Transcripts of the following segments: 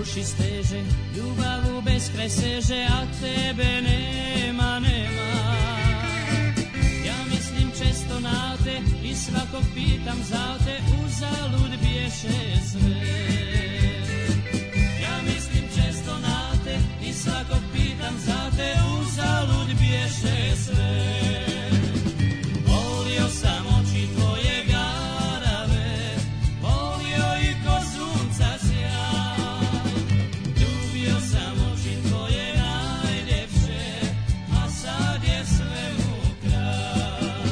oči steže, ljubav u beskraj seže, a tebe nema, nema. Ja mislim često na te i svakog pitam za te, uzalud biješe sve. Ja mislim često na te i svakog pitam za te, uzalud biješe sve. Volio sam oči tvoje garave, volio i ko sunca sjaj. Ljubio sam oči tvoje najljepše, a sad je svemu kraj.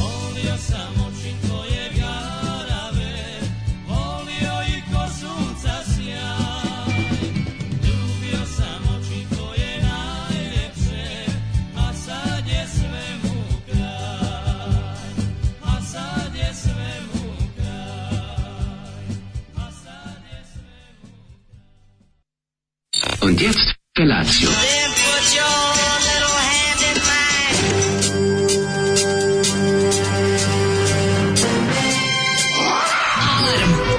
Volio sam oči tvoje garave, volio i ko sunca sjaj. Ljubio sam oči tvoje najljepše, a sad je svemu kraj. A sad je svemu kraj. A sad je svemu kraj. Und jetzt Felatio. Then put your little hand in mine.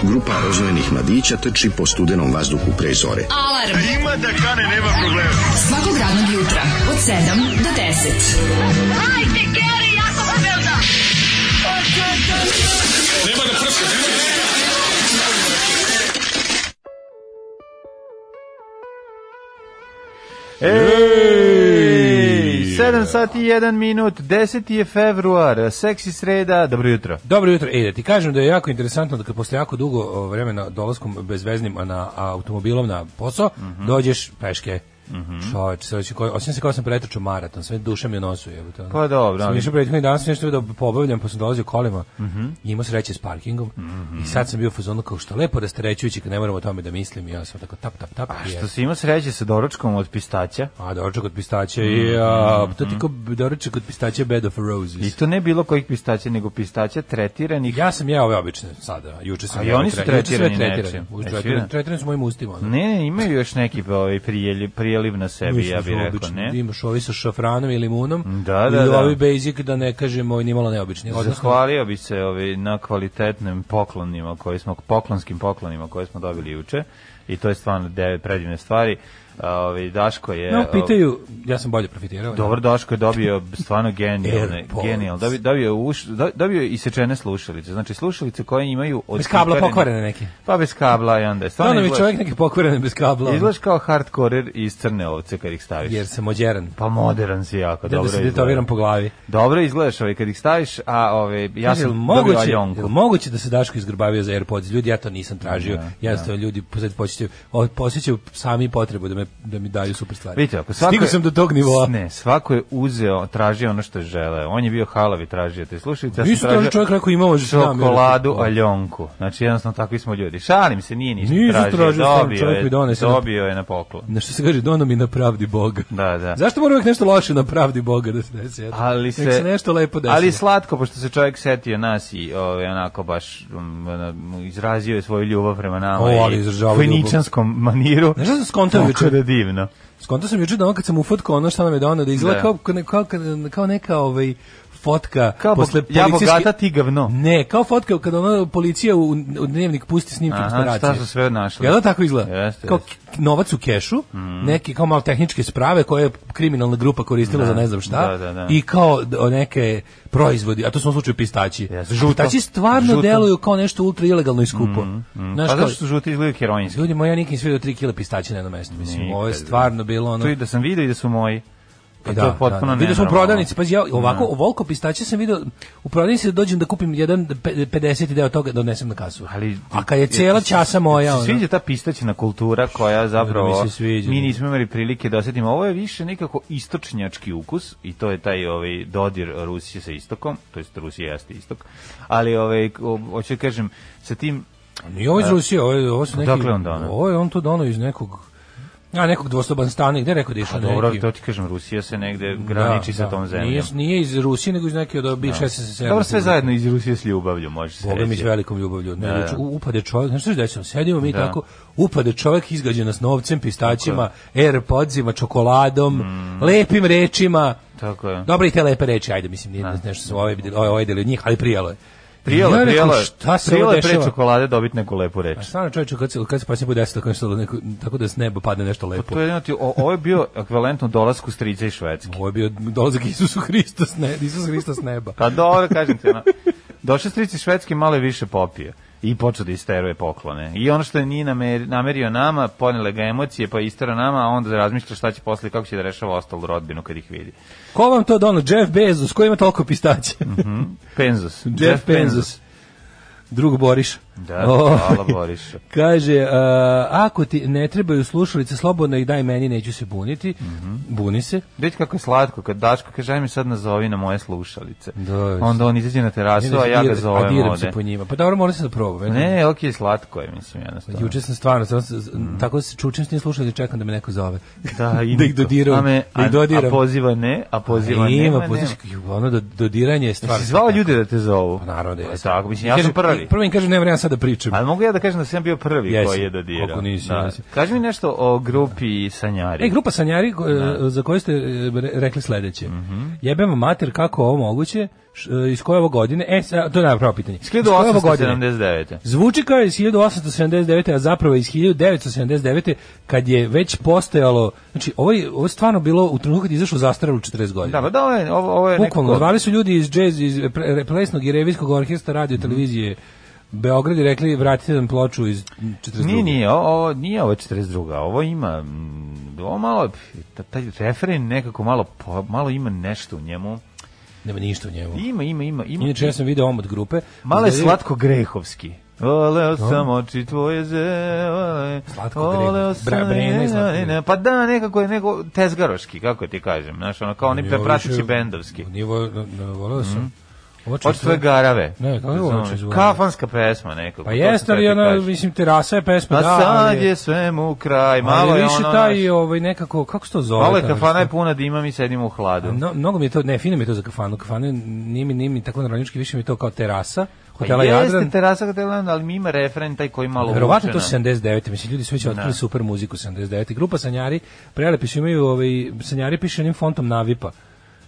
Grupa rozvojenih mladića trči po studenom vazduhu pre zore. Alarm. Ima da kane, nema problema. Svakog radnog jutra, od 7 do 10. Hajde, Geri, jako se velda. Ej, 7 sati i 1 minut, 10. je februar, seksi sreda, dobro jutro. Dobro jutro. E, da ti kažem da je jako interesantno da kad posle jako dugo o, vremena dolaskom bezveznim a na a automobilom na posao, Mhm. dođeš peške. Mhm. Mm Čoveče, sad ću koji- osim se kao da sam pretrčao maraton, sve duša mi je nosu jebote. ono. Pa dobro, Sam ali- išao prethodni dan, sam nešto da pobavljam, pa sam dolazio kolima. Mhm. I imao sreće s parkingom. I sad sam bio u fazonu kao što lepo rasterećujući kad ne moramo o tome da mislim. I ja sam tako tap tap tap. A i što eto. si imao sreće sa doručkom od pistaća? A doručak od pistaća i Mhm, a, to ti kao doručak od pistaća Bed of Roses. I to ne bilo kojih pistaća, nego pistaća tretiranih. Ja sam jeo ove obične sada, juče sam A i jeo oni su tre- juče sve tretirani tretirani. nečim. U- Jesi tretirani- vidio? Tretirani su mojim ustima. ono. Ne, ne, imaju još neki pa, ovaj, prijeliv, prijeliv na sebi, Mislim ja da su bih rekao, obični. ne? Imaš ovi sa šafranom i limunom. Da, da, ili da. ovi basic, da ne kažemo, ni malo neobični. Odnosno, Zahvalio bi se ovaj, na kvalitetnim poklonima koji smo, poklonskim poklonima koje smo dobili juče i to je stvarno devet predivne stvari. A, Ovaj, Daško je... no, ovaj, pitaju, ja sam bolje profitirao. Dobar Daško je dobio stvarno genijalne, Airpods. genijal. Dobio, dobio, je uš, do- dobio je isečene slušalice. Znači slušalice koje imaju od Bez kabla pikarene- pokvarene neke. Pa bez kabla i onda je Da, stvarno nam je izgleda- čovjek neki pokvaren bez kabla. ono. Izgledaš kao hardkorer iz crne ovce kad ih staviš. Jer sam ođeran. Pa modern si jako, Da, dobro da se detoviram po glavi. Dobro izgledaš ovaj kad ih staviš, a ove, ja Kaže, jel sam moguće, dobio jel aljonku. moguće da se Daško izgrbavio za AirPods? Ljudi, ja to nisam tražio. Da, ja sam ljudi sad posjećaju, o- posjećaju sami potrebu da, me, da mi daju super stvari. Vidite, ako svako Stigao je- sam do tog nivoa. Ne, svako je uzeo, tražio ono što je želeo. On je bio halavi, tražio te slušalice. ja sam Nisu tražio čovjek rekao imamo Da. možeš nam, jer- Čokoladu aljonku. Znači jednostavno takvi smo ljudi. Šalim se, nije ništa Nisu tražio. tražio, stvarno, dobio, čovjek mi je, donese na- dobio je na poklon. Na što se kaže, dono mi na pravdi Boga. Da, da. Zašto mora uvijek nešto loše na pravdi Boga da se desi? eto? Ali Nek se, nešto lepo desi. Ali slatko, pošto se čovjek setio nas i ovaj, onako baš um, ono, izrazio je svoju ljubav prema nama. O, ali i izražava fojničanskom maniru. Znaš šta sam skontao Tako juče? da divno. Skontao sam juče da on kad sam ufotkao ono što nam je dao, da izgleda Da. Kao, kao, kao neka ovaj, fotka Kao posle bo, ja policijske- bogata ti gavno. Ne, kao fotka kada ona policija u, u dnevnik pusti snimke Aha, operacije. šta su sve našli? Jel da tako izgleda? Jeste, kao jeste. Mm. k- novac u kešu, neki kao malo tehničke sprave koje je kriminalna grupa koristila za ne znam šta. da, da, da. I kao d- o neke proizvodi, a to su u ovom slučaju pistaći. Jeste, A žuto. Pistaći stvarno Žuto. deluju kao nešto ultra ilegalno i skupo. Znaš, Pa kao, zašto su žuti izgledaju heroinski? ljudi moji, ja nikad nisam vidio 3 kila pistaća na jednom mestu. Mislim, ovo je Nikad. stvarno bilo ono... To E da, i da sam vidio i da su moji. Pa to je potpuno Vidio sam u nenormalno. Da. prodavnici, pa ja ovako ovoliko pistaća sam video u prodavnici da dođem da kupim jedan pe- 50 i deo toga da donesem na kasu. Ali- a kad je cijela časa moja, Se ono, sviđa ta pistaćina kultura koja zapravo mi se sviđa. mi nismo imali prilike da osjetimo. Ovo je više nekako istočnjački ukus i to je taj ovaj dodir Rusije sa istokom, to jest Rusija jeste istok. Ali ovaj o- hoću da kažem sa tim i ovo iz Rusije, ovo, je- ovo su neki, Da. Odakle on doneo? ovo je on to dono iz nekog, a nekog dvostoban stana, gde je rekao da je pa išao dobro, neki? to ti kažem Rusija se negde graniči Da, sa da. tom zemljom. Da. Nije, nije iz Rusije, nego iz neke od bivše SSSR. Dobro, sve zajedno iz Rusije s ljubavlju, može se Boga mi s reći. velikom ljubavlju. Ne, Da, znači, da. u- upade čovjek, znaš što se desilo? Sedimo mi tako, upade čovjek izgađa nas novcem, pistaćima, airpodsima, čokoladom, lepim rečima. Mm. Tako je. Da, Da. Dobro i te lepe reči, ajde, mislim, nije nešto su ovaj, ovaj, ovaj deli od njih, ali prijelo je. Prijelo, Ja je, rekao, prijelo, je. šta se prijelo ovo je pre dešava? čokolade dobiti neku lepu reč. A stvarno čovječe, kad se, kad se poslije bude desilo, kao nešto, neko, tako da s neba padne nešto lepo. Pa To je jedno ti, o- ovo je bio ekvivalentno dolasku strica i švedske. Ovo je bio dolazak Isusu Hristu s neba. Isus Hrista s neba. Pa dobro, kažem ti, ono, došao strici švedski, malo je više popio i počeo da isteruje poklone. I ono što nije namer, namerio nama, ponele ga emocije, pa istera nama, a onda razmišlja šta će posle, kako će da rešava ostalu rodbinu kad ih vidi. Ko vam to donao? Jeff Bezos, ko ima toliko pistaće? Mm. Penzos. Hmm? Jeff Bezos. Drug Boriš. Da, O, hvala Borišu. Kaže, a, ako ti ne trebaju slušalice, slobodno ih daj meni, neću se buniti. Mhm. Buni se. Vidite kako je slatko kad Daško kaže aj mi sad nazovi na moje slušalice. Da, isto. Onda on izađe na terasu, a ja ga zovem A da diram se ovde. po njima. Pa dobro, moram se da probam. Ne, okej, slatko je, mislim, jednostavno. Juče sam stvarno, stvarno sam- Mhm. tako da se čučem s tim slušalicama, čekam da me neko zove. da, i da ih niko. dodiram, A me- da ih a- dodiram. A poziva ne, a poziva Ima, nema, nema. pozivaš, ono do- dodiranje je stvarno. Jesi zvao ljude da te zovu? Pa naravno da Pa jesam. Tako, mislim, ja sam Kažem, prvi. Prvo im kažem, nema vremena sad da pričam. Ali mogu ja da kažem da sam bio prvi Jesi, koji je dodirao. koliko nisi, jesi. Kaži mi nešto o grupi Sanjari. E, grupa Sanjari ko- da. e, za koju ste e, re- rekli sledeće. Mhm. Jebemo mater kako ovo moguće, š- e, iz koje ovo godine, e, sa- to je najpravo pitanje. Iz koje ovo godine? 1879. Zvuči kao iz 1879. a zapravo je iz 1979. kad je već postojalo, znači ovo je, ovo je stvarno bilo u trenutku kad je izašao zastaralo 40 Da, godina. pa da, ovo je, ovo, ovo je Bukvalno, nekako... zvali su ljudi iz džez, iz pre- plesnog i revijskog orkestra radio Mhm. i televizije Beograd i rekli vratite nam ploču iz 42. Nije, nije, o- ovo, nije ovo 42. Ovo ima, mm, ovo malo, ta- taj refren nekako malo, po- malo ima nešto u njemu. Nema ništa u njemu. Ima, ima, ima. ima. Inače, ja sam video omot grupe. Malo je Izgledaju- slatko grehovski. Voleo sam oči tvoje zelene. Da. Slatko Voleo Grehov. Bra- Brena i Slatko ne, ne, Grehov. Pa da, nekako je nego tezgaroški, kako ti kažem. Znaš, ono kao oni Nije ovo prepratići više- bendovski. Nije vo- ne- ne voleo Mhm. sam. Ovo čisto- Oči tvoje garave. Ne, kako je ovo Razumeš? oči tvoje? Kafanska pesma nekako. Pa to jeste, sam ali teo ti ona, kažem. mislim, terasa je pesma, A da. sad ali- je svemu kraj, malo ali je više ono... taj, ovaj, nekako, kako se to zove? Malo je tamo kafana je što- puna dima, mi sedimo u hladu. No, mnogo mi je to, ne, fino mi je to za kafanu. Kafane nije mi, nije mi tako naravnički, više mi je to kao terasa. Hotela Pa Jadran. Jeste terasa hotela Jadran, ali mi ima refren taj koji malo Da. Verovatno to vuče na- 79. Mislim, ljudi su već otkrili super muziku 79. Grupa Sanjari, prelepi su imaju, ovaj, Sanjari piše onim fontom Navipa.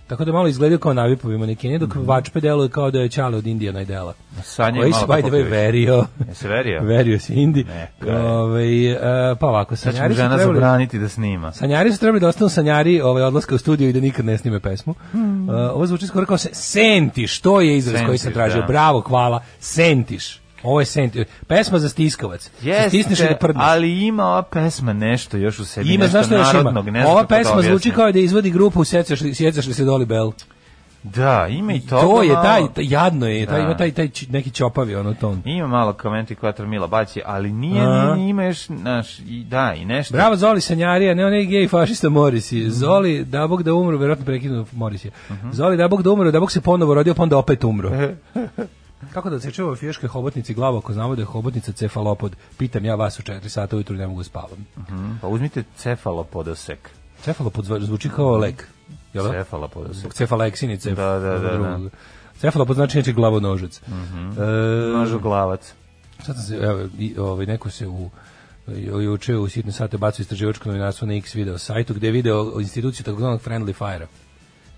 Tako da malo izgledaju kao Navipovi manekeni, dok Vačpe deluje kao da je Čale od Indija najdela. Mhm. Sanja je Koji malo se, by the tako way, piše. verio. Jesi verio? verio se Indi. Neka je. Ovaj, e, pa ovako, Sad će mi Sanjari su Znači žena trebali... zabraniti da snima. Sanjari su trebali da ostanu sanjari ovaj, odlaska u studiju i da nikad ne snime pesmu. E, ovo zvuči skoro kao se, sentiš, to je izraz koji sam Sentiš, tražio. da. Bravo, hvala, sentiš. Ovo je sentiš. Pesma za stiskavac. Se Stisneš i da Jeste, prdneš. ali ima ova pesma nešto još u sebi, Ima, znaš nešto što još narodnog. Ne ima? znam Ova kako da pesma objasnim. zvuči kao da izvodi grupu Sjecaš, sjecaš li se Doli Bell. Da, ima i toga To je malo. taj, taj- jadno je, taj, Da. ima taj, taj či- neki ćopavi ono ton. Ima malo komenti kvator Mila Baći, ali nije, A. nije ima još, znaš, i, da, i nešto. Bravo Zoli Sanjarija, ne onaj gej fašista Morisi. Zoli, da bog da umru, verovatno prekinuo Morisi. Mhm. Zoli, da bog da umru, da bog se ponovo rodio, pa onda opet umru. Kako da se čuva fiške hobotnici glava ako znamo da je hobotnica cefalopod? Pitam ja vas u 4 sata ujutru ne mogu da spavam. Mhm, Pa uzmite cefalopodosek. Cefalopod zva- zvuči kao lek. Jel? da? Cefalopodosek. Zbog cefaleksini, cef, Mhm. Da, da, da, Mhm. drugog. Cefalopod znači inače glavonožec. E, Nožu glavac. Sad sam se, evo, i, ovaj, neko se u ju- juče u sitne sate bacio istraživačko novinarstvo na X video sajtu gde je video instituciju takozvanog friendly fire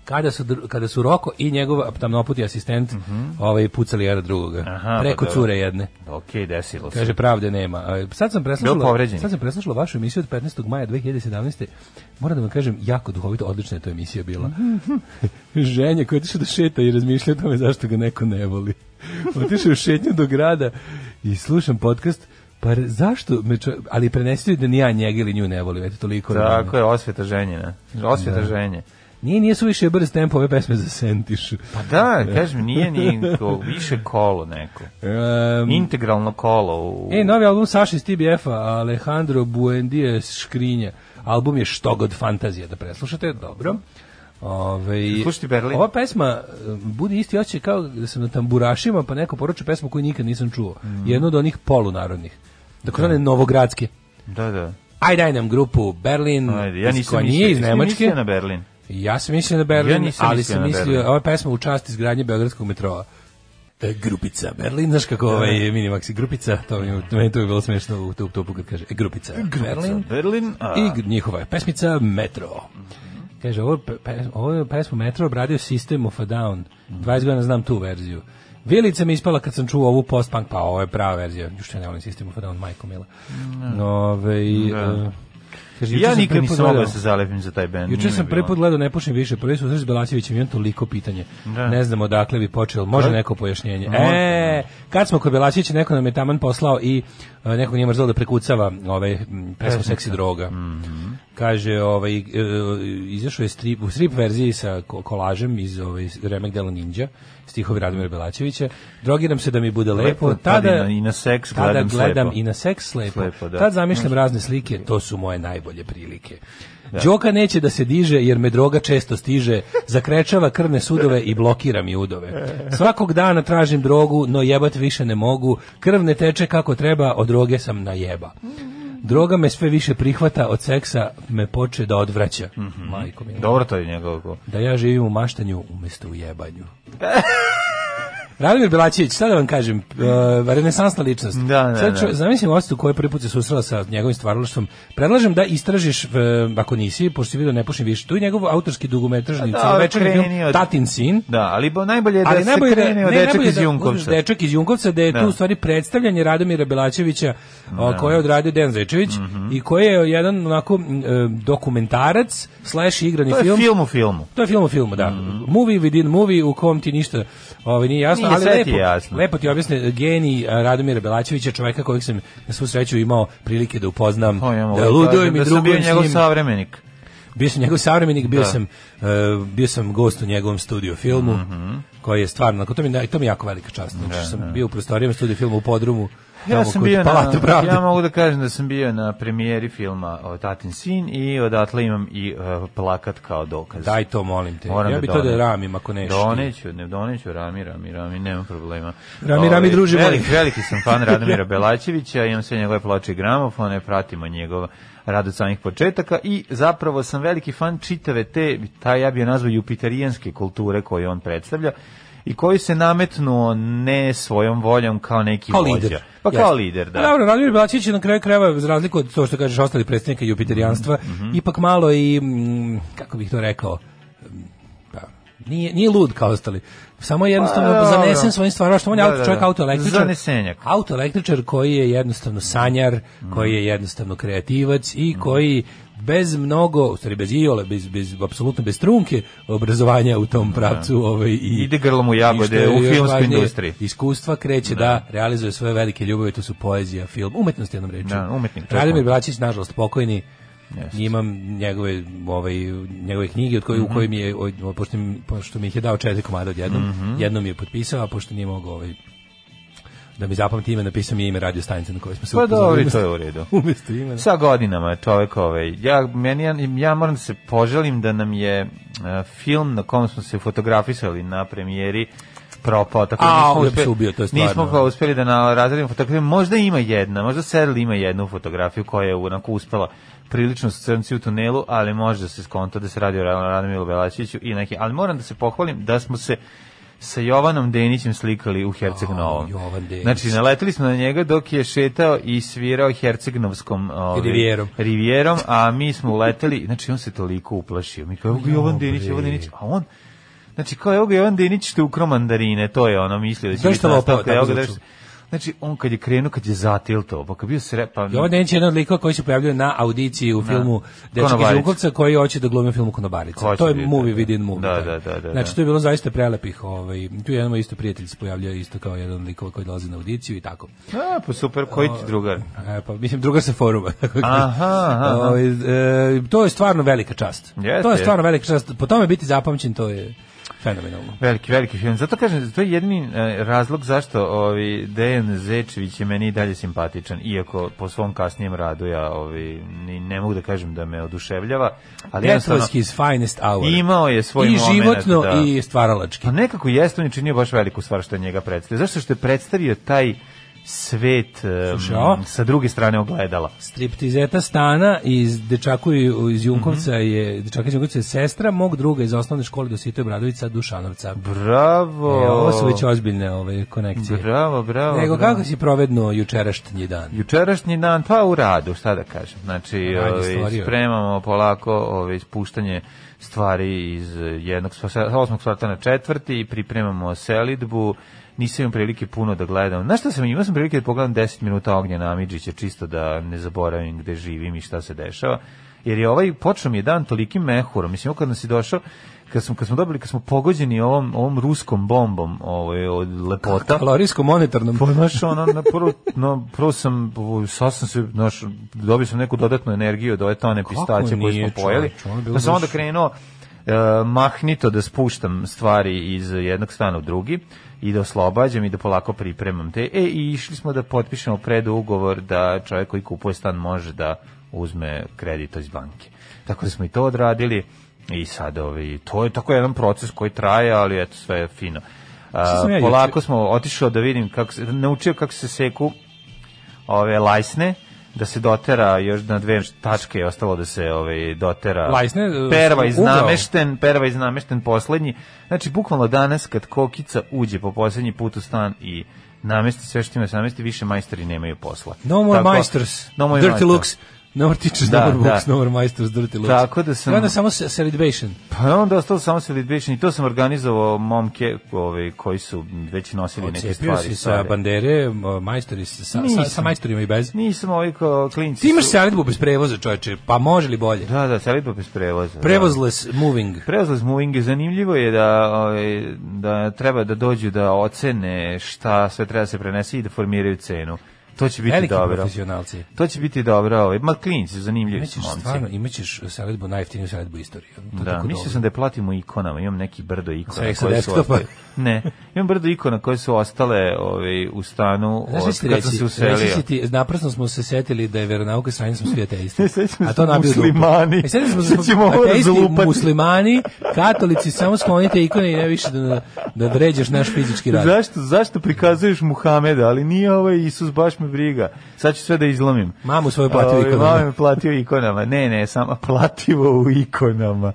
kada su, dru- kada su Roko i njegov tamnoputi asistent ovaj, pucali jedan drugoga Mhm. Aha, pa preko dobro. cure jedne Da, Okej, desilo se. Kaže pravde nema. A, Sad sam Bilo preslušala, povređenih. sad sam preslušala vašu emisiju od 15. maja 2017. Moram da vam kažem jako duhovito odlična je to emisija bila. Ženja koja je otišla da šeta i razmišlja o tome zašto ga neko ne voli. Otišao je u šetnju do grada i slušam podcast Pa zašto? me čo- Ali prenesite da ni ja njega ili nju ne volim, eto toliko. Tako Da, je, osveta ženjena. Osveta Da. ženje. Nije, nije suviše brz tempo ove pesme za sentiš. Pa da, kažem, nije ni ko- više kolo neko. Ehm, Integralno kolo. U... E, novi album Saše iz TBF-a, Alejandro Buendije Škrinje. Album je što god fantazija da preslušate, dobro. Ove, Slušati Berlin. Ova pesma e, bude isti oči kao da sam na tamburašima, pa neko poručuje pesmu koju nikad nisam čuo. Mhm. Jednu od onih polunarodnih. Dakle, one novogradske. Da, da. Aj daj nam grupu Berlin, Ajde, ja koja nisam nije mislio, iz jesi ti Nemačke. mislio na Berlin. Ja sam mislio na Berlin, Ja nisam ali mislio sam na mislio, Berlin. ova pesma u čast izgradnje Beogradskog metroa. E, grupica Berlin, znaš kako ovaj mini maxi grupica, to mi meni to je bilo smešno u tup tupu kad kaže e, grupica, da. Berlin Berlin, a... i gr- njihova je pesmica Metro. Kaže, ovo, je pe, pe, ovo je pesmu Metro obradio System of a Down. 20 godina znam tu verziju. Vilica mi je ispala kad sam čuo ovu post-punk, pa ovo je prava verzija. Još ja ne volim sistem of a Down, majko mila. Ove, i, Da. e, kaže, juče Ja sam nikad prvi put nisam mogao da gledao- se zalepim za taj band. Juče nije sam mi prvi bilo. put gledao Ne pušim više, prvi susret s Belačevićem, imam toliko pitanje. Da. Ne znam odakle bi počeo, može Da. neko pojašnjenje. Može, da. E, kad smo kod Belačevića, neko nam je taman poslao i e, nekog nije mrzelo da prekucava ovaj, m, pesmu Seksi droga. Mhm. Kaže, ovaj, e, izašao je strip, u strip verziji sa ko- kolažem iz ovaj, Remek Dela Ninja, stihovi Radomira Belačevića. Drogiram se da mi bude lepo. Lepo, tad i na- i na seks tada gledam gledam slepo. i na seks slepo. Slepo, da. Tad zamišljam razne slike, to su moje najbolje prilike. Đoka neće da se diže jer me droga često stiže, zakrečava krvne sudove i blokira mi udove. Svakog dana tražim drogu, no jebat više ne mogu, krv ne teče kako treba, od droge sam na jeba. Droga me sve više prihvata, od seksa me poče da odvraća. Mhm. Majko mila. Dobro to je njegovo. Da ja živim u maštanju umjesto u jebanju. Radomir Belačević, sad da vam kažem, uh, renesansna ličnost. Da, da, sad da. Zamislim osjetu koji je prvi put se susrela sa njegovim stvaralaštvom. Predlažem da istražiš, e, ako nisi, pošto si vidio Ne pušim više, tu je njegov autorski dugometražni Da, celovečerni kreni film od- Tatin sin. Da, ali bo najbolje je da Ali se najbolje da, krene ne, od dečak najbolje iz da uzmeš Junkovca. dečak iz Junkovca, da je tu Da. u stvari predstavljanje Radomira Belačevića, o, koje je odradio Dejan Zečević, Mhm. i koji je jedan onako m, e, dokumentarac slash igrani To je film. film u filmu. To je film o filmu, da. Movie within movie u kom ti ništa ovaj, nije jasno, Mhm. Nije, ali sve ti lepo, je jasno. lepo ti objasne genij a, Radomira Belačevića, čoveka kojeg sam na svu sreću imao prilike da upoznam, O, Pa, ja mogu da ludujem kažem i da sam bio drugujem s njegov njim. savremenik. Bio sam njegov savremenik, bio, Da. sam, e, bio sam gost u njegovom studiju filmu, Mhm. koji je stvarno, onako, to mi, je- to mi je jako velika čast. Znači, sam bio u prostorijama studiju filmu u podrumu, Da, Ja tamo sam kod bio na, Palate pravde. ja mogu da kažem da sam bio na premijeri filma o Tatin sin i odatle imam i e, plakat kao dokaz. Daj to, molim te. Moram ja da bi to da donem. ramim, ako nešto. Doneću, ne doneću Rami, Rami, Rami, nema problema. Rami, Rami, Ovaj, druže moj. veliki, veliki sam fan Radomira Belačevića, imam sve njegove ploče i gramofone, pratimo njegov rad od samih početaka i zapravo sam veliki fan čitave te, ta ja bi je nazvao jupiterijanske kulture koje on predstavlja i koji se nametnuo ne svojom voljom kao neki kao vođa. lider. Pa kao Jeste. lider, da. Pa Dobro, Radomir Belačić je na kraju krajeva, za razliku od to što kažeš, ostali predstavnika jupiterijanstva, Mhm, ipak malo i, mm, kako bih to rekao, mm, pa, nije, nije lud kao ostali. Samo je jednostavno Pa, dobro. zanesen svojim stvarima, što on je Da, auto, da, da. čovjek autoelektričar. Zanesenjak. Mhm. Autoelektričar koji je jednostavno sanjar, koji je jednostavno kreativac i koji bez mnogo, u stvari bez iole, bez, bez, apsolutno bez trunke obrazovanja u Da. tom pravcu ovaj, i, Ide grlom u jagode i ovaj što da je u još filmskoj važnije, industriji. Iskustva kreće da. realizuje svoje velike ljubavi, to su poezija, film, umetnost jednom rečju. Da, umetnik, čovjek. Radomir Bračić, nažalost, pokojni, Imam njegove, ovaj, njegove knjige od koje, u Mhm. kojim je, o- o- pošto, mi- pošto mi ih je dao četiri komada odjednom, Mhm. jednom je potpisao, a pošto nije mogao ovaj, da mi zapamti ime, napisao mi je ime radio stanice na kojoj smo se Pa upoznali. dobro, i to Umesto- je u redu. Umesto imena. Sa godinama je čovjek ovaj. Ja, meni, ja, ja moram da se poželim da nam je e, film na kom smo se fotografisali na premijeri propao. Tako da A, nismo ovo je uspeli- se ubio, to je stvarno. Nismo kao uspjeli da na, razredimo fotografiju. Možda ima jedna, možda Sedl ima jednu fotografiju koja je onako uspela prilično su crnci u tunelu, ali može da se skonta da se radi o Ra- Radomilu Belačiću i neki, ali moram da se pohvalim da smo se sa Jovanom Denićem slikali u Herceg Novom. A, Jovan Denić. Znači, naletili smo na njega dok je šetao i svirao Hercegnovskom ovaj, Rivijerom. Rivijerom, a mi smo uleteli, znači on se toliko uplašio. Mi kao, evo ga Jovan Dobre. Denić, Jovan Denić, a on, znači kao, evo ga Jovan Denić što je ukrao mandarine, to je ono, mislio da će Zašto biti lopao, nastavka, tako evo ga, zvuči? da- Znači, on kad je krenuo, kad je zatiltao, pa kad je bio srepan, Jovan Denić je jedan od likova koji se pojavljuje na audiciji u filmu Dečak iz Da. Konobarica. Žukovca koji hoće da glumi u filmu Konobarica. Hoće To je da je, movie da, within da. movie. Da, da, da, da, Znači, da. to je bilo zaista prelepih. Ovaj, tu je jedan moj isto prijatelj se pojavljao isto kao jedan od likova koji dolazi na audiciju i tako. a, pa super, koji ti drugar? E, pa, mislim, druga sa foruma. tako da- Aha, aha. Ovaj, e, to je stvarno velika čast. Jeste, to je jeste. stvarno velika čast. Po tome biti zapamćen, to je fenomenalno. Veliki, veliki film. Zato kažem, to je jedini e, razlog zašto ovi Dejan Zečević je meni i dalje simpatičan, iako po svom kasnijem radu ja ovi, ni, ne mogu da kažem da me oduševljava, ali jednostavno Netflix is finest hour. imao je svoj I moment. životno da. i stvaralački. Pa nekako jeste, on je činio baš veliku stvar što je njega predstavio. Zašto što je predstavio taj svet e, Slušaj, a? sa druge strane ogledala. striptizeta Stana iz dečaku i- iz Junkovca Mhm. je dečaka iz Junkovca je sestra mog druga iz osnovne škole Dositoj Bradović sa Dušanovca. Bravo! E, ovo su već ozbiljne ove konekcije. Bravo, bravo. Nego bravo. kako si provedno jučerašnji dan? Jučerašnji dan, pa u radu, šta da kažem. Znači, Rad je ovaj, stvorio. spremamo polako ovaj, spuštanje stvari iz eh, jednog sa- sa osmog sata na četvrti, pripremamo selidbu, nisam imao prilike puno da gledam. Znaš šta sam, imao sam prilike da pogledam 10 minuta Ognjena Amidžića, čisto da ne zaboravim gde živim i šta se dešava. Jer je ovaj, počeo mi je dan tolikim mehurom, mislim, ovo kad nas je došao, kad smo, kad smo dobili, kad smo pogođeni ovom, ovom ruskom bombom ovaj, od lepota, Kalorijsko monetarnom. Pa znaš, ono, na prvo, no, prvo sam, sad sam se, znaš, dobio sam neku dodatnu energiju od ove tone pistaće koje nije, smo pojeli. čoveče, ono je bilo Pa sam baš- onda krenuo e, mahnito da spuštam stvari iz jednog stana u drugi i da oslobađam i da polako pripremam te. E, i išli smo da potpišemo predugovor da čovjek koji kupuje stan može da uzme kredit iz banke. Tako da smo i to odradili i sad ovi, to je tako jedan proces koji traje, ali eto, sve je fino. Šta sam ja A, juče- polako smo otišao da vidim kako se, naučio kako se seku ove lajsne da se dotera još na dve tačke je ostalo da se ove dotera Lajsne, e, perva iz ugao. namešten perva iz namešten poslednji znači bukvalno danas kad kokica uđe po poslednji put u stan i namesti sve što ima da se namesti više majstori nemaju posla No more Tako- majstors, no more dirty majstor. looks, no more teachers, Da, no more books, da. no more majstors, dirty looks. Tako da sam- I onda samo se- celebration. pa onda ostalo samo se lidvični to sam organizovao momke ove koji su već nosili neke Ocepio stvari si sa stare. bandere, m, majstori, sa, sa, Nisam. sa majstorima i bez. nisam ovaj ko klinci Ti imaš su- selitbu bez prevoza, čoveče, pa može li bolje? da da selidba bez prevoza da. Prevozless moving. Preozlaz moving je zanimljivo je da, ovaj, da treba da dođu da ocene šta sve treba da se prenese i da formiraju cenu. To će biti Veliki dobro. profesionalci. To će biti dobro. Ovaj. Ma klinci, zanimljivi su Imaćeš momci. stvarno, imaćeš selitbu, najjeftiniju selitbu istorije. To je Da, tako mislio dobro. sam da je platimo ikonama, imam neki brdo ikona Sve sa koje su desktopa? ostale. Ne, imam brdo ikona koje su ostale ovaj, u stanu Znaš od, šta ću ti kad sam reći? se Reći uselio. si ti, naprasno smo se setili da je veronauka sranje smo svi ateisti. Sad ćemo A se to nabio dupe. muslimani. E, setili smo se Sad ćemo ovo ateisti, razlupati. muslimani, katolici, samo sklonite ikone i ne više da, da vređaš naš fizički rad. Zašto, zašto prikazuješ Muhameda, ali nije ovaj Isus, baš me briga. Sad ću sve da izlomim. Mamu svoju da. platio Ovaj, ikonama. Mama me platio ikonama. Ne, ne, sama plativo u ikonama.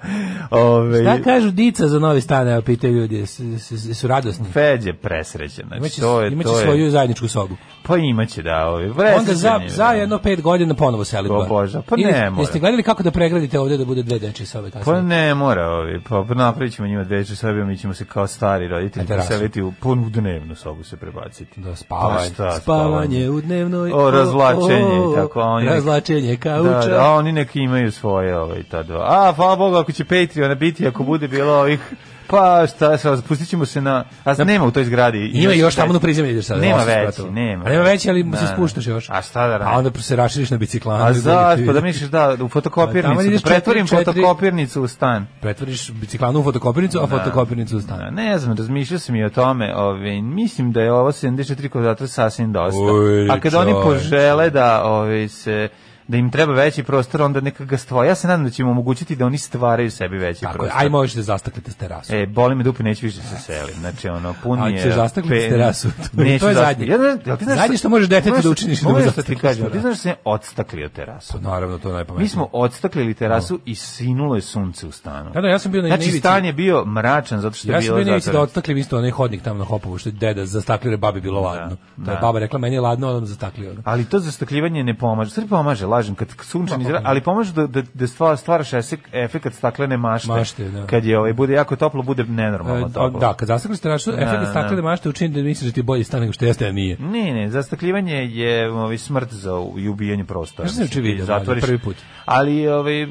Ove, Šta Da kažu dica za novi stan, evo pitaju ljudi, s- s- s- su radosni. Feđe presrećen. Znači, Imaće, to je, imaće to je, svoju zajedničku sobu. Pa imaće, da. Ove, presrećen Onda za, je, da. za jedno pet godina ponovo selitba. O Bože, pa Ili- ne mora. Jeste gledali kako da pregradite ovde da bude dve dečje sobe kasnije? Pa ne mora, ovi, pa napravit ćemo njima dveče sobe, mi ćemo se kao stari roditelji Na terasu. preseliti u punu dnevnu sobu se prebaciti. Da, Pa spavanje. šta, spavanje u dnevnoj... O, razvlačenje i tako, a oni- Razvlačenje kauča. Da, da, a oni neki imaju svoje ovaj, ta dva. A, hvala Bogu, ako će Patreona biti, ako bude bilo ovih, pa šta, sa, pustit ćemo se na... A nema u toj zgradi. Da. Ima još tamo na prizemlju ideš sada. da, Nema osam veći, spratova. nema. A nema veći, ali Da, se da. spuštaš još. A šta da radim? A onda se raširiš na biciklanju. A i zašto? dođe Pa ti- da misliš da, u Tamo fotokopirnicu, ideš da pretvorim četiri- četiri- fotokopirnicu u stan. Pretvoriš biciklanu u fotokopirnicu, a fotokopirnicu u Da, stan. ne znam, razmišljao sam i o tome, ove, mislim da je ovo 74 kvadrata sasvim dosta. Uj, A kad oni čoveče. požele da ove, se da im treba veći prostor, onda neka ga stvore. Ja se nadam da ćemo omogućiti da oni stvaraju sebi veći Tako je, prostor. aj možeš da zastaklite s terasu. E, boli me dupe, neću više se selim. Znači, ono, pun Ali je... ćeš zastakliti pe- terasu. To je- Neću to je zastakliti. zadnje. Ja, ne, jel ti znaš Zadnje što možeš detetu Moraš- da učiniš je da mu moraš da ti zastakliti kažem, terasu. ti znaš da sam ja odstaklio terasu. Naravno, to je najpametnije. Mi smo odstaklili terasu i sinulo je sunce u stanu. Da, da, ja sam Da. bio na Znači, Nivici. stan je bio mračan zato što Ja je sam bilo bio na ivici da zatvoreno. odstaklim isto onaj hodnik tamo na Hopovu, što je deda zastaklio, jer babi bilo ladno. Da, je da. baba rekla, meni je ladno, onda zastaklio. Ali to zastakljivanje ne pomaže. Sve pomaže, lažem, kad sunčani Pa, zrak, ali pomaže da, da, da stvar, stvaraš esek, efekt staklene mašte. Mašte, da. Kad je, ovaj, bude jako toplo, bude nenormalno E, toplo. Da, kad zastakliš terasu, efekt da. staklene mašte učini da misliš da ti je bolji stan nego što jeste, a nije. Ne, ne, zastakljivanje je ovaj, smrt za u- i ubijanje prostora. Ja sam juče Ti vidio, da, zatvoriš- prvi put. Ali ovaj, m,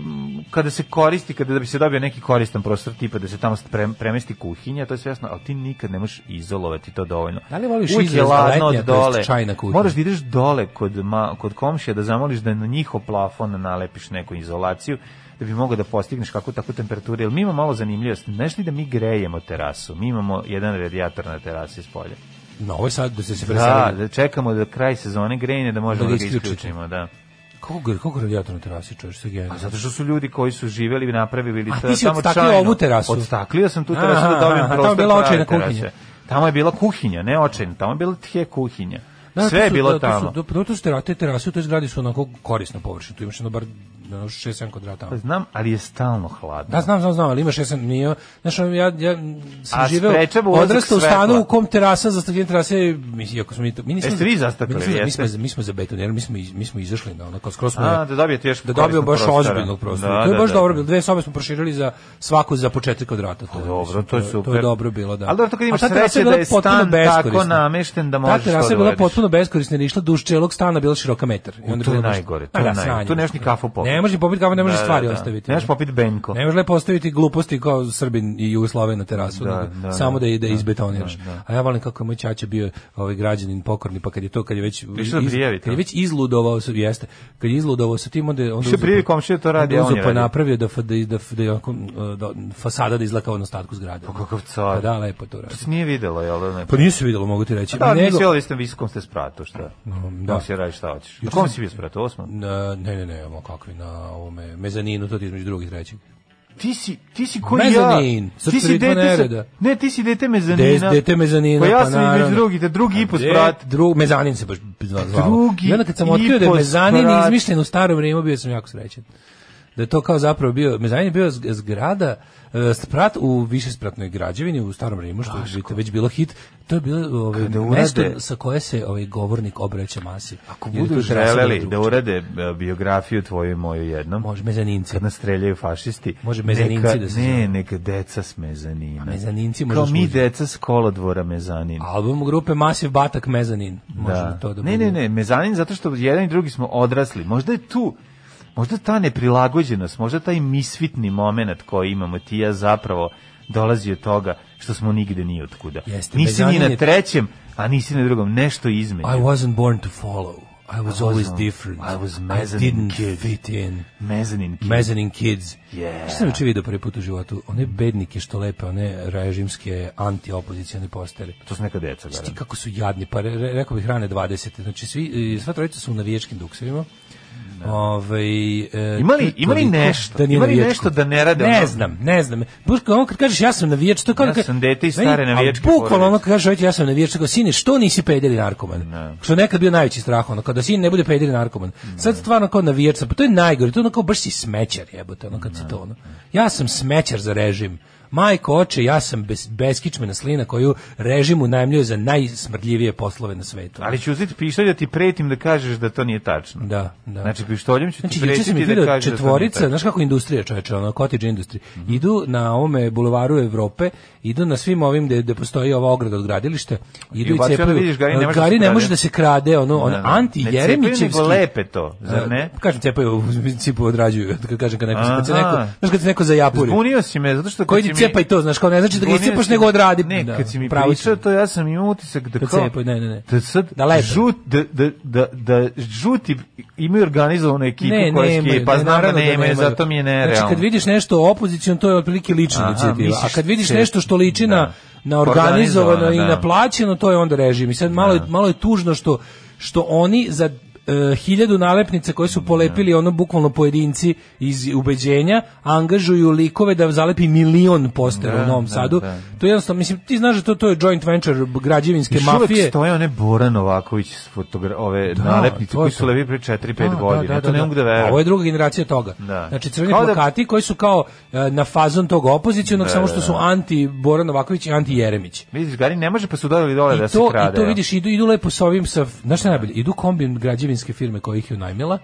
kada se koristi, kada da bi se dobio neki koristan prostor, tipa da se tamo pre- premesti kuhinja, to je sve jasno, ali ti nikad ne možeš izolovati to dovoljno. Da li voliš Uvijek je izraz ladno letnja, od to jest dole. čajna kuhinja? Moraš da ideš dole kod, ma, kod komšija da zamoliš da na njihov plafon nalepiš neku izolaciju da bi mogao da postigneš kakvu takvu temperaturu. Jer mi imamo malo zanimljivost. Znaš li da mi grejemo terasu? Mi imamo jedan radijator na terasi iz polja. Na ovo je sad da ste se Da, preselili. da čekamo da kraj sezone grejne da možemo Da da ga ga isključite. isključimo, da. Koliko, gr- koliko radijatora na terasi čovječ, sve genijalno. Zato što su ljudi koji su živeli i napravili A, to ti si tamo odstaklio čajno. ovu terasu? Odstaklio sam tu terasu Aha, da dobijem aha, tamo je prostor. bila prave očajna terase. kuhinja. Tamo je bila kuhinja, ne očajna, tamo je bila tje kuhinja. Da, Sve to je su- bilo da, to su- tamo. da, prvo to su terate terase u toj zgradi su onako korisna površina. Tu imaš jedno bar ono 6-7 kvadrata. Pa znam, ali je stalno hladno. Da, znam, znam, znam, ali ima 6 nije, znaš, ono, ja, ja sam A živeo, sprečava ulazak odrastao u svetla. stanu u kom terasa, zastavljen terase, mislim, iako smo mi to, mi nismo, Jeste vi zastakli, mi nismo- mi jeste? smo, mi smo, za betonjer, mi smo, iz- mi smo izašli na ono, kao skroz smo, A, da dobijete još da dobio korisnog baš prostora. ozbiljnog prostora. Da, to je da, baš da. dobro bilo. Dve sobe smo proširili za svaku za po 4 kvadrata. To, je, Dobro, mislim, to je To je super. dobro bilo, da. Ali dobro, to kad A imaš ta terasa sreće bila da je potpuno stan tako beskorisna. namešten da možeš Ta terasa to da je bila uradiš. potpuno beskorisna, jer je išla duž celog stana, bila široka metar. I onda to je bilo baš- najgore, to A, je da, naj- sranje. tu ne možeš ni kafu popiti. Ne možeš ni popiti kafu, ne možeš Da, stvari da, da. ostaviti. Ne možeš popiti benko. Ne možeš lepo ostaviti gluposti kao Srbin i Jugoslaven na terasu, Da, nego da, samo da. da ide da izbetoniraš. A ja volim kako je moj ćaća bio ovaj građanin pokorni, pa kad je to kad je već Išao da prijavi to. kad je već izludovao sa jeste, kad je izludovao sa tim onda je- onda Išao uzeo prijavi pa- komšiju, to radi, onda a on uzeo je pa radio. napravio da fa- da da da, je onako, uh, da fasada da izlaka od ostatku zgrade. Pa kakav car. Pa da, lepo to radi. Se nije videlo, jel? da, Ne? Pa nisu videlo, mogu ti reći. Da, Nego- nisi ali ste visokom ste spratu, šta? da. Da. si radiš šta hoćeš. Na kom si bio spratu, osmom? Na- ne, ne, ne, ma kakvi na ovome mezaninu, to ti između drugih i trećeg. Ti si, ti si ko Mezanin, ja. srce Ti si ritma dete, sa, nereda. ne, ti si dete Des, mezanina. dete mezanina, Pa ja pa sam naravno. već drugi, te drugi i po De- sprat. Drug, mezanin se baš zvalo. Drugi I onda kad sam i otkrio da je po mezanin sprat. izmišljen u staro vrijeme, bio sam jako srećen. Da je to kao zapravo bio, mezanin je bio zg- zgrada, e, sprat u višespratnoj građevini u starom Rimu, što je bi- već bilo hit. To je bilo ovaj, Kada urade- mesto sa koje se ovaj govornik obraća masi. Ako Budu želeli da urade e, biografiju tvoju i moju jednom. Može mezaninci. kad nas streljaju fašisti. Može mezaninci neka, da se Ne, zovu. neka deca s mezanina. mezaninci Kao možda mi služe. deca s kolodvora mezanin. Album grupe Masiv Batak Mezanin. Može Da. da to da ne, bude. ne, ne, mezanin zato što jedan i drugi smo odrasli. Možda je tu možda ta neprilagođenost, možda taj misfitni moment koji imamo ti i ja zapravo dolazi od toga što smo nigde ni otkuda. Jeste, nisi ni mezanin na je- trećem, a nisi na drugom, nešto I između. wasn't born to follow. I was always wasn't- different. I was I mezzanine didn't kid. fit in. Mezanin. kid. Mezanin kids. Yeah. Šta sam juče video prvi put u životu? One bednike što lepe, one režimske anti-opozicione postere. To su neka deca, Znaš ti garant. kako su jadni, pa re- re- rekao bih rane 20. Znači, svi, e, sva trojica su u navijačkim duksevima. Ovaj, e, Da. Ima li- to je ima li toliko nešto? nije Ima li navijačko. nešto da ne rade Ne ono? znam, ne znam. Baš kao ono kad kažeš ja sam navijač, to je kao Ja da ka- sam dete iz Meni- stare ali navijačke Bukvalno ono porodice. kad kažeš ja sam navijač, kao sine, što nisi pedeli narkoman? Što je nekad bio najveći strah ono kada sin ne bude pedeli narkoman. Sad stvarno kao navijač, sam, pa to je najgore, to je ono kao baš si smećar, jebote, ono kad si to ono. Ja sam smećar za režim. Majko, oče, ja sam bez, beskičmena slina koju režim unajmljuje za najsmrdljivije poslove na svetu. Ali ću uzeti pištolj da ti pretim da kažeš da to nije tačno. Da, da. Znači, pištoljem ću ti Znači, juče sam pretiti ih da vidio kažeš da Mhm. to nije četvorica, tačno. znaš kako industrija čoveče, ono, cottage industry, idu na ovome bulevaru Evrope, idu na svim ovim gde, gde postoji ova ograda od gradilišta, idu I i, ubacio, cepaju. onda vidiš, Gari, ne može da se ne krade. može da se krade, ono, on, Da, da. Ne anti-jeremićevski. cepaju, nego lepe to, zar ne? E, Kažem, cepaju, u principu odrađuju, kad kažem kad neko, kad se neko, Aha. znaš kad se neko zajapuri. Zbunio si me, zato što... kad Koji si ti mi- cepa i to, znaš, kao ne znači da ga Zbunio iscepaš si- nego odradi. Ne, Da, kad si mi pravo si. pričao to, ja sam imao utisak da Da kao... cepaju, ne, ne, ne. Da sad Da lepe. žut, da, da, da, da žuti imaju organizovanu ekipu Ne, koja nemaju, skipa, ne, znam da naravno da nemaju, nemaju. zato mi je nerealno. Znači kad vidiš nešto opozicion, to je otprilike lična Aha, inicijativa. A misliš kad vidiš se- nešto što liči na, da. na organizovano Organizovano, i da. na plaćeno, to je onda režim. I sad malo, je, malo je tužno što, što oni za e, hiljadu nalepnica koje su polepili ono bukvalno pojedinci iz ubeđenja angažuju likove da zalepi milion postera u Novom da, Sadu. da. To je jednostavno, mislim, ti znaš da to, to je joint venture građevinske Još uvek mafije. stoje one Bora Novaković s fotogra ove Da, nalepnice to je koji su to. levi pre 4-5 Da, godina. Ja to ne mogu da A Ovo je verujem. druga generacija toga. Da. Znači crveni Kao da- plakati koji su kao e, na fazon tog opozicionog, samo da, što su anti Bora Novaković i anti Jeremić. Vidiš, Gari, ne može pa su dodali dole I da se to, krade. I to jel? vidiš, idu, idu lepo sa ovim, sa, znaš šta je najbolje, idu kombijem građevinske firme koja ih je unajmila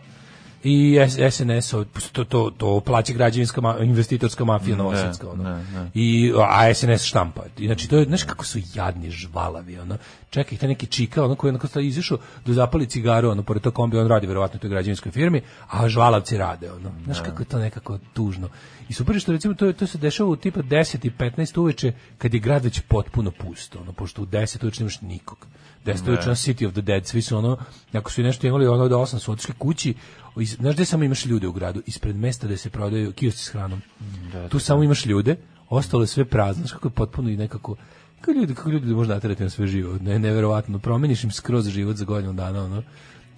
i S- SNS, -o, to, to, to plaća građevinska ma- investitorska mafija Da, novosadska, ono. I, a SNS štampa. I, znači, to je, znaš kako su jadni žvalavi, ono. Čekaj, taj neki čika, ono koji je onako sad izišao da zapali cigaru, ono, pored tog kombi, on radi verovatno u toj građevinskoj firmi, a žvalavci rade, ono. Znaš Da. kako je to nekako tužno. I super je što recimo to, je- to se dešava u tipa 10 i 15 uveče kad je grad već potpuno pusto, ono, pošto u 10 uveče nemaš nikog. 10 uveče ono City of the Dead, svi su ono, ako su i nešto imali, ono da 8 su otišli kući, iz, znaš gde samo imaš ljude u gradu? Ispred mesta gde se prodaju kiosci s hranom. tu samo imaš ljude, ostalo je sve prazno, znaš kako je potpuno i nekako kako ljudi, kako ljudi možda naterati na sve živo, ne, neverovatno, promeniš im skroz život za godinu dana, ono,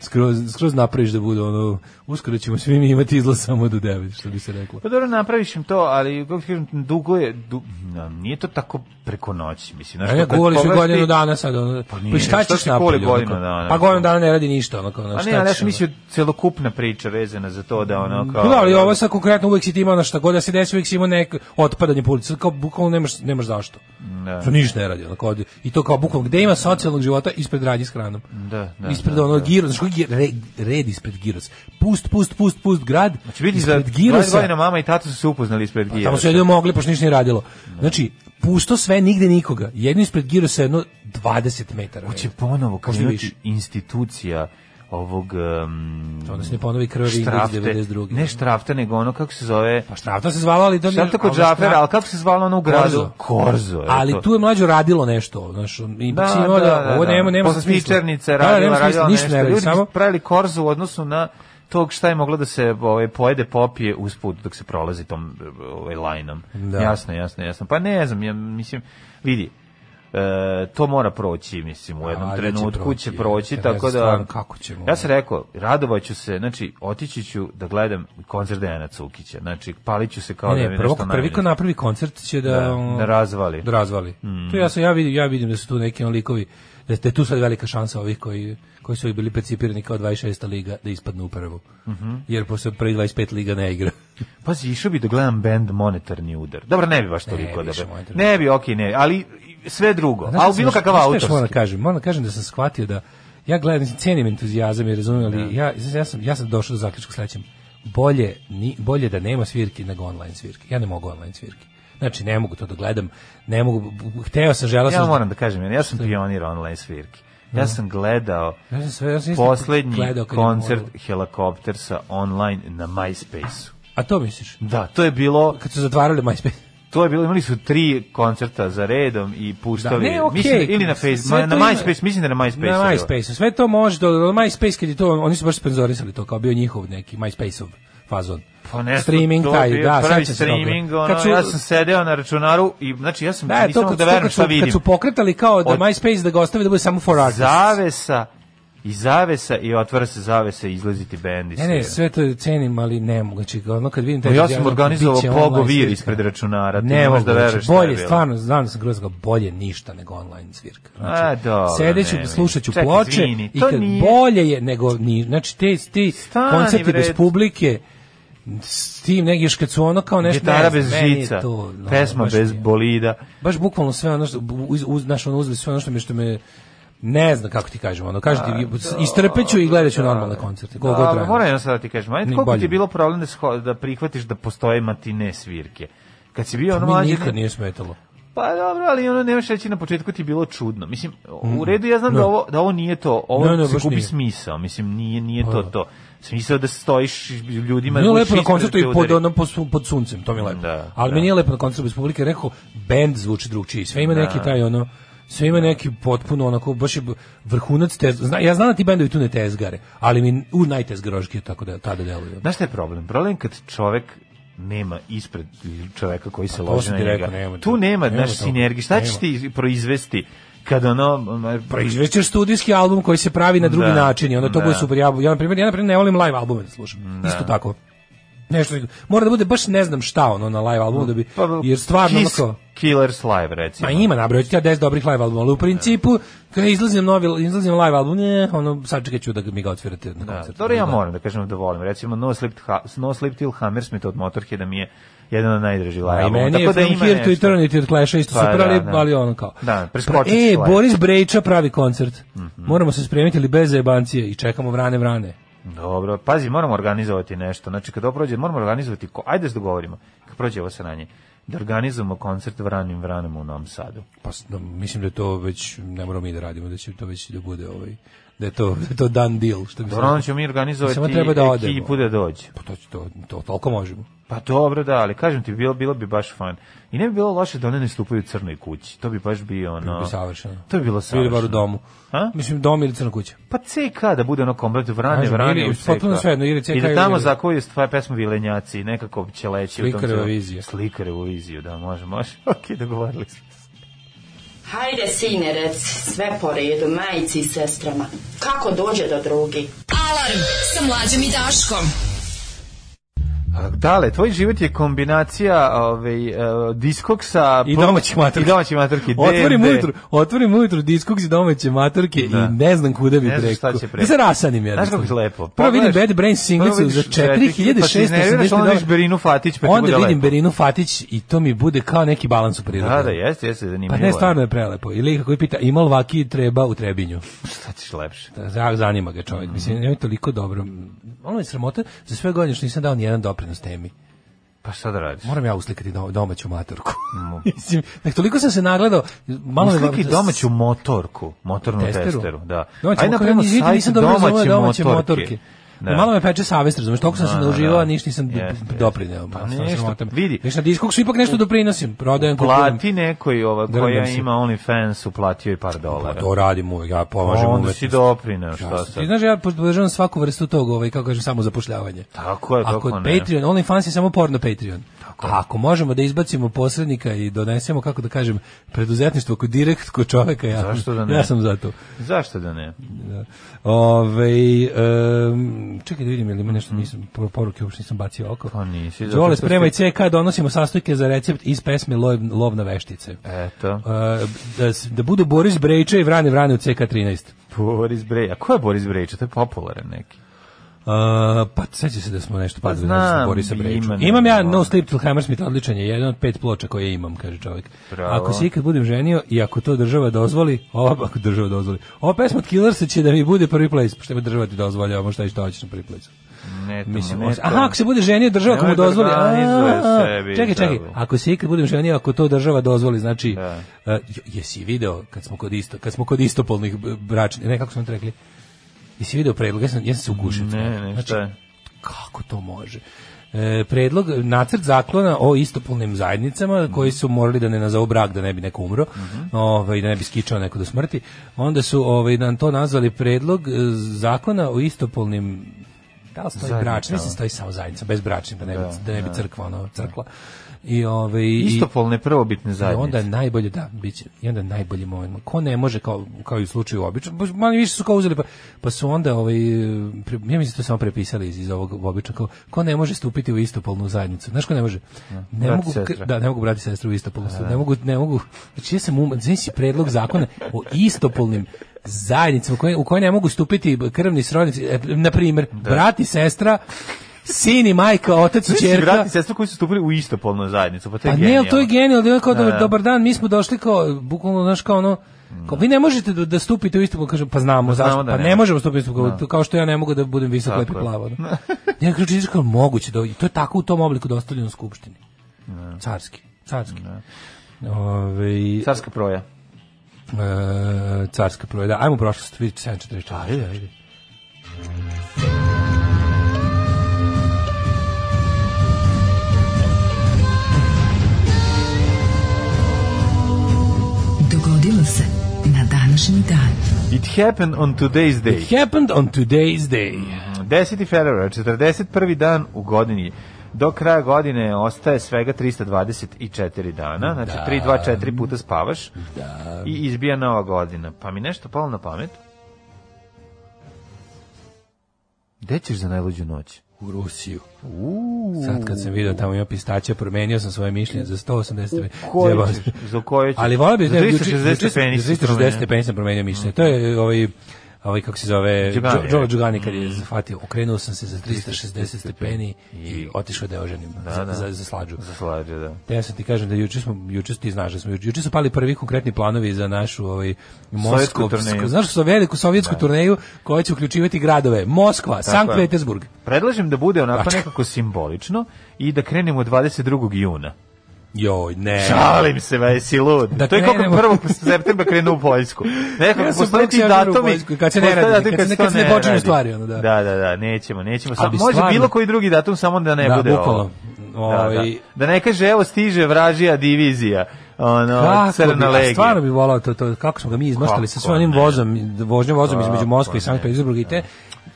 skroz, skroz napraviš da bude ono, uskoro ćemo svi mi imati izlaz samo do 9, što bi se reklo. Pa dobro, napraviš im to, ali kako ti kažem, dugo je, du, na, nije to tako preko noći, mislim. A ja kad guvali su pogledaš E, da, ti- godinu dana sad, ono, Pa pa, nije, šta šta ćeš si guli napolje? ono, godinu kao- dana? Pa godinu dana ne radi ništa, onako, ono, A Pa šta ne, ali ja ćeš, sam ono? mislio celokupna priča vezana za to da ono kao... Pa da, ali ovo sad konkretno uvek si ti imao ono šta god da se desi, uvek si imao neko otpadanje po ulici, Sad kao bukvalno nemaš, nemaš zašto. Da. To ništa ne radi, ono, kao, i to kao bukvalno, gde ima socijalnog života, ispred radnje s hranom. Da, da, ispred da, ono da. giros, znaš koji je red, red ispred giros. Pust, pust, pust, pust grad, Znači vidi za ispred 20 girosa, godina znači. mama i tata su se upoznali ispred Girosa. tamo su jedino mogli, pošto ništa nije radilo. Da. Znači, pusto sve, nigde nikoga. Jedno ispred girosa, jedno 20 metara. Hoće ponovo Možda krenuti više. institucija ovog... Um, Onda se ne ponovi krvavi Indic štrafte. 92. Ne štrafte, nego ono kako se zove... Pa Štrafta se zvala, ali... to nije- Štrafta kod ali Štraf- Džafera, ali kako se zvalo ono u gradu? Korzo. je ali to. tu je mlađo radilo nešto, znaš, i Da, da, da, da, da, ovo da. nema nema Posle smisla. smičernice Da, da, radila, nema smisla, radila ništa nešto. ne radi, Ljudi samo bi pravili korzu u odnosu na tog šta je moglo da se ovaj, pojede, popije usput dok se prolazi tom ovaj, lajnom. Da. Jasno, jasno, jasno. Pa ne znam, ja mislim, vidi, e, to mora proći, mislim, u jednom A, trenutku proći, će je. proći, Ja ne tako znam da... stvarno kako ćemo. Ja sam rekao, radovaću se, znači, otići ću da gledam koncert Dejana Cukića, znači, palit ću se kao Ne, da mi ne, prvo, nešto prvi najbolje. ko napravi koncert će da, Da, um, da razvali. Mm. Da razvali. To ja sam ja vidim, ja vidim da su tu neki on likovi da ste tu sad velika šansa ovih koji koji su bili percipirani kao 26. liga da ispadnu u prvu. Mhm. Jer posle prvi 25 liga ne igra. Pazi, išao bi da gledam band Monetarni udar. Dobro, ne bi baš toliko više da bi. monetarni Ne bi, okej, ne, ali sve drugo. Znaš A šta u bilo sam- kakav znaš šta još Moram da autorski. kažem, moram da kažem da sam shvatio da ja gledam, mislim, cenim entuzijazam i razumijem, ali Da. ja, ja, sam, ja sam došao do zaključka sledećem. Bolje, ni, bolje da nema svirki nego online svirke. Ja ne mogu online svirke. Znači, ne mogu to da gledam, ne mogu, b- b- hteo sam, želao sam... Ja moram da kažem, ja sam pionir online svirki. Ja sam gledao Da. Ja sam sve, ja sam isto poslednji gledao kad je koncert moralo. Helikoptersa online na MySpace-u. A to misliš? Da, to je bilo, Kad su zatvarali MySpace? to je bilo, imali su tri koncerta za redom i puštali. Da, ne, okej. mislim, ili na Sve Facebook, to na ima- MySpace, mislim da je na MySpace. Na MySpace. Sve to može, do, do MySpace kad je to, oni su baš sponzorisali to, kao bio njihov neki MySpace-ov fazon. Pa ne, streaming to taj, bio da, prvi sećam se toga. streaming, ono, Kad su- ja sam sedeo na računaru i, znači, ja sam, Da, je nisam to mogu kad, da da verujem kad, šta su, vidim. kad su pokretali kao da Od- MySpace da ga ostave da bude samo for artists. zavesa i zavesa i otvara se zavesa i izlaziti bend i Ne, svira. ne, sve to cenim, ali ne mogu. Znači, ono kad vidim... taj Pa ja sam entuzijazam, organizovao bit će Pogo online Vir svirka. ispred računara, ti Ne možeš da mogu, veruješ znači, šta je bolje, bilo. stvarno, znam sam grozno, bolje ništa nego online svirka. Znači, A, dobro, sedeću, nemoj. slušaću Čekaj, ploče izvini, i to kad nije- bolje je nego... Ni, znači, te, ti Stani, koncerti bre. bez publike, s tim negdje još kad su ono kao nešto... Gitara ne znam, bez meni je žica, to, no, pesma baš bez nije. bolida. baš bukvalno sve ono što uz, uz naš ono uzeli sve ono što mi što me ne znam kako ti kažem ono kažete istrpeću i gledaću normalne koncerte koliko god A, traje. moram jedno sad da ti kažem, ajde, Ni koliko ti je bolje. bilo problem da, sho- da prihvatiš da postoje matine svirke? Kad si bio ono mi mlađi, nikad nije smetalo. Pa dobro, ali ono nemaš reći na početku ti je bilo čudno. Mislim, Mm. u redu ja znam da ovo da ovo nije to, ovo Ne, ne, se baš gubi nije. smisao. Mislim nije nije to to. Smisao da stojiš ljudima Nije budeš lepo na ispred koncertu da i te pod udari. onom pod, sun- pod suncem, to mi je lepo. Da, da. Ali Da. mi nije lepo na koncertu bez publike, rekao bend zvuči drugčije. Sve ima neki taj ono sve ima neki potpuno onako baš je b- vrhunac tez. Zna, ja znam da ti bendovi tu ne tezgare, ali mi u najtezgaroški tako da tada deluju. Znaš šta je problem? Problem je kad čovek nema ispred čoveka koji se to loži sam na ti njega. rekao, nema tu to. nema, Nema znaš, to. sinergije. Šta ćeš Nema. ti proizvesti kad ono... m, Proizvećeš studijski album koji se pravi na drugi Da. način i onda to Da. bude super. Ja, ja, na primjer, ja na primjer ne volim live albume da slušam. Isto tako. Nešto, mora da bude baš ne znam šta ono na live albumu da bi, jer stvarno Kiss onako... pa, Killers Live, recimo. Ma ima nabrojaću ti ja 10 dobrih live albuma, ali u principu kada izlazim novi izlazim live album, ne, ono sačekat ću da mi ga otvirate na Da, koncertu. dobro, ja moram da kažem da volim. Recimo, No Sleep, ha, no Sleep Till Hammersmith od Motorheada mi je jedan od najdražih live A i albuma. meni je Tako da From ima Here to nešto. Eternity od Clash-a isto Pa, super, da, ali, da. ali ono kao. Da, preskočit ću Mhm. E, live. Boris Brejča pravi koncert. Moramo se spremiti, ali bez zajebancije i čekamo vrane vrane. Dobro, pazi, moramo organizovati nešto. Znači, kad ovo prođe, moramo organizovati... Ko... Ajde da se dogovorimo, kad prođe ovo sranje, da organizujemo koncert Vranim Vranom u Novom Sadu. Pa s- no, mislim da je to već ne moramo mi da radimo, da će to već da bude ovaj da je to da je to done deal, što bi se Dobro, onda ćemo mi organizovati Samo treba da odemo. ekipu da dođe. Pa to će to to toliko možemo. Pa dobro, da, ali kažem ti, bilo, bilo bi baš fan. I ne bi bilo loše da one ne stupaju u crnoj kući. To bi baš bio ono... Bilo da bi savršeno. To bi bilo Bili bar u savršeno. domu. A? Mislim dom ili crna kuća. Pa CK da bude ono komplet vrane, Kažem, vrane ili- u CK. potpuno svejedno, ili CK I da ili- tamo zakoju stvar pesmu Vilenjaci, nekako će leći u tom Slikareva celom- vizija. Slikareva vizija, da, može, može. Ok, dogovorili smo. se. Hajde, sine, rec, sve po redu, majici i sestrama. Kako dođe do drugi? Alarm sa mlađom i Daškom. A, Dale, tvoj život je kombinacija ovaj, e, diskoksa I domaćih matorki. I domaćih matorki. Otvorim D&D. ujutru, otvorim ujutru diskog iz domaće matorke Da. i ne znam kuda bi Ne preko. znaš šta će preko. Da se rasanim jednostavno. Znaš kako je lepo? Prvo vidim Pogledaš- Bad Brains singlicu Prvo za vidiš četiri, pa se iznerviraš, 4680 onda dolara. vidiš Berinu Fatić, pa ti Onda bude vidim lepo. Berinu Fatić i to mi bude kao neki balans u prirodi. Da, da, jeste, jeste, zanimljivo. Pa ne, je. stvarno je prelepo. Ili kako je pita, ima li vaki treba u Trebinju? Šta ćeš lepše? Za- Zanima ga čovjek. Mislim, Mhm. je toliko dobro. Ono je sramota, za sve godine što nisam dao ni jedan doprinos temi. Pa šta da radiš? Moram ja uslikati do- domaću matorku. Mislim, nek toliko sam se nagledao. Malo da me- Mhm. Uslikaj domaću motorku, motornu testeru, testeru. da. Domaću Ajde motorku, napravimo ja nisam- sajt nisam dobro razumeo domaće, domaće motorke. motorke. Da. Malo me peče savest, razumeš, toliko sam se Da, nauživao, da. a ništa nisam d- Jeste, doprineo. Pa Pa, sam ništa, sramotan. vidi. Viš, na diskoksu ipak nešto doprinosim, prodajem, kupujem. Plati nekoj ova Drndam koja se. ima OnlyFans, uplatio je par dolara. Pa To radim uvek, ja pomažem Onda umetnosti. si doprineo, šta Jasno. Pa sad? Ti znaš, ja podržavam svaku vrstu tog, ovaj, kako kažem, samo zapošljavanje. Tako je, A kako kod ne. Patreon, OnlyFans je samo porno Patreon. A ako možemo da izbacimo posrednika i donesemo, kako da kažem, preduzetništvo kod direkt kod čoveka, ja, Zašto da ne? ja sam za to. Zašto da ne? Da. Ovaj, em, čekaj da vidim, je li ima nešto, nisam, por- poruke uopšte nisam bacio oko. Mhm. Pa nisi, zato Đole, što spremaj ste- CK, donosimo sastojke za recept iz pesme Lov, lov na veštice. Eto, E, da, s- da budu Boris Brejča i Vrane Vrane u CK13. Boris Brej. A ko je Boris Brejča? To je popularan neki. Uh, pa seća se da smo nešto Pa padali pa, znam, za Borisa Brejča. ima, ne, imam ja ne, No ne. Sleep Till Hammersmith, odličan je, jedan od pet ploča koje imam, kaže čovjek. Bravo. Ako se ikad budem ženio i ako to država dozvoli, ova ako država dozvoli, ova pesma od Killersa će da mi bude prvi place, što mi država ti dozvoli, ovo šta i šta hoćeš na prvi place. Ne, to Mislim, mu on- ne to. aha, ako se bude ženio, država ako mu Nemoj da dozvoli. organizuje a, sebi, Čekaj, čekaj, da. ako se ikad budem ženio, ako to država dozvoli, znači, Da. e, jesi video kad smo kod isto, kad smo kod istopolnih b- bračnih, ne kako smo to rekli, Jesi video predlog? Ja sam, ja sam se ugušio. Znači, Ne, ne, šta je? Kako to može? E, predlog, nacrt zaklona o istopolnim zajednicama koji su morali da ne nazovu brak da ne bi neko umro Mhm. ovaj, da ne bi skičao neko do smrti onda su ovaj, nam to nazvali predlog e, zakona o istopolnim da li stoji Zajednicama. bračni, mislim stoji samo zajednica bez bračnih da ne bi, da ne bi crkva ono, crkla i, ovaj, i- Istopolne prvobitne i zajednice. onda najbolje da biće i onda najbolji moment ko ne može kao kao i u slučaju obično baš manje više su kao uzeli pa pa su onda ovaj pre, ja mislim da su to samo prepisali iz, iz ovog običnog kao ko ne može stupiti u istopolnu zajednicu znaš ko ne može ne brat i mogu sestra. Da, da ne mogu brati sestru u istopolnu ne mogu ne mogu znači ja sam uman znači predlog zakona o istopolnim zajednicama koje, u koje ne mogu stupiti krvni srodnici e, na primjer Da. brat i sestra sin i majka otac i Znaš, ćerka Znači, brat i sestra koji su stupili u istopolnu zajednicu, pa to je pa genijalno. ne, ali to je genijalno, da je kao Da, dobar, da. dobar dan, mi smo došli kao, bukvalno, znaš, kao ono, kao, vi ne možete da, da stupite u istu, kaže, pa znamo, znamo zašto, da pa ne ne, možemo. možemo stupiti u istu, kao, kao što ja ne mogu da budem visok, Tako lep i je. plavo. Da. ja kažu, čisto kao, moguće, da, i to je tako u tom obliku dostavljeno skupštini. Da. Carski, carski. Ovaj, Carska proja. e, carska projeda. Ajmo u prošlost, vidi 744. Ajde, ajde. Dogodilo se na današnji dan. It happened on today's day. Happened on today's day. 10. februara, 41. dan u godini. Do kraja godine ostaje svega 324 dana, znači 3, 2, 4 puta spavaš i izbija nova godina. Pa mi nešto palo na pamet. Gde ćeš za najluđu noć? U Rusiju. Sad kad sam video tamo ima pistaća, promenio sam svoje mišljenje za 180 koju Zajebao ćeš? sam. Za koju ćeš? Ali volio bih Za da 360 stepeni si Za 360 promenio. stepeni sam promenio Mm. mišljenje. To je ovaj ovaj kako se zove Đugani, Đo- Đole je. Đugani kad je zahvatio, okrenuo sam se za 360 stepeni i otišao da je oženim za, da. za, za slađu. Slađe, da. Te ja sam ti kažem da juče smo juče ti znaš da smo juče, juče su pali prvi konkretni planovi za našu ovaj Sovjetsku Moskovsku, turneju. Da. znaš što veliku sovjetsku turneju koja će uključivati gradove Moskva, Sankt je. Petersburg. Predlažem da bude onako Tačka. nekako simbolično i da krenemo 22. juna. Joj, ne. Šalim se, ba, jesi lud. Da to je kako krenemo. 1. septembra krenu u Poljsku. Nekako Ja ja sam postoje prvog ti septembra u datumi. Poljskoj, kad se ne postoje radi, datumi kad se ne- to kad se ne počinju radi. stvari, ono, da. Da, da, da, nećemo, nećemo. Sam, bi može stvarno- bilo koji drugi datum, samo da ne Da, bude ovo. bukvalno. Da, da. Ovaj- da ne kaže, evo stiže vražija divizija, ono, Kako bi, crna a legija. stvarno bi volao to, to kako smo ga mi izmaštali sa Kako svojim ne. vozom, vožnjom vozom Kako između Moskve i ne. Sankt Petersburga i te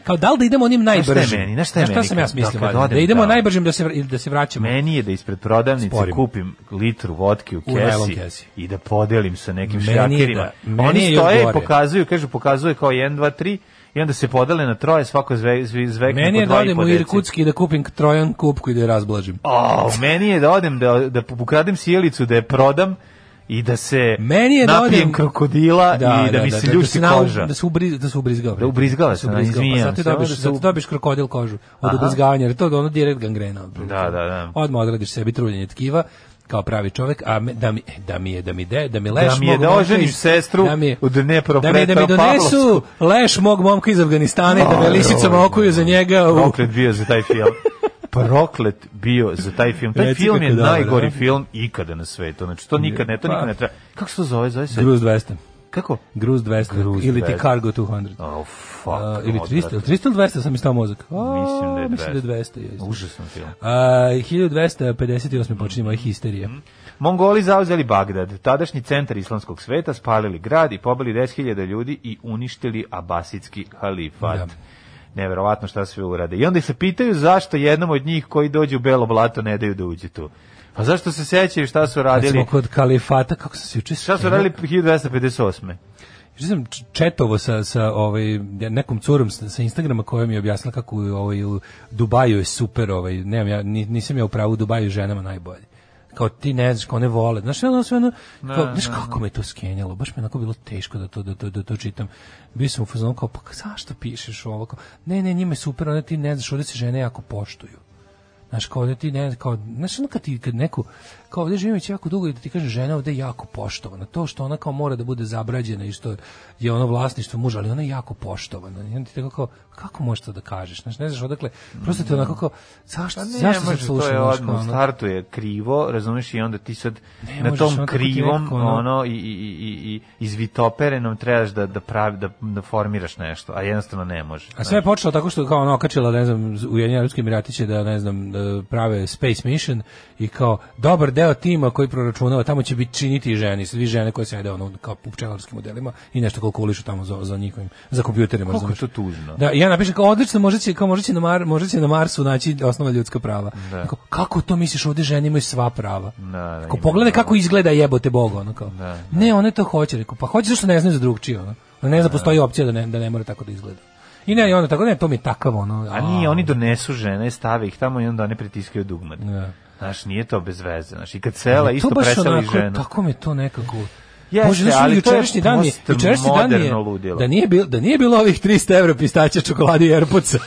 kao da li da idemo onim šta je najbržim? meni? Znaš šta je Znaš meni sam ja kad- smislio? kad Vlade? Da odem idemo tamo? najbržim da se vra- da se vraćamo. Meni je da ispred prodavnice Sporim. kupim litru vodke u najlon kesi, kesi. i da podelim sa nekim Meni je da- šljakerima. meni je Oni još stoje i gore. pokazuju, kažu pokazuje kao 1, 2, 3 i onda se podele na troje, svako zve, zve, zvekne Meni po je da dva i odem po u deci. Irkutski da kupim trojan kupku i da je razblažim. O, meni je da odem, da, da ukradem sjelicu, da je prodam i da se Meni je da napijem odem krokodila i da, mi se ljušti nau- koža. Da se ubri, da se ubrizgao. bre. Da ubrizgala se se, da, ubrizgao. izvinjam Pa sad ti se, dobiš, ono što sad su- ti dobiš krokodil kožu od Aha. ubrizgavanja, jer to je ono direkt gangrena. Da, da, da. Odmah odradiš sebi truljenje tkiva, kao pravi čovek, a me- da mi, e, da mi je, da mi de, da mi leš Da mi je mog da momka oženim iz- sestru u Dnepro- da mi, je da mi Petropavlovsku. donesu leš mog momka iz Afganistana i da me Aj, lisicama joj, okuju za joj. njega u Proklet bio za taj film. Proklet bio za taj film. Taj Reci film kako je dobro, najgori a? film ikada na svetu. Znači, to nikad ne, to Pa. nikad ne treba. Kako se to zove? Zove se... Gruz 200. Kako? Gruz 200. Gruz ili ti 200. Cargo 200. Oh, fuck. A, ili 300, odvratno. ili 300 ili 200 sam mi stao mozak. A, Mislim da je 200. Mislim da je 200. jeste. Užasan film. A, 1258. počinje moja histerija. Mm. Hm? Mongoli zauzeli Bagdad, tadašnji centar islamskog sveta, spalili grad i pobili 10.000 ljudi i uništili abasitski halifat. Da. Neverovatno šta sve urade. I onda se pitaju zašto jednom od njih koji dođe u Belo Blato ne daju da uđe tu. Pa zašto se sećaju šta su Kad smo radili? kod kalifata, kako sam se juče... Šta su radili 1258. Juče sam č- četovo sa, sa ovaj, nekom curom sa, sa Instagrama koja mi je objasnila kako u, ovaj, u Dubaju je super, ovaj, nemam ja, ni- nisam ja u pravu u Dubaju ženama najbolje. Kao ti ne znaš, kao ne vole. Znaš, ono sve ono, kao, znaš kako me to skenjalo, baš me onako bilo teško da to, da to, da to čitam. Bio sam u fazonu kao, pa zašto pišeš ovo? Kao, ne, ne, njima je super, onda ti ne znaš, ovde se žene jako poštuju. Znaš, kao da ti ne, kao, znaš, ono kad ti, kad neko, kao ovde živim već jako dugo i da ti kaže žena ovde je jako poštovana, to što ona kao mora da bude zabrađena i što je ono vlasništvo muža, ali ona je jako poštovana. I onda ti tako kao, kako možeš to da kažeš? Znaš, ne znaš odakle, prosto te onako kao, zašto, Pa Ne, zašto sam može, to slušao? je znaš, kao odmah, u ono? startu je krivo, razumeš, i onda ti sad Ne na možeš, tom ono kako ti krivom, nekako, ono- ono, i, i, i, i- i izvitoperenom trebaš da, da, pravi, da, da formiraš nešto, a jednostavno ne može. Znači, A sve je počelo tako što kao ono okačila, ne znam, Ujedinjeni Arapski Emirati će da, ne znam, da prave Space Mission i kao dobar deo tima koji proračunava tamo će biti činiti i žene, svi žene koje sede ono kao u pčelarskim modelima i nešto koliko ulišu tamo za, za njihovim, za kompjuterima. Koliko je razumeš? to tužno. Da, i ja napišem kao odlično, možda će, kao možda će na, Mar, možda će na Marsu naći osnova ljudska prava. Da. I Kao, kako to misliš, ovde žene imaju sva prava? Da, da, Kao, imaju pogledaj prava. kako izgleda jebote Bog, ono kao. Da, Ne, one to hoće, rekao, pa hoće zašto ne znaju za drugčije, ono. Ona ne zna, postoji opcija da ne, da ne mora tako da izgleda. I ne, i onda tako, ne, to mi je takav, ono. A nije, oni donesu žene, stave ih tamo i onda one pritiskaju dugmad. Da. Znaš, nije to bez veze. Znaš, i kad sela To isto baš preseli onako, ženu. Tako mi je to nekako... Jeste, Bože, znaš, ali to je jučerašnji dan je, jučerašnji dan je, postmoderno ludilo. da nije, bilo, da nije bilo ovih 300 evra pistaća, čokolade i airpodsa.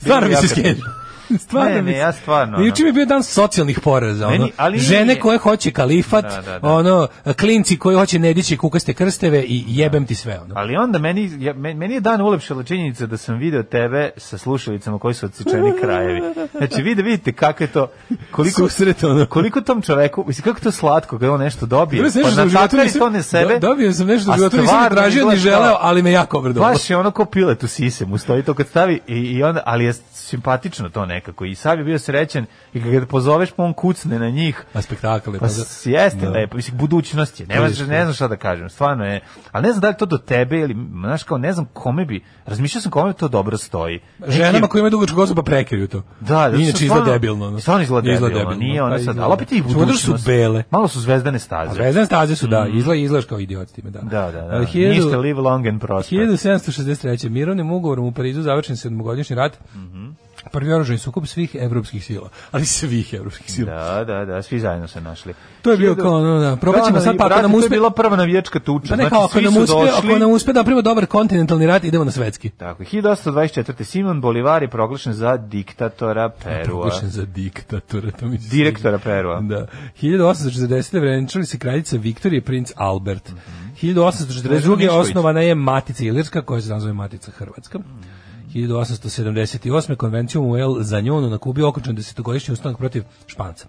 Stvarno Bilo mi se bi jako skenio. Stvarno Ne, mi ne, se- ja stvarno, I ono. Juče mi je bio dan socijalnih poreza. Ono, Meni- ali žene nije- koje hoće kalifat, Da, da, da. ono, klinci koji hoće nedići kukaste krsteve i jebem ti sve. Ono. Da. Ali onda meni, ja, me- meni je dan ulepšala činjenica da sam video tebe sa slušalicama koji su odsečeni krajevi. Znači, vi da vidite kako je to, koliko, Susret, ono. koliko tom čoveku, mislim, kako je to slatko kada on nešto dobije, Dobro, znaš, pa što u životu natakari nisam- to ne sebe. Do- Dobio sam nešto što a u životu nisam stvarno ni tražio ni izgleda želeo, kao- ali me jako obradovalo. Baš je ono ko pilet u sise, mu stoji to kad stavi i, i onda, ali je simpatično to nekako i Sav je bio srećen i kad ga pozoveš pa on kucne na njih A spektakl je. pa da- s- jeste da. lepo, mislim budućnost je, ne, Vidiš, znam- da. ne znam šta da kažem, stvarno je, ali ne znam da li to do tebe ili, znaš kao, ne znam kome bi, razmišljao sam kome to dobro stoji. Ženama Nekim- koje imaju dugačku kosu pa prekirju to. Da, da, Inače izgleda debilno. ono. Stvarno izgleda debilno, nije ona Pa sad, izgleda. ali opet i Samo da budućnost. su bele. Malo su zvezdane staze. A zvezdane staze su, da, izgleda, izgledaš kao idiot s time, da. Da, da, da. A, hiljadu- Ništa live long and prosper. 1763. Mirovnim ugovorom u Parizu završen sedmogodišnji rat. Mhm. Prvi oružani sukob svih evropskih sila, ali svih evropskih sila. Da, da, da, svi zajedno se našli. To je bio Hiljadu- kao ono, da, probaćemo Da, sad, pa ako brate, nam To uspe- je bila prva navijačka tuča. Pa ne, znači, kao, ako svi nam su uspe, došli. ako nam uspe da napravimo dobar kontinentalni rat, idemo na svetski. Tako, 1824. Simon Bolivar je proglašen za diktatora Perua. Pa, Proglašen za diktatora. To mi se Direktora sviđa. Perua. Da. 1840. vrenčali se kraljica Viktorija i princ Albert. 1842. Mhm. Mišković. Mhm. osnovana je Matica Ilirska, koja se nazove Matica Hrvatska. 1878. konvencijom u El Zanjonu na Kubi okončan desetogodišnji ustanak protiv Španca.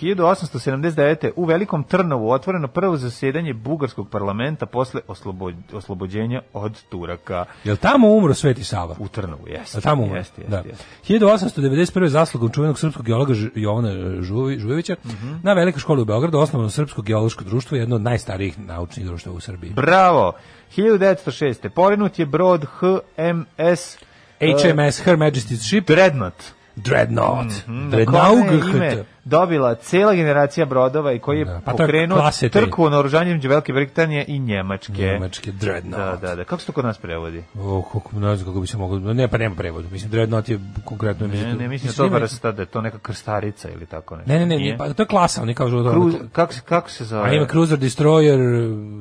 1879. u Velikom Trnovu otvoreno prvo zasedanje bugarskog parlamenta posle oslobo- oslobođenja od Turaka. Jel tamo umro Sveti Sava? U Trnovu, jeste. A tamo umro. Jeste, jeste, da. jeste. 1891. zaslugom čuvenog srpskog geologa Ž- Jovana e, Žuvi- Žujevića Mhm. na velikoj školi u Beogradu osnovano srpsko geološko društvo, jedno od najstarijih naučnih društava u Srbiji. Bravo! 1906. Porinut je brod HMS HMS Her Majesty's Ship Dreadnought. Dreadnought. Mhm, Na koje je Dreadnought. ime dobila cela generacija brodova i koji je Da, pa to je pokrenuo klase tri. trku na oružanjem Velike Britanije i Njemačke. Njemački Da, Dreadnought. da, da. Kako se to kod nas prevodi? O, kako, ne znam kako bi se moglo, ne, pa nema prevodu, mislim, Dreadnought je konkretno... Ne, ne, mislim da to vrsta, da je to neka krstarica ili tako nešto. Ne, ne, ne, Nije? ne, pa to je klasa, oni kažu... ono- Kruz, Da. kako, se- kako se A zove? ima Cruiser, Destroyer,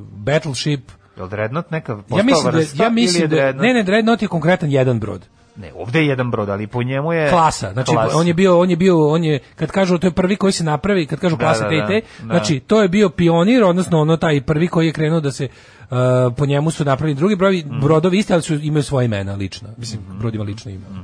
Battleship. Je li Dreadnought neka postala Ja mislim vrsta da, ja ili je mislim da, Dreadnought? ne, ne, Dreadnought je konkretan jedan brod. Ne, ovde je jedan brod, ali po njemu je... Klasa, znači E, klasa. on je bio, on je bio, on je kad kažu to je prvi koji se napravi, kad kažu klasa da, te i te, da. znači to je bio pionir, odnosno ono taj prvi koji je krenuo da se uh, po njemu su napravili drugi brodovi, Mhm. brodovi isti, ali su imaju svoje imena lična. Mislim, brod ima lično ime. Mhm.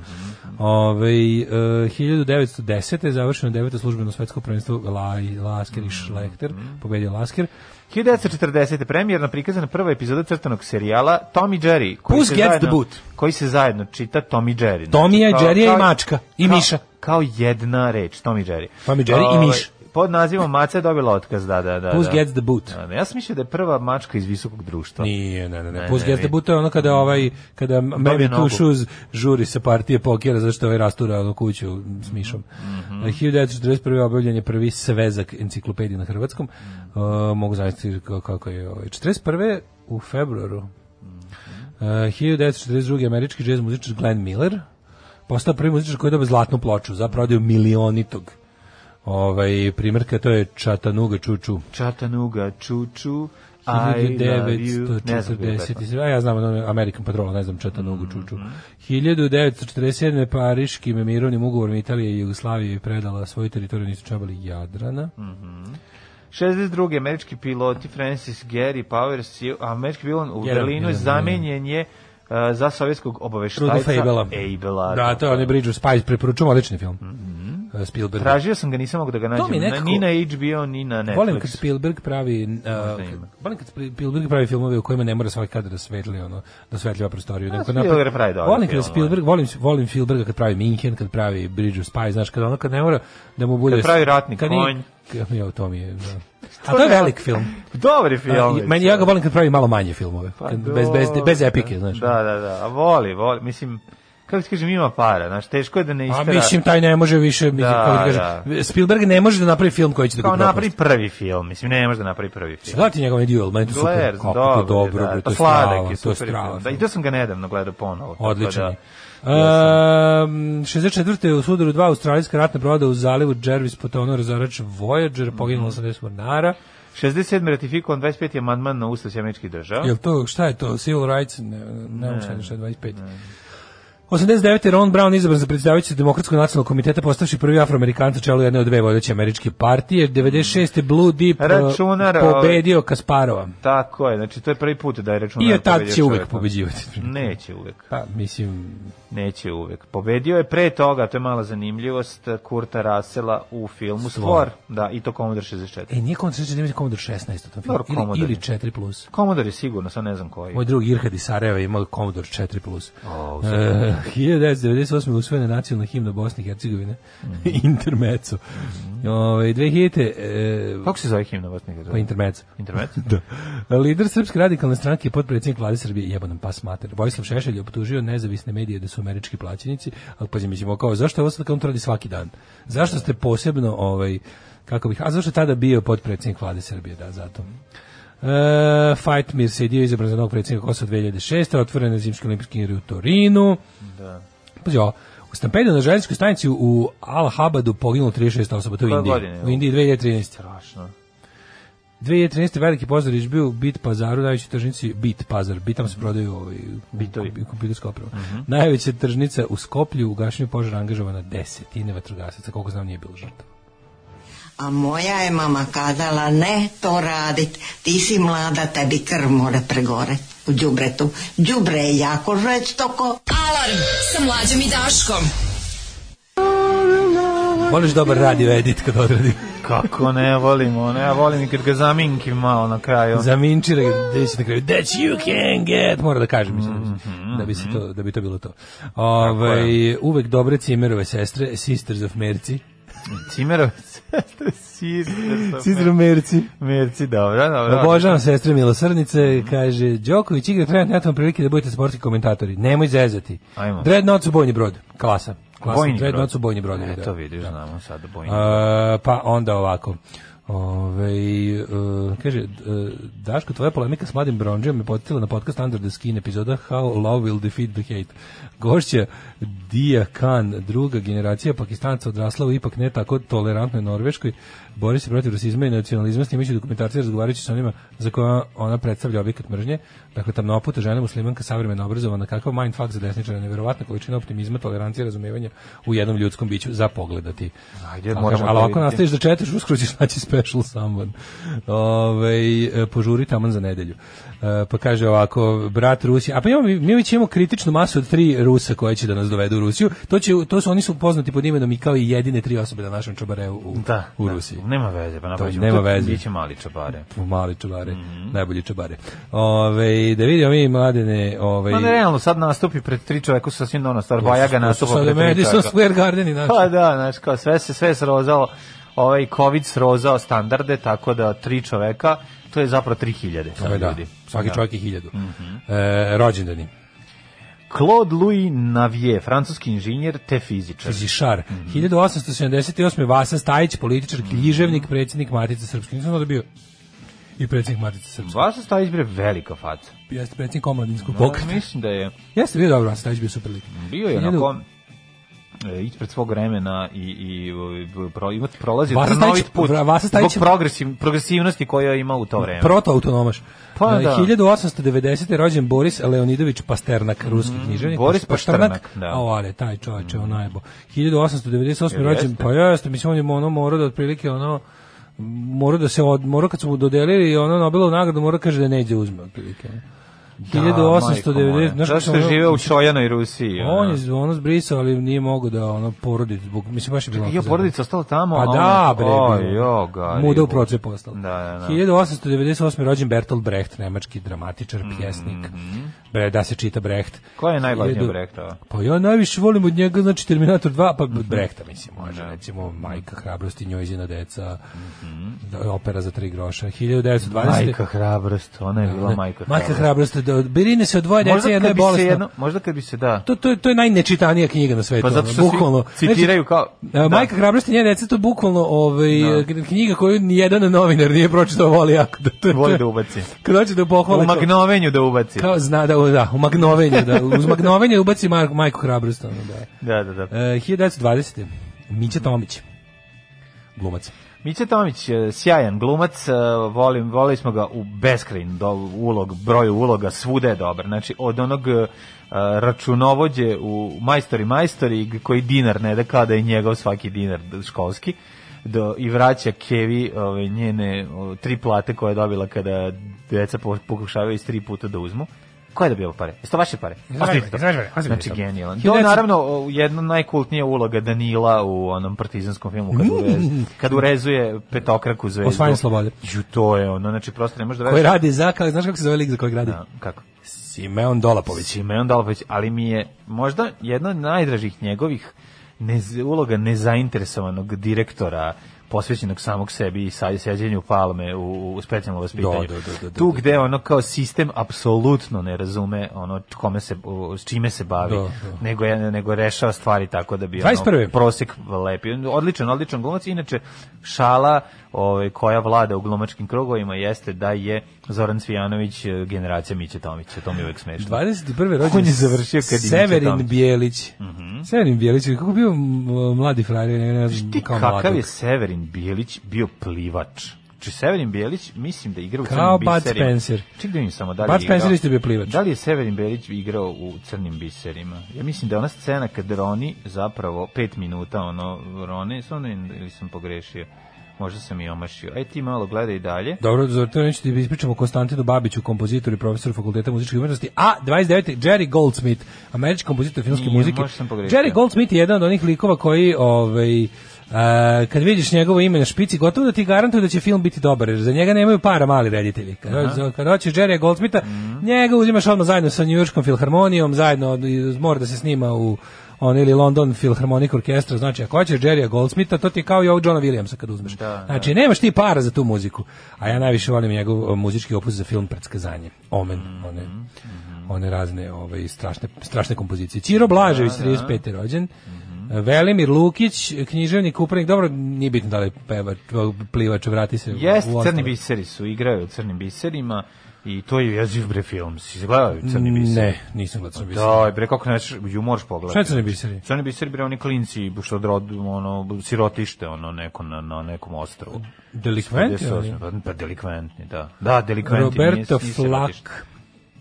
Ove, uh, 1910. je završeno deveto službeno svetsko prvenstvo Laj, Lasker Mhm. i Schlechter, pobedio Lasker. Pa 1940. premijerno prikazana prva epizoda crtanog serijala Tom i Jerry. Koji Puss se gets zajedno, the boot. Koji se zajedno čita Tom i Jerry. znači Tommy je, kao- Jerry je i kao- mačka, i kao- miša. Kao jedna reč, Tom i Jerry. Tom i Jerry i Ovaj, miš. Pod nazivom Maca je dobila otkaz, da, da, da. Puss da. gets the boot. Da, da. Ja sam mislio da je prva mačka iz visokog društva. Nije, ne, ne, ne. Ne, Puss ne, Gets the vidi. Boot je ono kada ovaj kada Mary nogu. Two Shoes žuri sa partije pokera zašto je ovaj rastura ono kuću s Mišom. Mm 1941. objavljen je prvi svezak enciklopedije na hrvatskom. E, mogu zamisliti ka- kako je ovaj. 41. u februaru. E, 1942. američki džez muzičar Glenn Miller postao prvi muzičar koji je dobio zlatnu ploču za prodaju milionitog ovaj, primjerka, to je Čatanuga Čuču. Chattanooga, Čuču, I love you. da, Ne znam kako je Mhm. pesma. 1940, a ja znam ono American Patrol, ne znam Četanogu Čuču. 1947. Pariškim mirovnim ugovorom Italije i Jugoslavije je predala svoju teritoriju, nisu čabali Jadrana. Mhm. 62. američki piloti Francis Gary Powers, je- američki pilot u Jedan, Berlinu, jedan, zamenjen je uh, za sovjetskog Rudolf obaveštajca Abela. Abela. Mhm. Da, to je onaj Bridge of Spies, preporučujem odlični film. Eh, Spielberg. Tražio sam ga, nisam mogu da ga nađem. mi nekako- Na- Ni na HBO, ni na Netflix. Volim kad Spielberg pravi eh, ima. volim kad Spi- Spielberg pravi filmove u kojima ne mora svaki kadar da svetli ono da svetljava prostoriju nego kad Spielberg napravi- pravi dobre Volim kad filmove. Spielberg volim volim Spielberga kad pravi Minhen, kad pravi Bridge of Spies, znaš kad ono kad ne mora da mu bude Kad pravi Ratni nije- konj. kad- Jo, to mi je. Da. A to je velik film. Dobri film. A, i- Meni ja ga volim kad pravi malo manje filmove, Pa kad- bez bez dobro. bez epike, znaš. Da, da, da. A voli, voli. Mislim, kako ti kažem, ima para. Znaš, teško je da ne A istera. mislim taj ne može više, mislim, Da, kako ti kažem, Spielberg ne može da napravi film koji će da ga Kao upropasti. napravi prvi film. Mislim, ne može da napravi prvi film. Gledajte njegov duel, meni je to da, super, Gler, kako dobro, to dobro, da. bre, to Pa je sladak strava, je to je super film. strava. Da, i to sam ga nedavno gledao ponovo. tako Odličan da- je. Ehm, 64. u sudaru dva australijska ratna broda u zalivu Jervis potonuo razarač Voyager, poginulo 80 mornara. 67. ratifikovan 25. amandman na Ustav Sjemeničkih država. Jel to, šta je to, civil rights, ne, ne, ne, šta je 25. 89. Ron Brown izabran za predsjedavajući Demokratskog nacionalnog komiteta, postavši prvi afroamerikanc u čelu jedne od dve vodeće američke partije. 96. Blue Deep eh, Računar, ovaj- pobedio Kasparova. Tako je, znači to je prvi put da je računar I od tad pobedio će uvek čoveka. pobeđivati. Neće uvek, Pa, mislim, neće uvek. Pobedio je pre toga, to je mala zanimljivost, Kurta Rasela u filmu Stvor. Stvor. Da, i to Commodore 64. E, nije Commodore 64, nego Commodore 16 u tom filmu. Dobro, Commodore. Ili, ili 4+. Plus. Commodore je sigurno, sad ne znam koji. Moj drug Irhad iz Sarajeva je imao Commodore 4+. Plus. O, e, 1998. usvojena nacionalna himna Bosne i Hercegovine. Mhm. Intermezzo. Ove, 2000. E, Kako se zove himna Bosne i Hercegovine? pa Intermezzo. Intermezzo? da. Lider Srpske radikalne stranke i potpredsjednik vlade Srbije jebo nam pas mater. Vojislav Šešelj je optužio nezavisne medije da su američki plaćenici, ali pa mislimo kao zašto je ovo sad kontroli svaki dan? Zašto ste posebno ovaj kako bih, a zašto je tada bio potpredsjednik vlade Srbije, da, zato. E, Fajtmir se je dio izabran za novog predsjednika Kosova 2006. Otvoren je zimski olimpijski igre u Torinu. Da. Pazi ovo, u stampedu na željezničkoj stanici u Al-Habadu poginulo 36 osoba, to je u Koje Indiji. godine je U ovo? Indiji 2013. Strašno. 2013. veliki pozdrav je bio u Bit Pazaru, najvećoj tržnici Bit Pazar, Bitam se prodaju ovaj, Bitovi. kom- kompjuterska oprava. Najveća tržnica u Skoplju u gašenju požara angažovana desetine vatrogasaca, koliko znam nije bilo žrtava. A moja je mama kazala, ne to radit, ti si mlada, tebi krv mora pregore u džubretu. Džubre je jako žestoko. Alarm sa mlađom i Daškom. Voliš dobar radio edit kad odradi. Kako ne volim ono, ja volim i kad ga zaminkim malo na kraju. Za minčira, gde se da na kraju, that you can get, mora da kažem, mislim, da bi se- da, bi se to, da bi to bilo to. Ovaj uvek dobre cimerove sestre, Sisters of Merci. Cimerovac, Sis, Sidro Merci. Merci, dobro, dobro. Obožavam sestre milosrdnice, kaže Đoković igra trenutno netom prilike da budete sportski komentatori. Nemoj zezati. Ajmo. Dreadnought su bojni brod. Klasa. Klasa. Bojni Dreadnought brod. su bojni brod. E, to vidiš, znamo sad da bojim. A, pa onda ovako. Ove, e, kaže, e, Daško, tvoja polemika s mladim bronđijom me potetila na podcast Under the Skin epizoda How Love Will Defeat the Hate. Gošća Dia Khan, druga generacija pakistanca odrasla u ipak ne tako tolerantnoj Norveškoj, bori se protiv rasizma i nacionalizma, snimajući dokumentarce razgovarajući sa onima za koja ona predstavlja objekat mržnje. Dakle, tamnoputa žena muslimanka savremeno obrazovana, kakav mindfuck za desničara, nevjerovatna količina optimizma, tolerancije, razumevanja u jednom ljudskom biću za pogledati. Ajde, Ali moramo kažem, ali to ako vidjeti. nastaviš da četeš, uskoro ćeš naći special someone. Ove, e, požuri taman za nedelju. E, pa kaže ovako, brat Rusija, a pa imamo, mi već imamo kritičnu masu od tri Rusa koje će da nas dovedu u Rusiju. To, će, to su, oni su poznati pod imenom i kao i jedine tri osobe na našem čobareu u, Da, u da. Rusiji. Nema veze, pa napravit ćemo. nema to, veze. Biće mali čabare. U mali čobare, Mhm. najbolji čobare. Ove, da vidimo mi mladene... Ove, Ma Pa ne, pa realno, sad nastupi pred tri čoveka su sasvim normalna stvar, Bajaga nastupa Sad pred je tri Madison čoveka. Square Garden i naši. Pa da, znaš, kao sve se sve je srozalo, ovaj COVID srozao standarde, tako da tri čoveka, to je zapravo 3000 sad Pa da, ljudi. svaki Da. Mhm. čovjek je hiljadu. e, rođendani. Claude Louis Navier, francuski inženjer te fizičar. Fizišar. 1878. Vasa Stajić, političar, Mhm. književnik, predsjednik Matice Srpske. Nisam znao da je bio i predsjednik Matice Srpske. Vaša Stajić bre velika faca. Jeste predsjednik omladinskog Da, pokreta. mislim da je Jeste bio dobro, Vasa Stajić bio super lik. bio je Hiljadu- onako e, ispred svog vremena i, i, i pro, ima, prolazi Vasa Stajić- trnovit put Vra- Vasa Stajić- zbog progresiv, progresivnosti koju je imao u to vreme. Protoautonomaš. Pa E, da. 1890. je rođen Boris Leonidović Pasternak, ruski književnik. Mm, Boris Pasternak, da. A ale, taj čovječ je onaj bo. 1898. je rođen, jeste? pa jeste, mislim, on je ono morao da otprilike ono, morao da se od, morao kad su mu dodelili ono Nobelovu nagradu, morao kaže da neđe uzme otprilike. Da, 1890. majko moja. znaš kako Zašto je sam ono- živeo u Čojanoj Rusiji? On ono? je ono zbrisao, ali nije mogao da ono porodi, zbog, mislim baš je bilo. Jo, porodica ostala tamo. Pa a da, ono- bre. Oj, bilo. jo, gari. Muda u procepu ostalo. Da, da, da. 1898. rođen Bertolt Brecht, nemački dramatičar, pjesnik. Bre, da se čita Brecht. Koja Mhm. je najvažnija Hiljadu- Brechtova? Pa ja najviše volim od njega, znači Terminator 2, pa Mhm. Brehta, mislim, može. Da. Recimo, Majka hrabrosti, Njojzina deca, da, opera za tri groša. 1920. Mhm. Majka hrabrost, ona je bila majka Da, Majka hrabrost. hrabrosti, da od Berine se od dvoje dece, Možda jedna je kad bi se bolesna. jedno, možda kad bi se da. To, to, je- to je najnečitanija knjiga na svetu. Pa zato ono, što svi bukvalno. citiraju kao- Da, Znači, e, Majka hrabrosti njene dece, to je bukvalno ovaj, e, knjiga koju nijedan novinar nije pročitao, voli jako. Da, to, Voli da ubaci. Kad hoće da U pohvali. kao- magnovenju da ubaci. Kao zna da, da, u magnovenju, da, uz magnovenje ubaci Mar- Majku hrabrost. Ono, Da, da. da, da. E, 1920. Mića Tomić. Glumac. Miće Tomić, e, sjajan glumac, e, volim, volili smo ga u beskrajn do ulog, broju uloga, svuda je dobar. Znači, od onog e, računovođe u Majstori Majstori, g- koji dinar ne da kada je njegov svaki dinar d- školski, do, i vraća Kevi ove, njene o, tri plate koje je dobila kada deca po- pokušavaju iz tri puta da uzmu. Ko je dobio pare? Jesu to vaše pare? Ostavite to. Znači, genijalan. Do, naravno, o, jedna najkultnija uloga Danila u onom partizanskom filmu kad, urez, kad urezuje petokraku zvezdu. Mm. Osvajanje slobode. Ju, to je ono, znači prosto ne možeš da Koji veruješ. radi za, kao, znaš kako se zove lik za kojeg radi? Da, Kako? Simeon Dolapović. Simeon Dalapović, ali mi je možda jedna od najdražih njegovih nez, uloga nezainteresovanog direktora posvećenog samog sebi i sa- seđenju palme u, u specijalnom vaspitanju. Da, da, da, da, tu da. gde ono kao sistem apsolutno ne razume ono kome se, s čime se bavi, Da, da. nego je nego rešava stvari tako da bi 21.. ono, prosek lepi. Odličan, odličan glumac. Inače, šala ovaj, koja vlada u glumačkim krugovima jeste da je Zoran Cvijanović eh, generacija Miće Tomića. To mi je uvek smešno. 21. rođen On je završio kad je Mića Severin Tomić. Mhm. Bijelić. Severin Bijelić, kako je bio m, mladi frajer, ne, ne znam, Ti kao kakav je mladog. Severin Bijelić bio plivač? Či Severin Bijelić, mislim da igra u Kao crnim Bud biserima. Spencer. Ček da vidim samo da li Bud je igrao- Spencer isto je bio plivač. Da li je Severin Bijelić igrao u crnim biserima? Ja mislim da je ona scena kad Roni zapravo pet minuta ono Roni, stvarno ili sam pogrešio. Možda sam i omašio. Aj ti malo gledaj dalje. Dobro, za to neću ti ispričamo o Konstantinu Babiću, kompozitoru i profesoru fakulteta muzičke umetnosti, a 29. Jerry Goldsmith, američki kompozitor filmske Nije, muzike. možda sam pogrešio. Jerry Goldsmith je jedan od onih likova koji, ovaj, e, kad vidiš njegovo ime na špici, gotovo da ti garantuje da će film biti dobar, jer za njega nemaju para mali reditelji. Kad, hoćeš- kad hoćeš Jerry Goldsmitha, njega uzimaš odmah zajedno sa Njujorškom filharmonijom, zajedno od- mora da se snima u on ili London Philharmonic Orchestra, znači ako hoćeš Jerrya Goldsmitha, to ti je kao i ovog Johna Williamsa kad uzmeš. znači nemaš ti para za tu muziku. A ja najviše volim njegov o, muzički opus za film Predskazanje, Omen, one one razne ovaj strašne strašne kompozicije. Ćiro Blažević Da, 35. rođen. Velimir Lukić, književnik, upravnik, dobro, nije bitno da li je pevač, plivač, vrati se. u- Jeste, Da, u crni ostalo. biseri su, igraju u crnim biserima i to je jeziv bre film. Si gledao crni biser? Ne, nisam gledao crni biser. Da, bre, kako ne, ju moraš pogledati. Šta je crni biseri? Crni biser, bre, oni klinci, što drod, ono, sirotište, ono, neko na, na nekom ostrovu. Delikventi oni? 58, Pa, pa delikventni, da. Da, delikventi. Roberto nije- nije sirotište. Flak,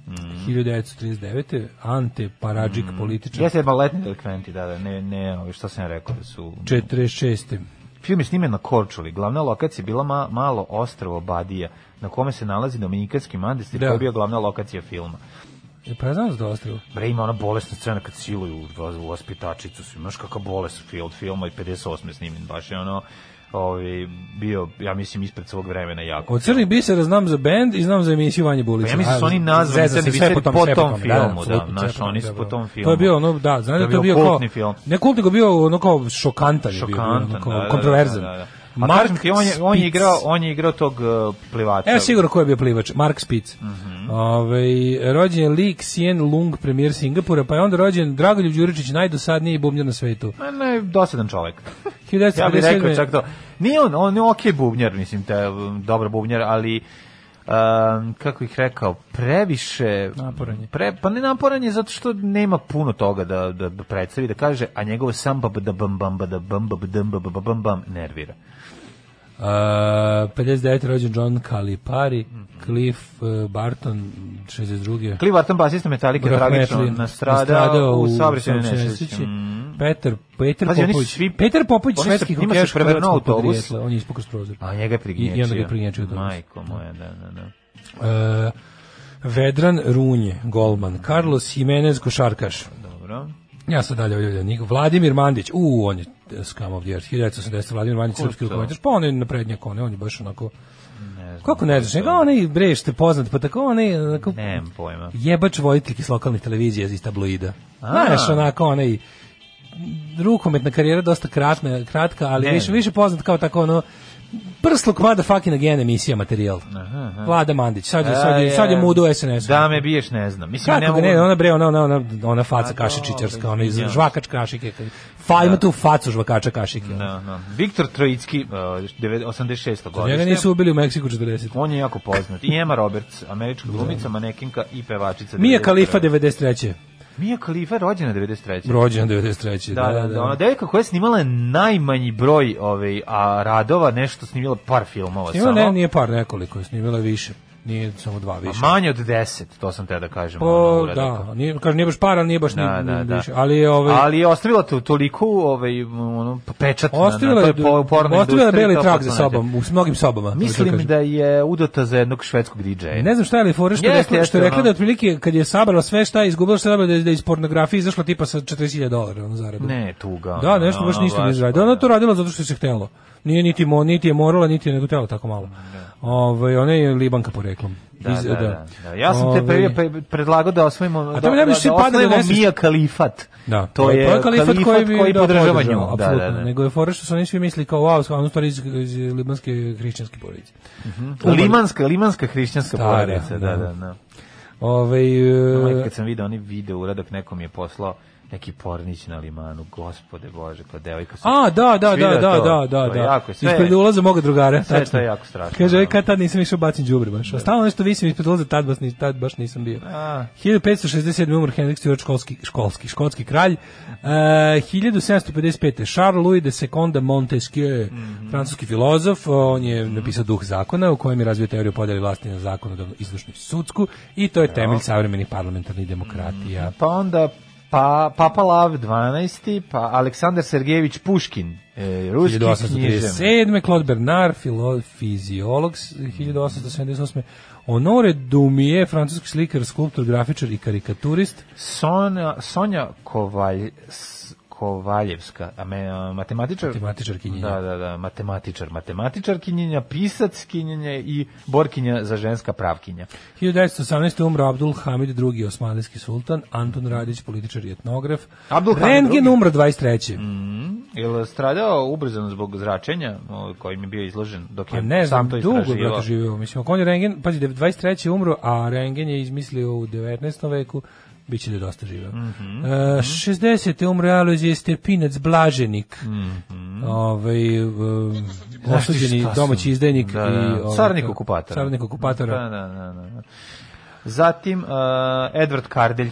Mm. 1939. Ante Paradžik, političar. Jeste baletni delikventi, da, da, ne, ne, ovi, što sam ja rekao, da su... 46. Film je snimen na Korčuli. Glavna lokacija je bila ma, malo ostrvo Badija, na kome se nalazi Dominikanski manastir, Da. da. koji je bio glavna lokacija filma. E, Pa ja znam za ostrvo. Bre, ima ona bolesna scena kad siluju vas- vaspitačicu, su imaš kakva bolest u field filma i 58. snimljen, baš je ono ovaj, bio, ja mislim, ispred svog vremena jako. Od crnih bisera znam za band i znam za emisiju Vanje Bulića. Pa ja mislim da su A, oni nazvani zezam se, crni sve biseri po sve tom da, filmu, da, apsolutno, znaš, sve po tom, oni su po da, tom da. filmu. To je bio ono, da, znam To da je je to bio bio kao... kultni film. Ne kultni, nego bio ono kao šokantan. je bio, šokantan, ono da, kao da, da, Kontroverzan. da, da, da. A Mark ti, on je, on je Spitz. igrao, on je igrao tog uh, plivača. Evo sigurno ko je bio plivač, Mark Spitz. Ovaj, rođen je Lee Hsien Lung, premijer Singapura, pa je onda rođen Dragoljub Đuričić, najdosadniji bubnjar na svetu. Ma ne, dosadan čovek. ja bih 1957. rekao čak to. Nije on, on je okej bubnjar, mislim, te, um, dobro bubnjar, ali um, kako ih rekao, previše... Naporan je. Pre, pa ne naporan je zato što nema puno toga da, da, da predstavi, da kaže, a njegovo sam ba ba da bam bam ba da bam ba ba dam ba ba ba bam bam nervira. Uh, 59. rođen John Calipari, Mhm. Cliff uh, Barton, 62. Clive Barton, basista Metallica, Grof tragično Methlin, nastradao u saobraćajnoj saobraćajnoj nesreći. Mm. Peter, Peter Pazi, oni su Popović. svi- Peter Popović, oni su- švedski njima se hokejaš, prevrnuo hrvatskog autobus. podrijetla. On je ispao kroz prozor. A njega je I, i prignječio. onda ga je prignječio autobus. Majko moja, da, da, da. Uh, Vedran Runje, golman. Carlos Jimenez, košarkaš. Dobro. Ja sam dalje ovdje vidim. Vladimir Mandić, u, on je eh, scum of the earth. 1980, Vladimir Mandić, srpski rukometaš. Pa on je naprednjak, on je, on je baš onako... Ne znam. Kako ne znaš, nego onaj bre što je poznat, pa tako onaj onako Nemam pojma. jebač voditelj iz lokalnih televizija iz tabloida. Znaš, onako onaj rukometna karijera dosta kratna, kratka, ali Ne. više, više poznat kao tako ono prsluk motherfucking again emisija materijal. Vlada Mandić, sad je, sad je, sad je mud u SNS. Da me biješ, ne znam. Mislim, ja ne Kako mogu... ga ne, ona bre, ona, ona, ona, ona faca kašičićarska, dobro, ona iz da, izvinjavam se. žvakač kašike. Fa, ima tu facu žvakača kašike. ono. Da, da. Viktor Trojicki, uh, 86. Njega godište. nisu ubili u Meksiku 40. On je jako poznat. I Emma Roberts, američka glumica, manekinka i pevačica. Mija 91.. Kalifa 93. Mija Kalifa rođena 93. Rođena 93. Da, da, da. Ona devojka koja je snimala najmanji broj ovaj, a radova, nešto snimila par filmova Snimila ne, samo. nije par nekoliko, je snimila više. Nije samo dva više. A manje od 10, to sam te da kažem. ono, Po, uradaka. da, nije, kaže, nije baš para, nije baš ni, Da, da, ni da. više. Ali je ovaj, Ali je ostavila tu toliko ovaj, ono, pečat na, na ostavila, je, toj da- po, pornoj ostavila je industriji, beli to trak za poznaje. sobom, u mnogim sobama. hoću Mislim kažem. da je udata za jednog švedskog DJ-a. E, Ne znam šta je ali fora što je Jeste, rekla, što jeste, je rekla ono. da otprilike kad je sabrala sve šta je izgubila što je dobila da je da je iz pornografije izašla tipa sa 40.000 dolara ono zaradu. Ne, tuga. Da, nešto baš ono, ništa baš, nije zaradila. Ona je to radila zato što se htelo. Nije niti mo, niti je morala, niti je nego htela tako malo. Ovaj ona je Libanka poreklom. Da, da, da, da. Ja sam te Ovaj, pre, pre- predlagao da osvojimo da, da, tamo najviše da pada da osvojimo doneseš- Mija Kalifat. Da, to je, kalifat, koji, da, podržava nju. Da, podržao, da, apsolutno. da. Nego je fora što su oni svi mislili kao wow, ono stvari iz, iz libanske hrišćanske porodice. Da, Limanska, limanska hrišćanska Da, porodica, da, da, da. da, da. Ovaj e, Majka, Kad sam video oni video uradak, neko mi je poslao neki pornić na limanu, gospode bože, kao devojka. sam- A, da, da, Jesi da, da, video to? da, da, To je da. jako, sve je- Ispred ulaza moga drugara. Sve je tačno. to jako strašno, Kaže, da. aj kad tad nisam išao bacim đubre baš. A Stalno nešto visim ispred ulaza, tad baš, ni- tad baš nisam bio. A. 1567. umr Henrik Stuart, školski, školski, škotski kralj. E, 1755. Charles Louis de Seconde Montesquieu, Mhm. francuski filozof, on je napisao Duh zakona, u kojem je razvio teoriju podeli vlasti na zakonodavnu, izvršnu i sudsku, i to je temelj savremenih parlamentarnih demokratija. Pa onda pa, Papa Lav 12. Pa Aleksandar Sergejević Puškin, e, ruski književnik. 1837. Claude Bernard, filo, fiziolog, s- 1878. Honore Dumije, francuski slikar, skulptor, grafičar i karikaturist. Sonja, Sonja Kovalj, s- Kovaljevska, a me, a, matematičar... Matematičar Kinjenja. Da, da, da, matematičar. Matematičar Kinjenja, pisac Kinjenja i borkinja za ženska pravkinja. 1918. umro Abdul Hamid II. osmanlijski sultan, Anton Radić, političar i etnograf. Abdul Hamid Mm, Rengen II. umro 23. Jel stradao ubrzano zbog zračenja o, kojim je bio izložen dok Pa je ne znam, sam to dugo je istraživao? brate živio. Mislim, ako on je Rengen, pazi, da je 23. umro, a Rengen je izmislio u 19. veku, bit će da je dosta živio. Mm Mhm. e, 60. umro Alojzije Stepinac Blaženik, Mhm. ovaj, um, Znaš ti osuđeni šta sam? domaći izdajnik. Da, i, da. ovaj, Carnik okupatora. Carnik okupatora. Da, da, da, da. Zatim, uh, Edward Kardelj,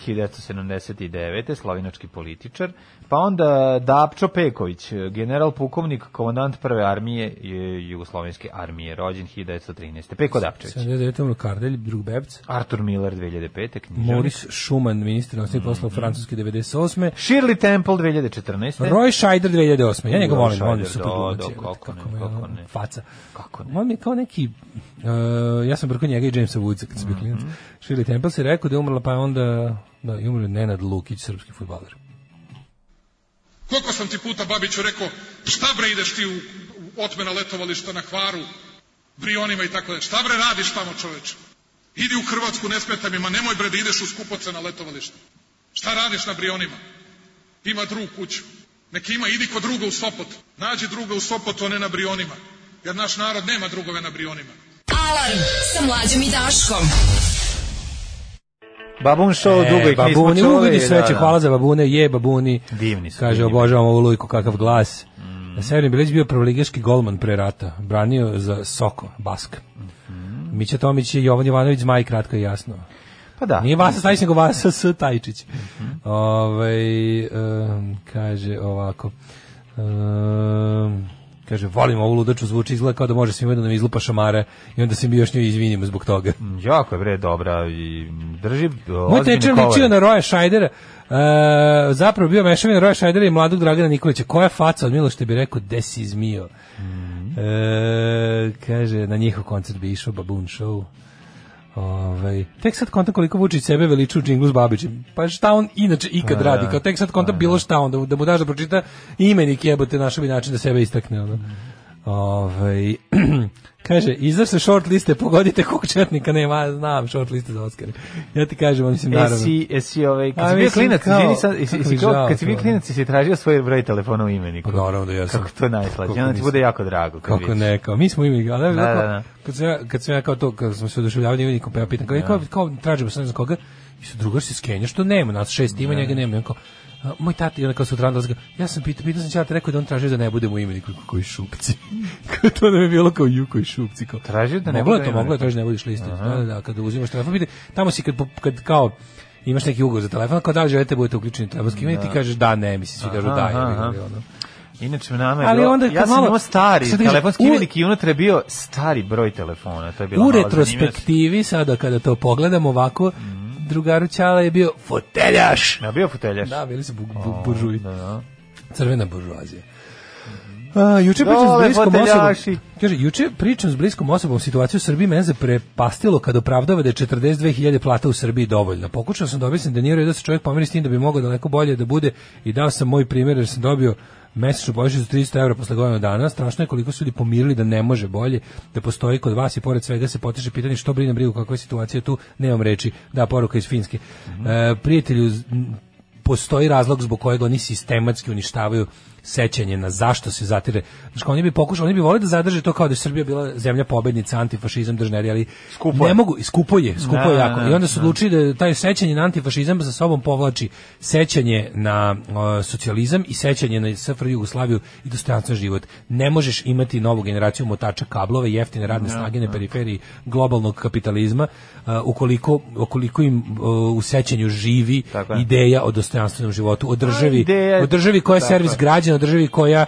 1979. slavinački političar. Pa onda Dapčo Peković, general pukovnik, komandant prve armije e, Jugoslovenske armije, rođen 1913. Peko Dapčević. 79. umro Kardelj, drug Bebc. Artur Miller, 2005. književnik. Moris Schumann, ministar nosnih Mhm. poslova Francuske 98. Shirley Temple, 2014. Roy Scheider 2008. Ja njega E. Roy volim, on je Scheider, super da, glumac. da, jebote, kako ne, mi je kako ono ne. Faca. Kako ne? On mi je kao neki, uh, ja sam preko njega i Jamesa Woodsa kad sam bio Mhm. klinac. Shirley Temple se rekao da je umrla, pa je onda, da, i umro je Nenad Lukić, srpski futbaler. Koliko sam ti puta Babiću rekao, šta bre ideš ti u, u otmena letovališta na kvaru, brionima i tako da, šta bre radiš tamo čoveče? Idi u Hrvatsku, ne smeta mi, ma nemoj bre da ideš u skupoce na letovalište. Šta radiš na brionima? Ima drugu kuću. Neki ima, idi kod druga u Sopot. Nađi druga u Sopotu, a ne na brionima. Jer naš narod nema drugove na brionima. Alarm sa mlađom i Daškom. Babun Show, dugo ih nismo E, babuni, čuli, uvidi da, sveće, da. hvala za babune, je babuni. Divni su, Kaže, divni. obožavam ovu lujku, kakav glas. Mm. Severin Bilić bio prvoligaški golman pre rata, branio za Soko, Bask. Mhm. Mića Tomić i Jovan Jovanović, zmaj, kratko i jasno. Pa Mhm. da. Nije Vasa Stajić, nego Vasa S. Tajčić. Ovaj, em, kaže ovako... em, kaže, volim ovu ludaču, zvuči izgleda kao da može svima da nam izlupa šamare i onda se mi još nju izvinimo zbog toga. Jako je bre dobra i drži o, Moj ozbiljne tečer kovare. ličio na Roja Šajdera, e, zapravo bio mešavina Roja Šajdera i mladog Dragana Nikolića. Koja faca od Miloš te bi rekao, de si zmio? E, kaže, na njihov koncert bi išao Baboon Show. Ovaj, tek sad konta koliko Vučić sebe veliči u džinglu s Babićem. Pa šta on inače ikad radi? Kao tek sad konta bilo šta onda, da mu daš da pročita imenik jebote, našao bi način da sebe istakne. Ono. Ovaj, kaže, izaš se short liste, pogodite kog četnika nema, ja znam short liste za Oscar. Ja ti kažem, E, mislim, naravno. Esi, esi ovaj, kad A, si bio mislim, klinac, kao- izvini sad, esi, kako esi mi kao, žao kad si bio to, da. klinac, si tražio svoj broj telefona u imeniku. Pa naravno da jesam. Kako to najslađe, Kako onda ti nisam. bude jako drago. kad Kako vidiš. ne, kao, mi smo imali, ali da, Da, da, da. Kad, sam ja, kad sam ja kao to, kad smo se oduševljavali imenikom, pa ja pitam, Da. kao, kao, kao tražimo se ne znam koga, i su drugar se skenja, što nema, nas šest Da, ima, njega nema, i on kao, a, moj tata, i onda kao sutra dolazi, ja sam pitao, pitao sam ćata, rekao je da on tražio da ne budemo u imeniku, Kao, koji šupci. Kao to nam je bilo kao ju koji šupci. Kao. Tražio da ne moglo je bude to, u moglo je imeniku. tražiti da ne budiš liste. Da, da, da, kada uzimaš telefon, vidi, tamo si kad, po- kad kao, imaš neki ugovor za telefon, kao da li želite da budete uključeni u telefonski imenik, ti kažeš da, ne, mislim, svi kažu da, Aha, ja bih aha. ono. Inače, nama je Ali bilo, onda ja kad sam malo- imao stari sad da kažem, telefonski u- imenik i unutra je bio stari broj telefona. To je bilo U malo zanimljivo. retrospektivi, sada kada to pogledam ovako, Mhm. drugaru Ćala je bio foteljaš. Ja bio foteljaš. Da, bili su bu, bu, buržuji. Da, da. Mhm. Crvena buržuazija. A, juče pričam s Dole, bliskom foteljaši. osobom. Kaže, juče pričam s bliskom osobom situaciju u Srbiji mene zaprepastilo kad opravdava da je 42.000 plata u Srbiji dovoljna. Pokušao sam da objasnim da nije u redu da se čovjek pomiri s tim da bi mogao daleko bolje da bude i dao sam moj primjer jer sam dobio mesečno božić za 300 evra posle godinu dana. Strašno je koliko su ljudi pomirili da ne može bolje, da postoji kod vas i pored svega se potiče pitanje što brine brigu kakva je situacija tu, nemam reči. Da, poruka iz Finske. Mhm. E, prijatelju, z- postoji razlog zbog kojeg oni sistematski uništavaju sećanje na zašto se zatire. Znači, oni bi pokušali, oni bi voleli da zadrže to kao da je Srbija bila zemlja pobednica, antifašizam, držneri, ali Skupo je. ne mogu, skupo je, skupo Da, je jako. da, I onda su odlučili da taj sećanje na antifašizam za sobom povlači sećanje na e, socijalizam i sećanje na SFRJ Jugoslaviju i dostojanstven život. Ne možeš imati novu generaciju motača kablova, i jeftine radne Da, snage na periferiji globalnog kapitalizma e, ukoliko, ukoliko im e, u sećanju živi Tako je. ideja o dostojanstvenom životu, o A, državi, ideja- o državi koja je Tako servis je. građana, o državi koja e,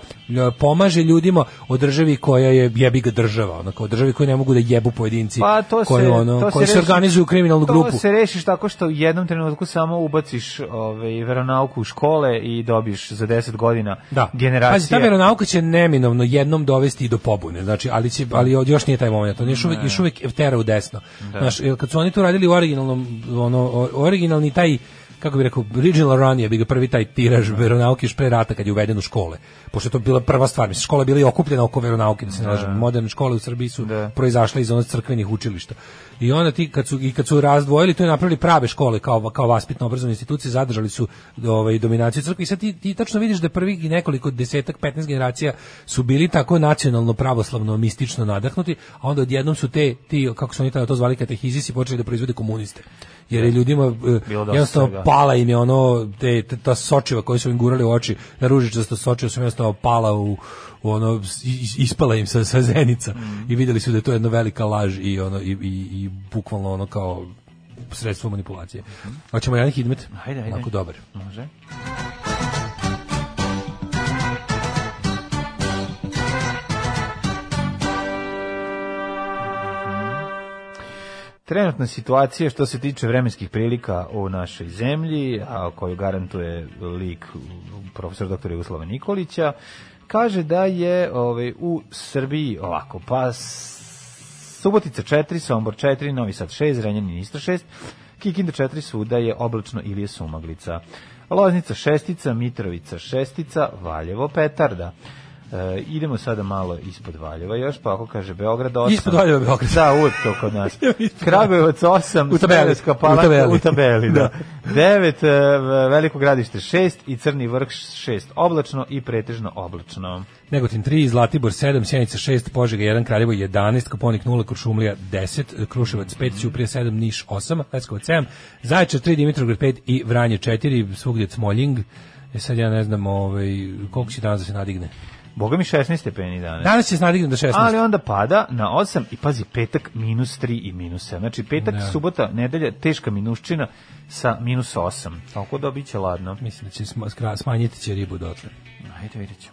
pomaže ljudima, o državi koja je jebi ga država, onako, o državi koju ne mogu da jebu pojedinci Pa to se, koji, ono, to koji se, reši- organizuju u kriminalnu To grupu. se rešiš tako što u jednom trenutku samo ubaciš ovaj, veronauku u škole i dobiš za 10 godina Da. generacija. Pazi, ta veronauka će neminovno jednom dovesti i do pobune. Znači, ali će ali od- još nije taj moment. On još uvek još Da. uvek tera u desno. Znaš, jer kad su oni to radili u originalnom ono o- originalni taj kako bi rekao, original run je bi ga prvi taj tiraž veronauke još pre rata kad je uveden u škole. Pošto je to bila prva stvar, mislim, škola je bila i okupljena oko veronauke, da se ne lažemo. Moderne škole u Srbiji su Da. proizašle iz onih crkvenih učilišta. I onda ti kad su i kad su razdvojili, to je napravili prave škole kao kao vaspitno obrazovne institucije, zadržali su ovaj dominaciju crkve i sad ti, ti tačno vidiš da prvih i nekoliko desetak, 15 generacija su bili tako nacionalno pravoslavno mistično nadahnuti, a onda odjednom su te ti kako su oni tada to zvali katehizisi počeli da proizvode komuniste. Jer je ljudima eh, Da. Bilo dosta jednostavno svega. pala im je ono te, te- ta sočiva koju su im gurali u oči, na ružičasto sočiva su im jednostavno pala u, u ono is- ispala im sa, sa zenica i videli su da je to jedna velika laž i ono i, i, i bukvalno ono kao sredstvo manipulacije. Hoćemo jedan hidmet? Ajde, ajde. Onako dobar. Može. Trenutna situacija što se tiče vremenskih prilika u našoj zemlji, a koju garantuje lik profesor dr. Jugoslava Nikolića, kaže da je ovaj, u Srbiji ovako, pa s- Subotica 4, Sombor 4, Novi Sad 6, Renjanin isto 6, Kikinda 4, svuda je oblačno ili je sumaglica. Loznica šestica, Mitrovica šestica, Valjevo petarda. E, idemo sada malo ispod Valjeva još, pa ako kaže Beograd 8. Ispod Valjeva Beograd. Da, u to kod nas. Kragujevac 8, da- U tabeli. Smederevska Palanka- U tabeli. u tabeli, da. 9, Veliko gradište 6 i Crni vrh 6, oblačno i pretežno oblačno. Negotin 3, Zlatibor 7, Sjenica 6, Požega 1, Kraljevo 11, Koponik 0, Kuršumlija 10, Kruševac 5, Ćuprija 7, Niš 8, Leskovac 7, Zaječar 3, Dimitrovgrad 5 i Vranje 4, svugdje Cmoljing. E sad ja ne znam ovaj, koliko će danas da se nadigne. Boga mi 16 stepeni danas. Danas će se nadigne do 16. Ali onda pada na 8 i pazi petak minus 3 i minus 7. Znači petak, Da. subota, nedelja, teška minuščina sa minus 8. Tako da biće ladno. Mislim da će sma- skra- smanjiti će ribu dotle. Ajde vidjet ćemo.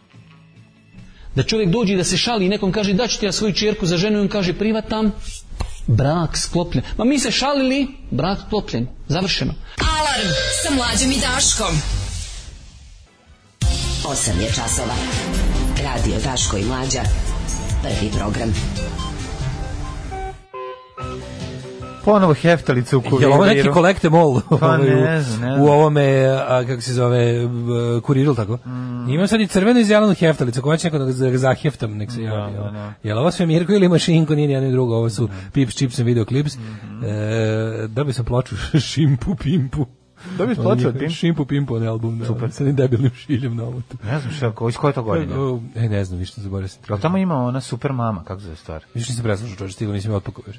Da čovjek dođe i da se šali i nekom kaže daću ti ja svoju čerku za ženu i on kaže privatam, brak sklopljen. Ma mi se šalili, brak sklopljen, završeno. Alarm sa mlađom i Daškom. 8 je časova. Radio Daško i Mlađa. Prvi program. Ponovo heftalica u Je kuriru. li ovo neki kolekte mol Pa ovaj, u- ne znam, ne znam. u ovome, a, kako se zove, b- kuriru, tako? Mm. Imam sad i crvenu i zelenu heftalicu, koja će neko da ga za- zaheftam, nek Da, se javi. ovo. Je li ovo sve Mirko ili Mašinko, nije nijedno i drugo, ovo su Mm-hmm. Pips, Chips and Video Clips. E, dobio sam ploču Šimpu Pimpu. Dobio si Ono ploču od njihov- Pimp? Šimpu Pimpu, onaj album, da. Super. Sa onim debilnim šiljem na omotu. Ne znam šta, ko, iz koje to godine? E, ne znam, više zaboravio sam. Jel tamo ima ona super mama, kako se zove stvar? Više nisam preslušao čovječ, stiglo nisam otpakao još.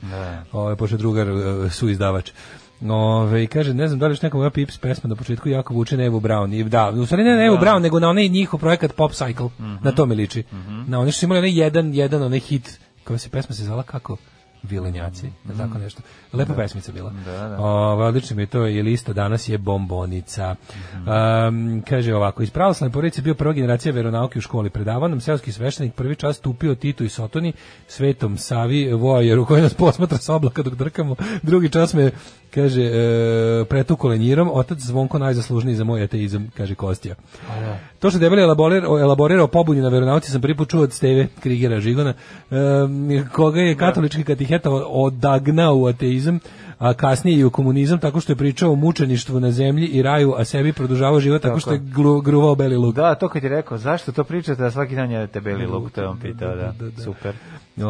Ovo, pošto je drugar e, suizdavač. Ove, i kaže, ne znam da li još nekom ova Pips pesma na početku jako vuče na Evu Brown. I, da, u stvari ne na Evu Brown, nego na onaj njihov projekat Pop Cycle. Na to mi liči. Na oni što su imali onaj jedan, jedan onaj hit, koja se pesma se zvala kako? Vilenjaci, ili tako nešto. Lepa pesmica bila. Ovaj, odlično mi je to, je lista danas je bombonica. Um, kaže ovako, iz pravoslavne porodice bio prva generacija veronauke u školi. Predavao nam seoski sveštenik prvi čas tupio Titu i Sotoni, svetom Savi, vojeru koji nas posmatra sa oblaka dok drkamo. Drugi čas me, kaže, e, pretuko lenjirom, otac zvonko najzaslužniji za moj ateizam, kaže Kostija. To što je debeli elaborirao, elaborirao pobunju na veronauci sam prvi put čuo od Steve Krigera Žigona, em, koga je katolički katiheta odagnao u ateizam, a kasnije i u komunizam, tako što je pričao o mučeništvu na zemlji i raju, a sebi produžavao život tako, što je glu, gruvao beli luk. Da, to kad je rekao, zašto to pričate da svaki dan jedete beli luk, to je on pitao, da, super.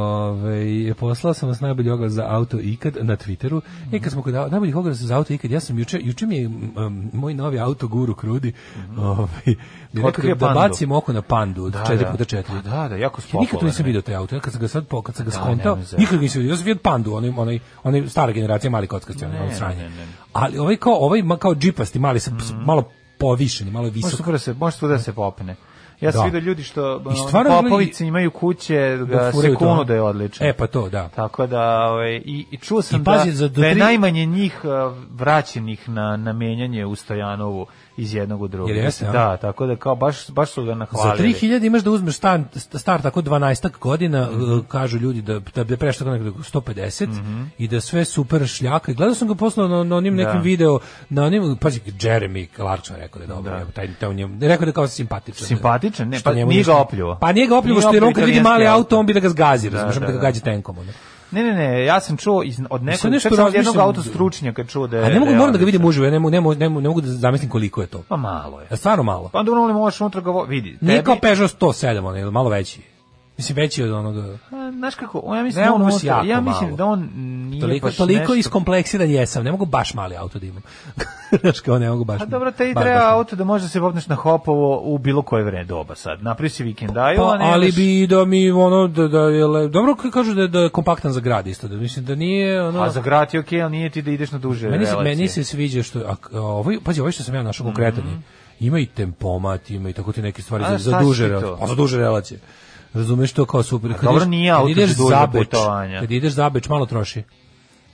Ove, poslao sam vas najbolji oglas za auto ikad na Twitteru. E, kad smo kod au- najboljih oglasa za auto ikad, ja sam juče, juče mi je m, m, moj novi auto guru Krudi ovaj, mi je Otkrio rekao da pandu. bacim oko na pandu od Da, 4x4. da. Pa da, da, jako Ja nikad to spopularan nisam je. video taj auto. Ja kad sam ga sad po, kad sam ga Da, skontao, nemoj zezati. nikad ga nisam video. Ja sam vidio pandu, onaj, onaj, onaj stara generacija mali kockasti, onaj, Ne, onaj sranje. ne, ne, ne. Ali ovaj kao, ovaj ma- kao džipasti, mali, sa, s- malo povišeni, malo Može visok. super da se, može svuda da se popne. Ja sam Da. vidio ljudi što I ono, stvarno izgleda- popovice imaju kuće, Da da furaju se to. kunu da je odlično. E, pa to, da. Tako da, ovaj, i, i čuo sam I pazi, da, za do da je tri- najmanje njih eh, vraćenih na, na menjanje u Stojanovu iz jednog u drugi. Jel jeste, a? Da, tako da kao baš, baš su ga Za nahvalili. 3000 imaš da uzmeš stan st- star tako 12 godina, Mhm. e, kažu ljudi da da bi prešao tako nekako 150 i da sve super šljaka. I Gledao sam ga posle na, na onim nekim Da. video, na onim pazi Jeremy Clarkson rekao da je dobro, Da. evo, taj taj njemu rekao da je kao simpatičan. Simpatičan? Ne, Što pa njemu nije ništa- ga opljuo. Pa nije ga opljuvo Nije što je on opljuo kad vidi italijanski mali auto. auto, on bi da ga zgazi, Da, razumeš, on bi da, da ga da. gađa tenkom ono. Ne, ne, ne, ja sam čuo iz, od nekog, nešto čak sam od jednog razmišljam- da- autostručnjaka čuo da je... A ne mogu, je moram da ga odličan. vidim uživo, ja ne mogu, ne mogu, ne mogu, ne mogu da zamislim koliko je to. Pa malo je. A stvarno malo. Pa onda ono li možeš unutra ga vo- vidi. Nije tebi- kao Peugeot 107, on je malo veći. Mislim, veći od onoga... A, Znaš kako, on- ja mislim Ne, da on on nosi unutra- jako ja mislim malo. da on nije toliko, baš toliko nešto- iskompleksiran jesam, ne mogu baš mali auto da imam. Znaš kao, ne mogu baš... A Pa dobro, te i baš, treba baš mali. auto da može da se popneš na hopovo u bilo koje vreme doba sad. Napravi si vikendaju, Pa, a ne ali ideš- bi da mi ono da da je le- dobro k- kažu da je, da je kompaktan za grad isto da mislim da nije ono A za grad je okej, ali nije ti da ideš na duže meni se relacije. Mhm. meni se sviđa što a, a, ovo pazi ovo što sam ja našao konkretno ima i tempomat ima i tako te neke stvari A za, šta za si duže ti to? relacije pa za duže relacije razumeš to kao super kad dobro, ideš- nije kad auto ideš za duže za Beč, putovanja. kad ideš za beč malo troši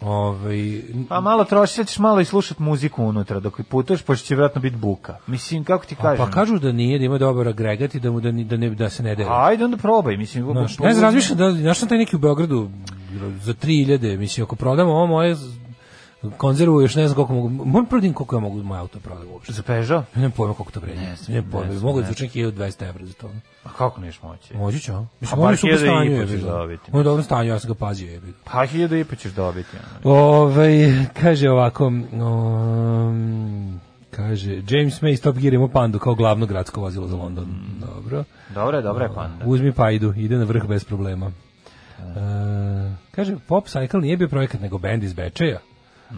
ovaj Pa malo trošiš, sad ćeš malo i slušat muziku unutra dok putuješ, pošto će vjerojatno biti buka. Mislim, kako ti kažem? pa kažu da nije da ima dobar agregat i da mu da ni- da ne da se ne dere Ajde, onda probaj, mislim. Znaš, po- ne znam, razmišljam da našao taj neki u Beogradu za 3000, mislim, ako prodam ovo moje z- konzervu, još ne znam koliko mogu, moram prodim koliko ja mogu moj auto prodam uopšte. Za Peugeot? Ja nemam pojma koliko to vredi. Ne Ne, znam, ne, ne, ne znam, mogu ne da zvučem 1200 evra za to. A kako neš moći? Moći ću, a? Mislim, bar on je u super 1000 i stanju, po je ćeš bilo. dobiti. On je u dobrom stanju, ja sam ga pazio, je bilo. Pa hiljada i pa ćeš dobiti. ono. Ovaj kaže ovako, um, kaže, James May Top Gear ima pandu kao glavno gradsko vozilo za London. Dobro. Dobro je, dobro je pa panda. Uzmi pajdu, ide na vrh bez problema. E, kaže, Pop Cycle nije bio projekat, nego band iz Bečeja.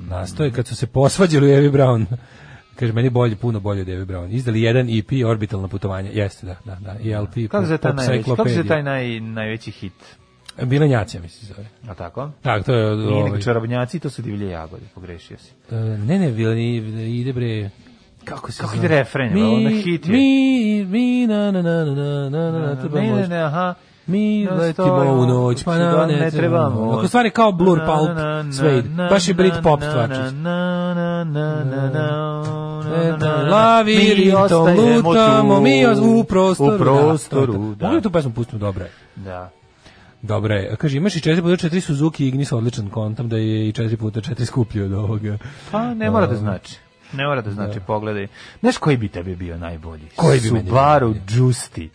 Nastoje kad su se posvađali u Evi Brown. Kaže, meni bolje, puno bolje od Evi Brown. Izdali jedan E EP, orbitalno putovanje. Jeste, da, da, da. I LP, Kako se Pop taj najveći, kako se Cyclopedia. taj naj, najveći hit? Bilenjacija, mislim, se zove. A tako? Tak, to je... od- Nije ovaj, nego čarobnjaci, to su divlje jagode, pogrešio si. e, ne, ne, Bileni, ide bre... Kako se Kako zove? ide refren, jel, ono hit je? Mi, mi, na, na, na, na, na, na, na, to ne, ne, možda- ne, aha. Mi Nastojimo, letimo u noć, pa na, ne ne trebamo. trebamo. Ako stvari kao Blur Na, Pulp, na, na, sve ide. na, Baš i na, Brit Pop na, stvar. na, na, na, na, na, na, na, na, na, na. E, Lavi, Mi Rito, ostajemo lutamo, tu. mi os- u prostoru. da, U prostoru, da. Mogu tu pesmu pustiti, dobra je. Da. Dobra je. Kaže, imaš i 4x4 Suzuki i Ignis odličan kontam da je i 4x4 skuplji od ovoga. Pa ne mora da znači. Ne mora da znači, pogledaj. Znaš koji bi tebi bio najbolji? Koji bi meni bio Subaru Justi.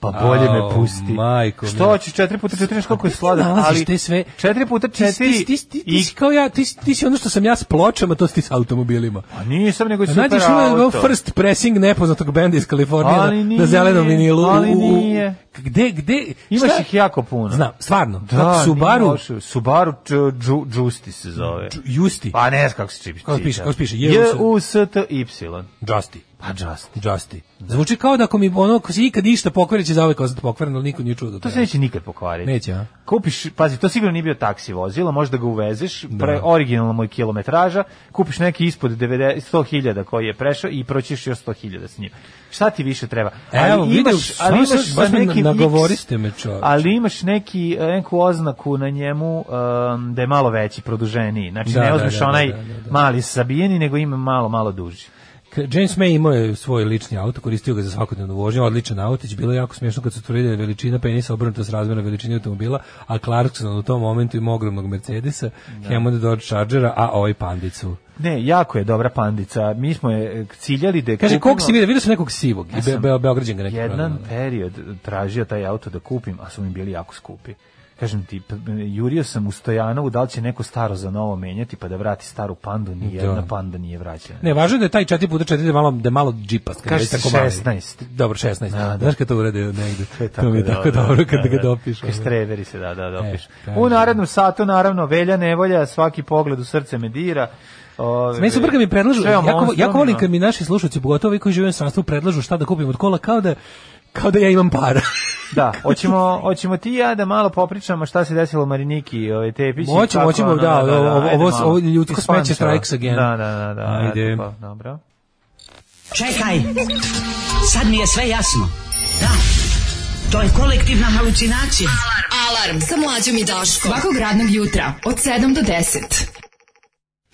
Pa bolje Au, me pusti. majko Što mila. hoćeš 4 puta 4 znaš koliko je Ti sladak, nalaziš ali te sve- 4 puta Ti, si- 4 ti, si- ti, si- ti, ti i si kao ja, ti, si- ti si ono što sam ja s pločama, to si ti s automobilima. A nisam nego je super Pa Nađeš ono auto. first pressing nepoznatog benda iz Kalifornije Ali na, nije, na zelenom vinilu. u- ali u- u- nije. Gde, gde? Imaš šta- ih jako puno. Znam, stvarno. Da, Subaru, nije loše. Subaru Ju- Ju- Justi se zove. Justi, Pa ne znam kako se čipi. Kako piše, kako piše? J- J U S T Y. Justi. Pa Justi. Justi. Zvuči kao da ako mi ono, ako se ikad išta pokvari, će zauvek ostati da pokvareno, ali niko nije čuo do To toga. se neće nikad pokvariti. Neće, a? Kupiš, pazi, to sigurno nije bio taksi vozilo, možda ga uvezeš, Da. pre, originalna mu je kilometraža, kupiš neki ispod 90 100.000 koji je prešao i proćiš još 100.000 s njim. Šta ti više treba? Evo, vidi, samo sad baš me nagovoriste X, me, čoveče. Ali imaš neki, e, neku oznaku na njemu um, da je malo veći, produženiji. Znači, Da, ne da, uzmeš da, da, onaj da, da, da. mali sabijeni, nego ima malo, malo duži. K- James May imao je svoj lični auto, koristio ga za svakodnevnu vožnju, odličan autić, bilo je jako smiješno kad su tvrdili da je veličina penisa obrnuta s razmjera veličine automobila, a Clarkson u tom momentu ima ogromnog Mercedesa, Da. Hammond Dodge Chargera, a ovaj pandicu. Ne, jako je dobra pandica. Mi smo je e, ciljali da je Kaže, kupimo- kog si vidio? Vidio sam nekog sivog, i be, sam be, da, Beograđan ga neki jedan prodao. period tražio taj auto da kupim, a su mi bili jako skupi. Kažem ti, p- jurio sam u Stojanovu, da li će neko staro za novo menjati, pa da vrati staru pandu, ni jedna Da. panda nije vraćena. Ne, važno je da je taj 4x4 da je malo, da je malo džipas. kad je Kaže već se tako mali. 16. Dobro, 16. Da, da. Znaš kad to urede negde? to mi je tako dobro kad ga dopiš. Kaže, da, streveri se, da, da, dopiš. E, kaže. u narednom satu, naravno, velja nevolja, svaki pogled u srce me dira. Ove, Meni super kad mi predlažu, sve o jako, jako volim monstrumima. kad mi naši slušalci, pogotovo ovi koji žive u inostranstvu, predlažu šta da kupim od kola, kao da, kao da ja imam para. Da, hoćemo, hoćemo ti i ja da malo popričamo šta se desilo Mariniki, ovaj Tepić. i Moćemo, kako, moćemo, ono, da, ovo- ajde ovo- malo. ovo ljudsko Iz Pančeva. smeće strikes again. Da, da, da, da. Ajde. eto, Pa, dobro. Čekaj, sad mi je sve jasno. Da, to je kolektivna halucinacija. Alarm sa mlađom i Daškom. Svakog radnog jutra od 7 do 10.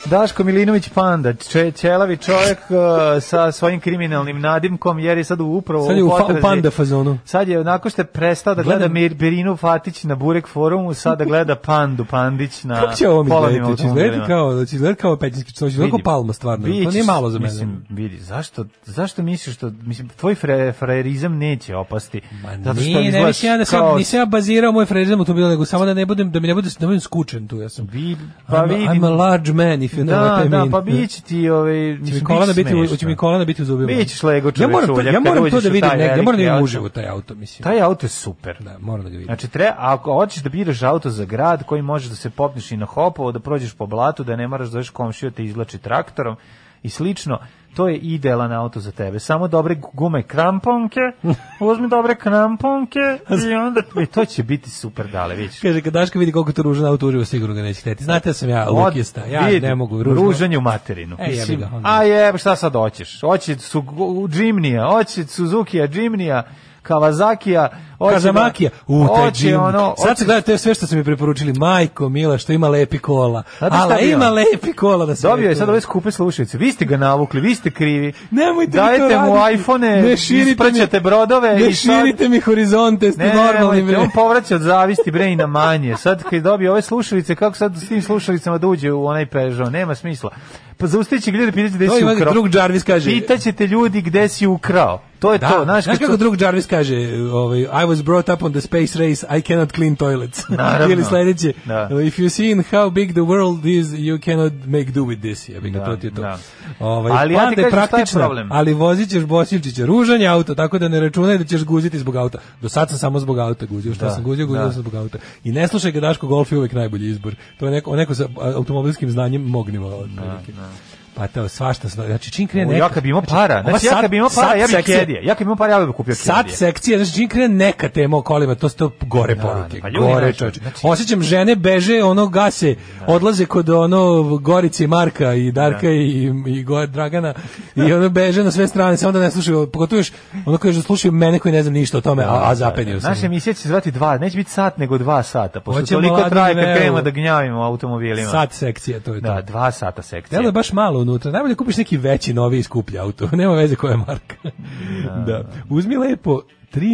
Daško Milinović Panda, če, ćelavi čovjek uh, sa svojim kriminalnim nadimkom, jer je sad upravo Sad je u fa- u potrazi. panda fazonu. Sad je onako što je prestao da gleda Gledam- Mir, Birinu Fatić na Burek forumu, sad da gleda Pandu Pandić na Kako će ovo mi polovnim izgledati? Će automobilima. izgledati kao, da će izgledati kao pećinski čovjek, izgledati kao Vidi, palma stvarno. To vidjet nije ćeš, malo za mene. Mislim, vidi, zašto, zašto misliš što, mislim, tvoj fre, frajerizam neće opasti, zato što Nije, ne izgledaš mislim ja da sam, kao... nisam ja bazirao moj frezem automobila, nego samo da ne budem, da mi ne bude, da budem skučen tu, ja sam. Vi, pa I'm, vidim, I'm a large man, if you know da, what I da, mean. pa biće ti, ovaj, Će mi mislim, kolana biće biti, u- smešno. će mi kolana biti u zubima. Bićeš lego Ja čoveče moram to, ulja ja kad moram to uđeš da u vidim, taj negde, ja moram da vidim veliki uživo auto. taj auto, mislim. Taj auto je super. Da, moram da ga vidim. Znači, treba, ako hoćeš da biraš auto za grad koji možeš da se popneš i na hopovo, da prođeš po blatu, da ne moraš da veš komšiju da te izlači traktorom i slično, to je idealan auto za tebe. Samo dobre gume kramponke, uzmi dobre kramponke i onda i to će biti super dale, vidiš. Kaže, kad Daška vidi koliko je to ružan auto uživo, sigurno ga neće hteti. Znate da sam ja lukista, ja vidi, ne mogu ružno. Ružanje u materinu. E, jebi ga, Mislim, onda. a je, šta sad hoćeš? Hoće su Jimnija, hoće Suzuki-a, Jimnija, Kawasaki-a, hoće... Kazamakija, da- u taj hoće džim. da- ono- Sad hoće- se gledate sve što su mi preporučili. Majko, Mila, što ima lepi kola. Znate šta Ala, bi ima on? lepi kola da se Dobio je sad ove skupe slušalice. Vi ste ga navukli, vi ste krivi. Nemojte mi Dajete to mu raditi. iPhone-e, Ne širite mi- ispraćate brodove. Ne i sad- širite mi horizonte, ste Ne, normalni nemojte, bre. on povraća od zavisti bre i na manje. Sad kad dobije ove slušalice, kako sad s tim slušalicama da uđe u onaj Peugeot? Nema smisla. Pa zaustaviće ga ljudi pitati gde To si ima ukrao. drug Jarvis kaže. Pitaće te ljudi gde si ukrao. To je Da, to. znaš, Znaš, kad kako to- drug Jarvis kaže, ovaj, I was brought up on the space race, I cannot clean toilets. Naravno. Ili sledeće, Da. if you see in how big the world is, you cannot make do with this. Ja bih Da, da, to ti je to. da. Ovaj, Ali ja ti Panda kažem je šta je praktična, problem. Ali vozit ćeš Bosilčića, ružan je auto, tako da ne računaj da ćeš guziti zbog auta. Do sad sam samo zbog auta guzio, šta Da, sam guzio, guzio da. sam zbog auta. I ne slušaj ga Daško Golf je uvek najbolji izbor. To je neko, neko sa a, automobilskim znanjem mog nivoa. otprilike. Pa to svašta, sna- znači čim krene U, Da, ja kad bi imao para, ova znači ja sad- kad bi imao para, sad ja bih sekcija- kedije. Ja kad bi imao para, ja bih kupio Sad kedije. sekcija, znači čim krene neka tema o kolima, to su to gore poruke, pa ljudi, gore znači, čoveče. znači- Da. Osjećam žene beže, ono gase, odlaze kod ono Gorice i Marka i Darka i, i Go- Dragana i ono beže na sve strane, samo da ne slušaju, pogotovo još ono kaže da slušaju mene koji ne znam ništa o tome, Pa, a, a zapenio sam. Da, Naša emisija će se zvati dva, neće biti sat, nego dva sata, pošto Hoće toliko mladi traje kad veo. krenemo da gnjavimo automobilima. Sad sekcija, to je to. Da, dva sata sekcija. Delo je da baš malo unutra. Najbolje kupiš neki veći, novi i skuplji auto. Nema veze koja je marka. da. Uzmi lepo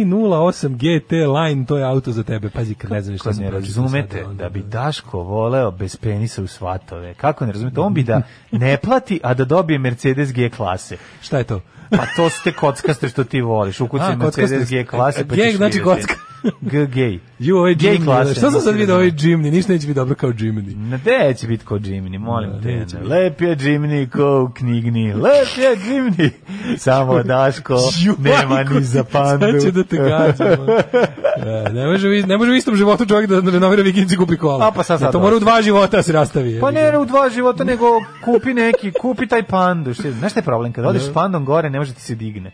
308 GT Line, to je auto za tebe. Pazi, kad ne znam ni šta Kako sam ne pročitao razumete sada, onda- da bi Daško voleo bez penisa u svatove? Kako ne razumete? On bi da ne plati, a da dobije Mercedes G klase. Šta je to? Pa to ste kockaste što ti voliš. Ukucaj A, Mercedes kockaste. G klase pa Gej ćeš znači vidjeti. kocka. G, gej. Ju, ovaj Gej Jimny. klase, Šta sam sad mislim, vidio ovaj da. Jimny? Ništa neće biti dobro kao Jimny. Na gde će biti ko Jimny, molim te. ne. Lep je Jimny ko u knjigni. Lep je Jimny. Samo Daško Ju, nema majko, ni za pandu. Sad ću da te gađam. Da, ne, može, u is- ne može u istom životu čovjek da renovira vikinci i kupi kola. A, pa sad- sad to mora u dosta. dva života da se rastavi. Pa ne, ne, u dva života, nego kupi neki, kupi taj pandu. Šta- Znaš šta je problem? Kad odeš s pandom gore, ne može ti se digne.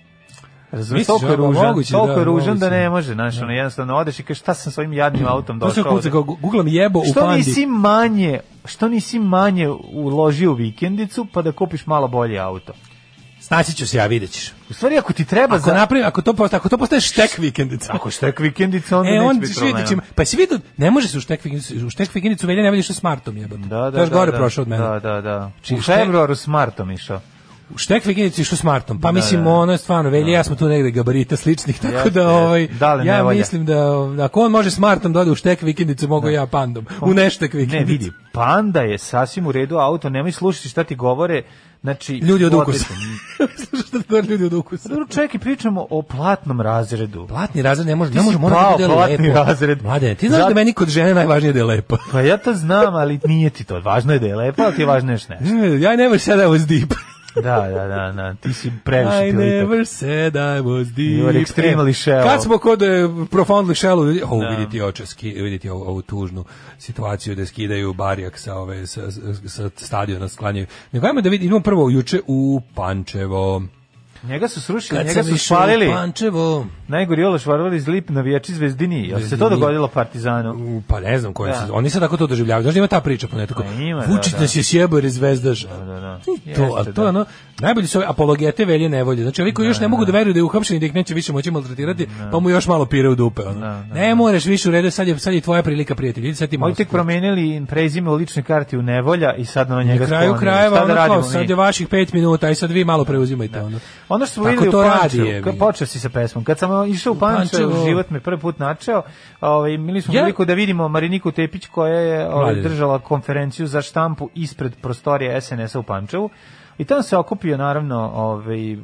Razumiješ, Da. Misliš, toliko je a, pa ružan, moguće, toliko da, je ružan da moguće. ne može, znaš, ono, jednostavno odeš i kažeš šta sam s ovim jadnim autom To se došao. kuca, ovde? kao gu- guglam jebo u Što pandi. nisi manje, što nisi manje uložio u vikendicu pa da kupiš malo bolji auto? Snaći ću se, ja vidjet ćeš. U stvari, ako ti treba Ako Pa za... napravim, ako to postaje, ako to postaje štek vikendica. Ako štek vikendica, onda E, neće on biti ćeš problema. vidjet ćemo. Pa si vidio, ne može se u štek vikendicu, u štek vikendicu velja ne velja što smartom jebote. Da, da, To je još da, gore da, prošao od mene. Da, da, da. Či u šta je- februaru s martom išao. U štek vikendicu išao smartom. Pa mislim, da. ono je stvarno, velja, ja smo tu negde gabarita sličnih, tako Jeste, da, ovaj, jeste. Da li ne ja volja? mislim da, ako on može smartom da ode u štek vikendicu, mogu ja pandom. U neštek Da. Ne, vikendicu. vidi, panda je sasvim u redu auto, nemoj slušati šta ti govore, znači... Ljudi od odlično. ukusa. Slušaj što govore ljudi od ukusa. Dobro, čekaj, pričamo o platnom razredu. Platni razred ne može, Ti ne si može, mora da pao, bude platni lepo. razred. Mlade, ti znaš Zato- da meni kod žene najvažnije da je lepo. Pa ja to znam, ali nije ti to. Važno je da je lepo, ali ti je važno još nešto. Ja never said I was deep. Da, da, da, da, ti si previše I ti litak. never said I was deep. You are extremely shallow. Kad smo kod e, profoundly shallow, o, vidite oče, ski, vidite ovu, ovu tužnu situaciju da skidaju barijak sa ove sa, sa, sa stadiona sklanjaju. Nego ajmo da vidimo prvo juče u Pančevo. Njega su srušili, Kad njega sam su išao u spalili. Pančevo, Najgori Ološ varvali iz Lip navijači Zvezdini. Jel se to Zvezdini. dogodilo Partizanu? U, Pa ne znam koje Da. se. Oni se tako to doživljavaju. Znaš da ima ta priča po netako. Pa ima, da, Vučić da. nas je sjebao jer je zvezdaš. da, da. I To, a Jeste, da. to je ono, najbolji su ovi apologete velje nevolje. Znači, ovi koji još ne mogu da veruju da je uhapšen i da ih neće više moći maltretirati, Da. pa mu još malo pire u dupe. Ono. Ne moraš više u redu, sad je, sad je tvoja prilika, prijatelj. Idi sad ti malo Oni da, tek skupi. promenili prezime u ličnoj karti u Nevolja i sad na njega Na kraju sklonili. krajeva, Šta da ono kao, radimo mi? Da. sad je vaših pet minuta i sad vi malo preuzimajte. Ono. Ono što smo Tako videli u to radi, Pančevu, jebi kad ga. počeo si sa pesmom. Kad sam išao u Pančevu, Pančevo. život me prvi put načeo, ovaj, imali smo Ja- priliku da vidimo Mariniku Tepić koja je ovaj, Mladine. držala konferenciju za štampu ispred prostorije SNS-a u Pančevu. I tamo se okupio, naravno, ovaj, m,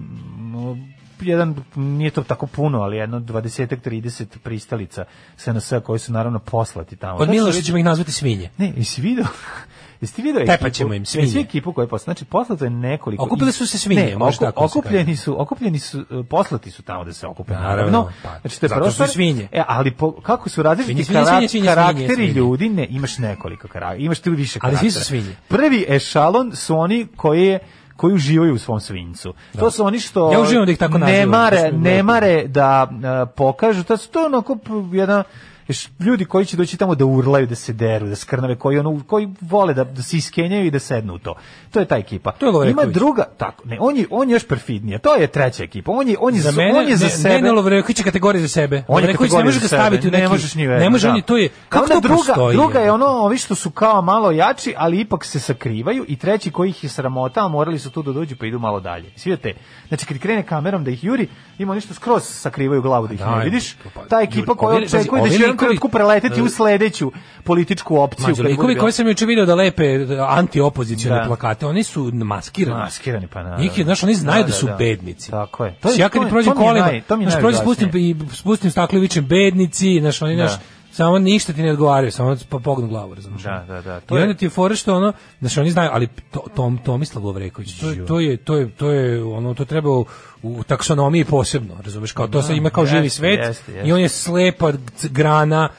jedan, nije to tako puno, ali jedno 20-30 pristalica SNS-a koji su naravno poslati tamo. Od Sad se Miloša ćemo ih nazvati svinje. Ne, jesi video? Jesi ti video ekipu? Tepaćemo im svinje. Jesi ekipu koja je poslata? Znači, poslato je nekoliko... Okupile su se svinje, Ne, može oku- tako da se okupljeni su, okupljeni su, e, poslati su tamo da se okupe. Naravno, pa, znači, to je zato su prostor- i svinje. E, ali po, kako su različiti Svinje, svinje, karak- svinje, svinje, karakteri svinje. ljudi, ne, imaš nekoliko karaktera, imaš tu više Ali karaktera. svi su svinje. Prvi ešalon su oni koji je koji uživaju u svom svincu. To su oni što Ja uživam da ih tako ne nazivam, baš mi mare, je ne lepo. mare da e, pokažu, to su to onako p- jedna š- ljudi koji će doći tamo da urlaju, da se deru, da skrnave, koji ono koji vole da, da se iskenjaju i da sednu u to. To je ta ekipa. To je Lovreković. Ima druga, tako, ne, on je on je još perfidnija. To je treća ekipa. On je on je za s- mene, on je za ne, sebe. Nenad Lovreković je kategorija za sebe. On je Lovreković ne kategorija može za ga sebe, staviti u neki... ne možeš ni Ne može da. ni, to je... A Kako onda to druga, postoji? Druga je ono, ovi što su kao malo jači, ali ipak se sakrivaju i treći koji ih je sramota, a morali su tu da dođu pa idu malo dalje. Svi te. Znači, kad krene kamerom da ih juri, ima nešto skroz sakrivaju glavu da ih Daj, ne vidiš. to pa- Ta ekipa Juri, koja ovi- pazi, očekuje da će ovi jednom likovi- trenutku preleteti u sledeću političku opciju. Mađo, kad likovi bude- koji sam juče video da lepe antiopozicione Da. plakate, oni su maskirani. Maskirani, pa naravno. Njih je, znaš, oni znaju Da, da, da, su da. bednici. Tako je. To To je- ja kad to je- mi prođem to mi je kolima, naj- to mi je znaš, prođem, najodvračnije. spustim, i spustim staklo i vičem bednici, znaš, oni, Da. znaš, samo ništa ti ne odgovaraju, samo pa pognu glavu, razumiješ. Da, da, da, to To I je- onda ti je fora što ono, znaš, oni znaju, ali to, Tom, Tomislav Lovreković, to, je- to, je, to, je, to je, ono, to treba u, u taksonomiji posebno, razumeš, kao to se ima kao jeste, živi svet jeste, jeste. i on je slepa c- grana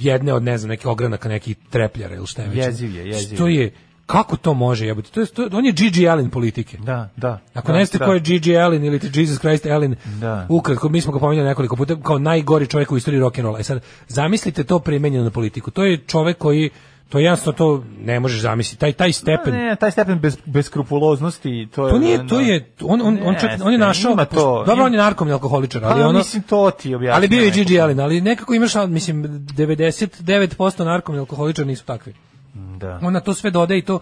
jedne od, ne znam, nekih ogranaka, nekih trepljara ili šta je već. Jeziv je, jeziv To je, kako to može jebote? To je, to, on je Gigi Allen politike. Da, da. Ako da, ne znate da. ko je Gigi Allen ili ti Jesus Christ Allen, Da. ukratko, mi smo ga pominjali nekoliko puta kao najgori čovjek u istoriji rock'n'rolla. E sad, zamislite to premenjeno na politiku. To je čovjek koji, to je jasno, to ne možeš zamisliti. Taj, taj stepen, Ne, taj stepen bez, beskrupuloznosti, to je... to nije, to je, on, on, on, čak, on je Jeste, našao, ima to, dobro, ima- on je narkom i alkoholičar, ali Pa, ono, mislim, to ti objasni. ali bio je Gigi Allen, ali nekako imaš, al- mislim, 99% narkom i alkoholičar nisu takvi. Da. Ona to sve dodaje i to,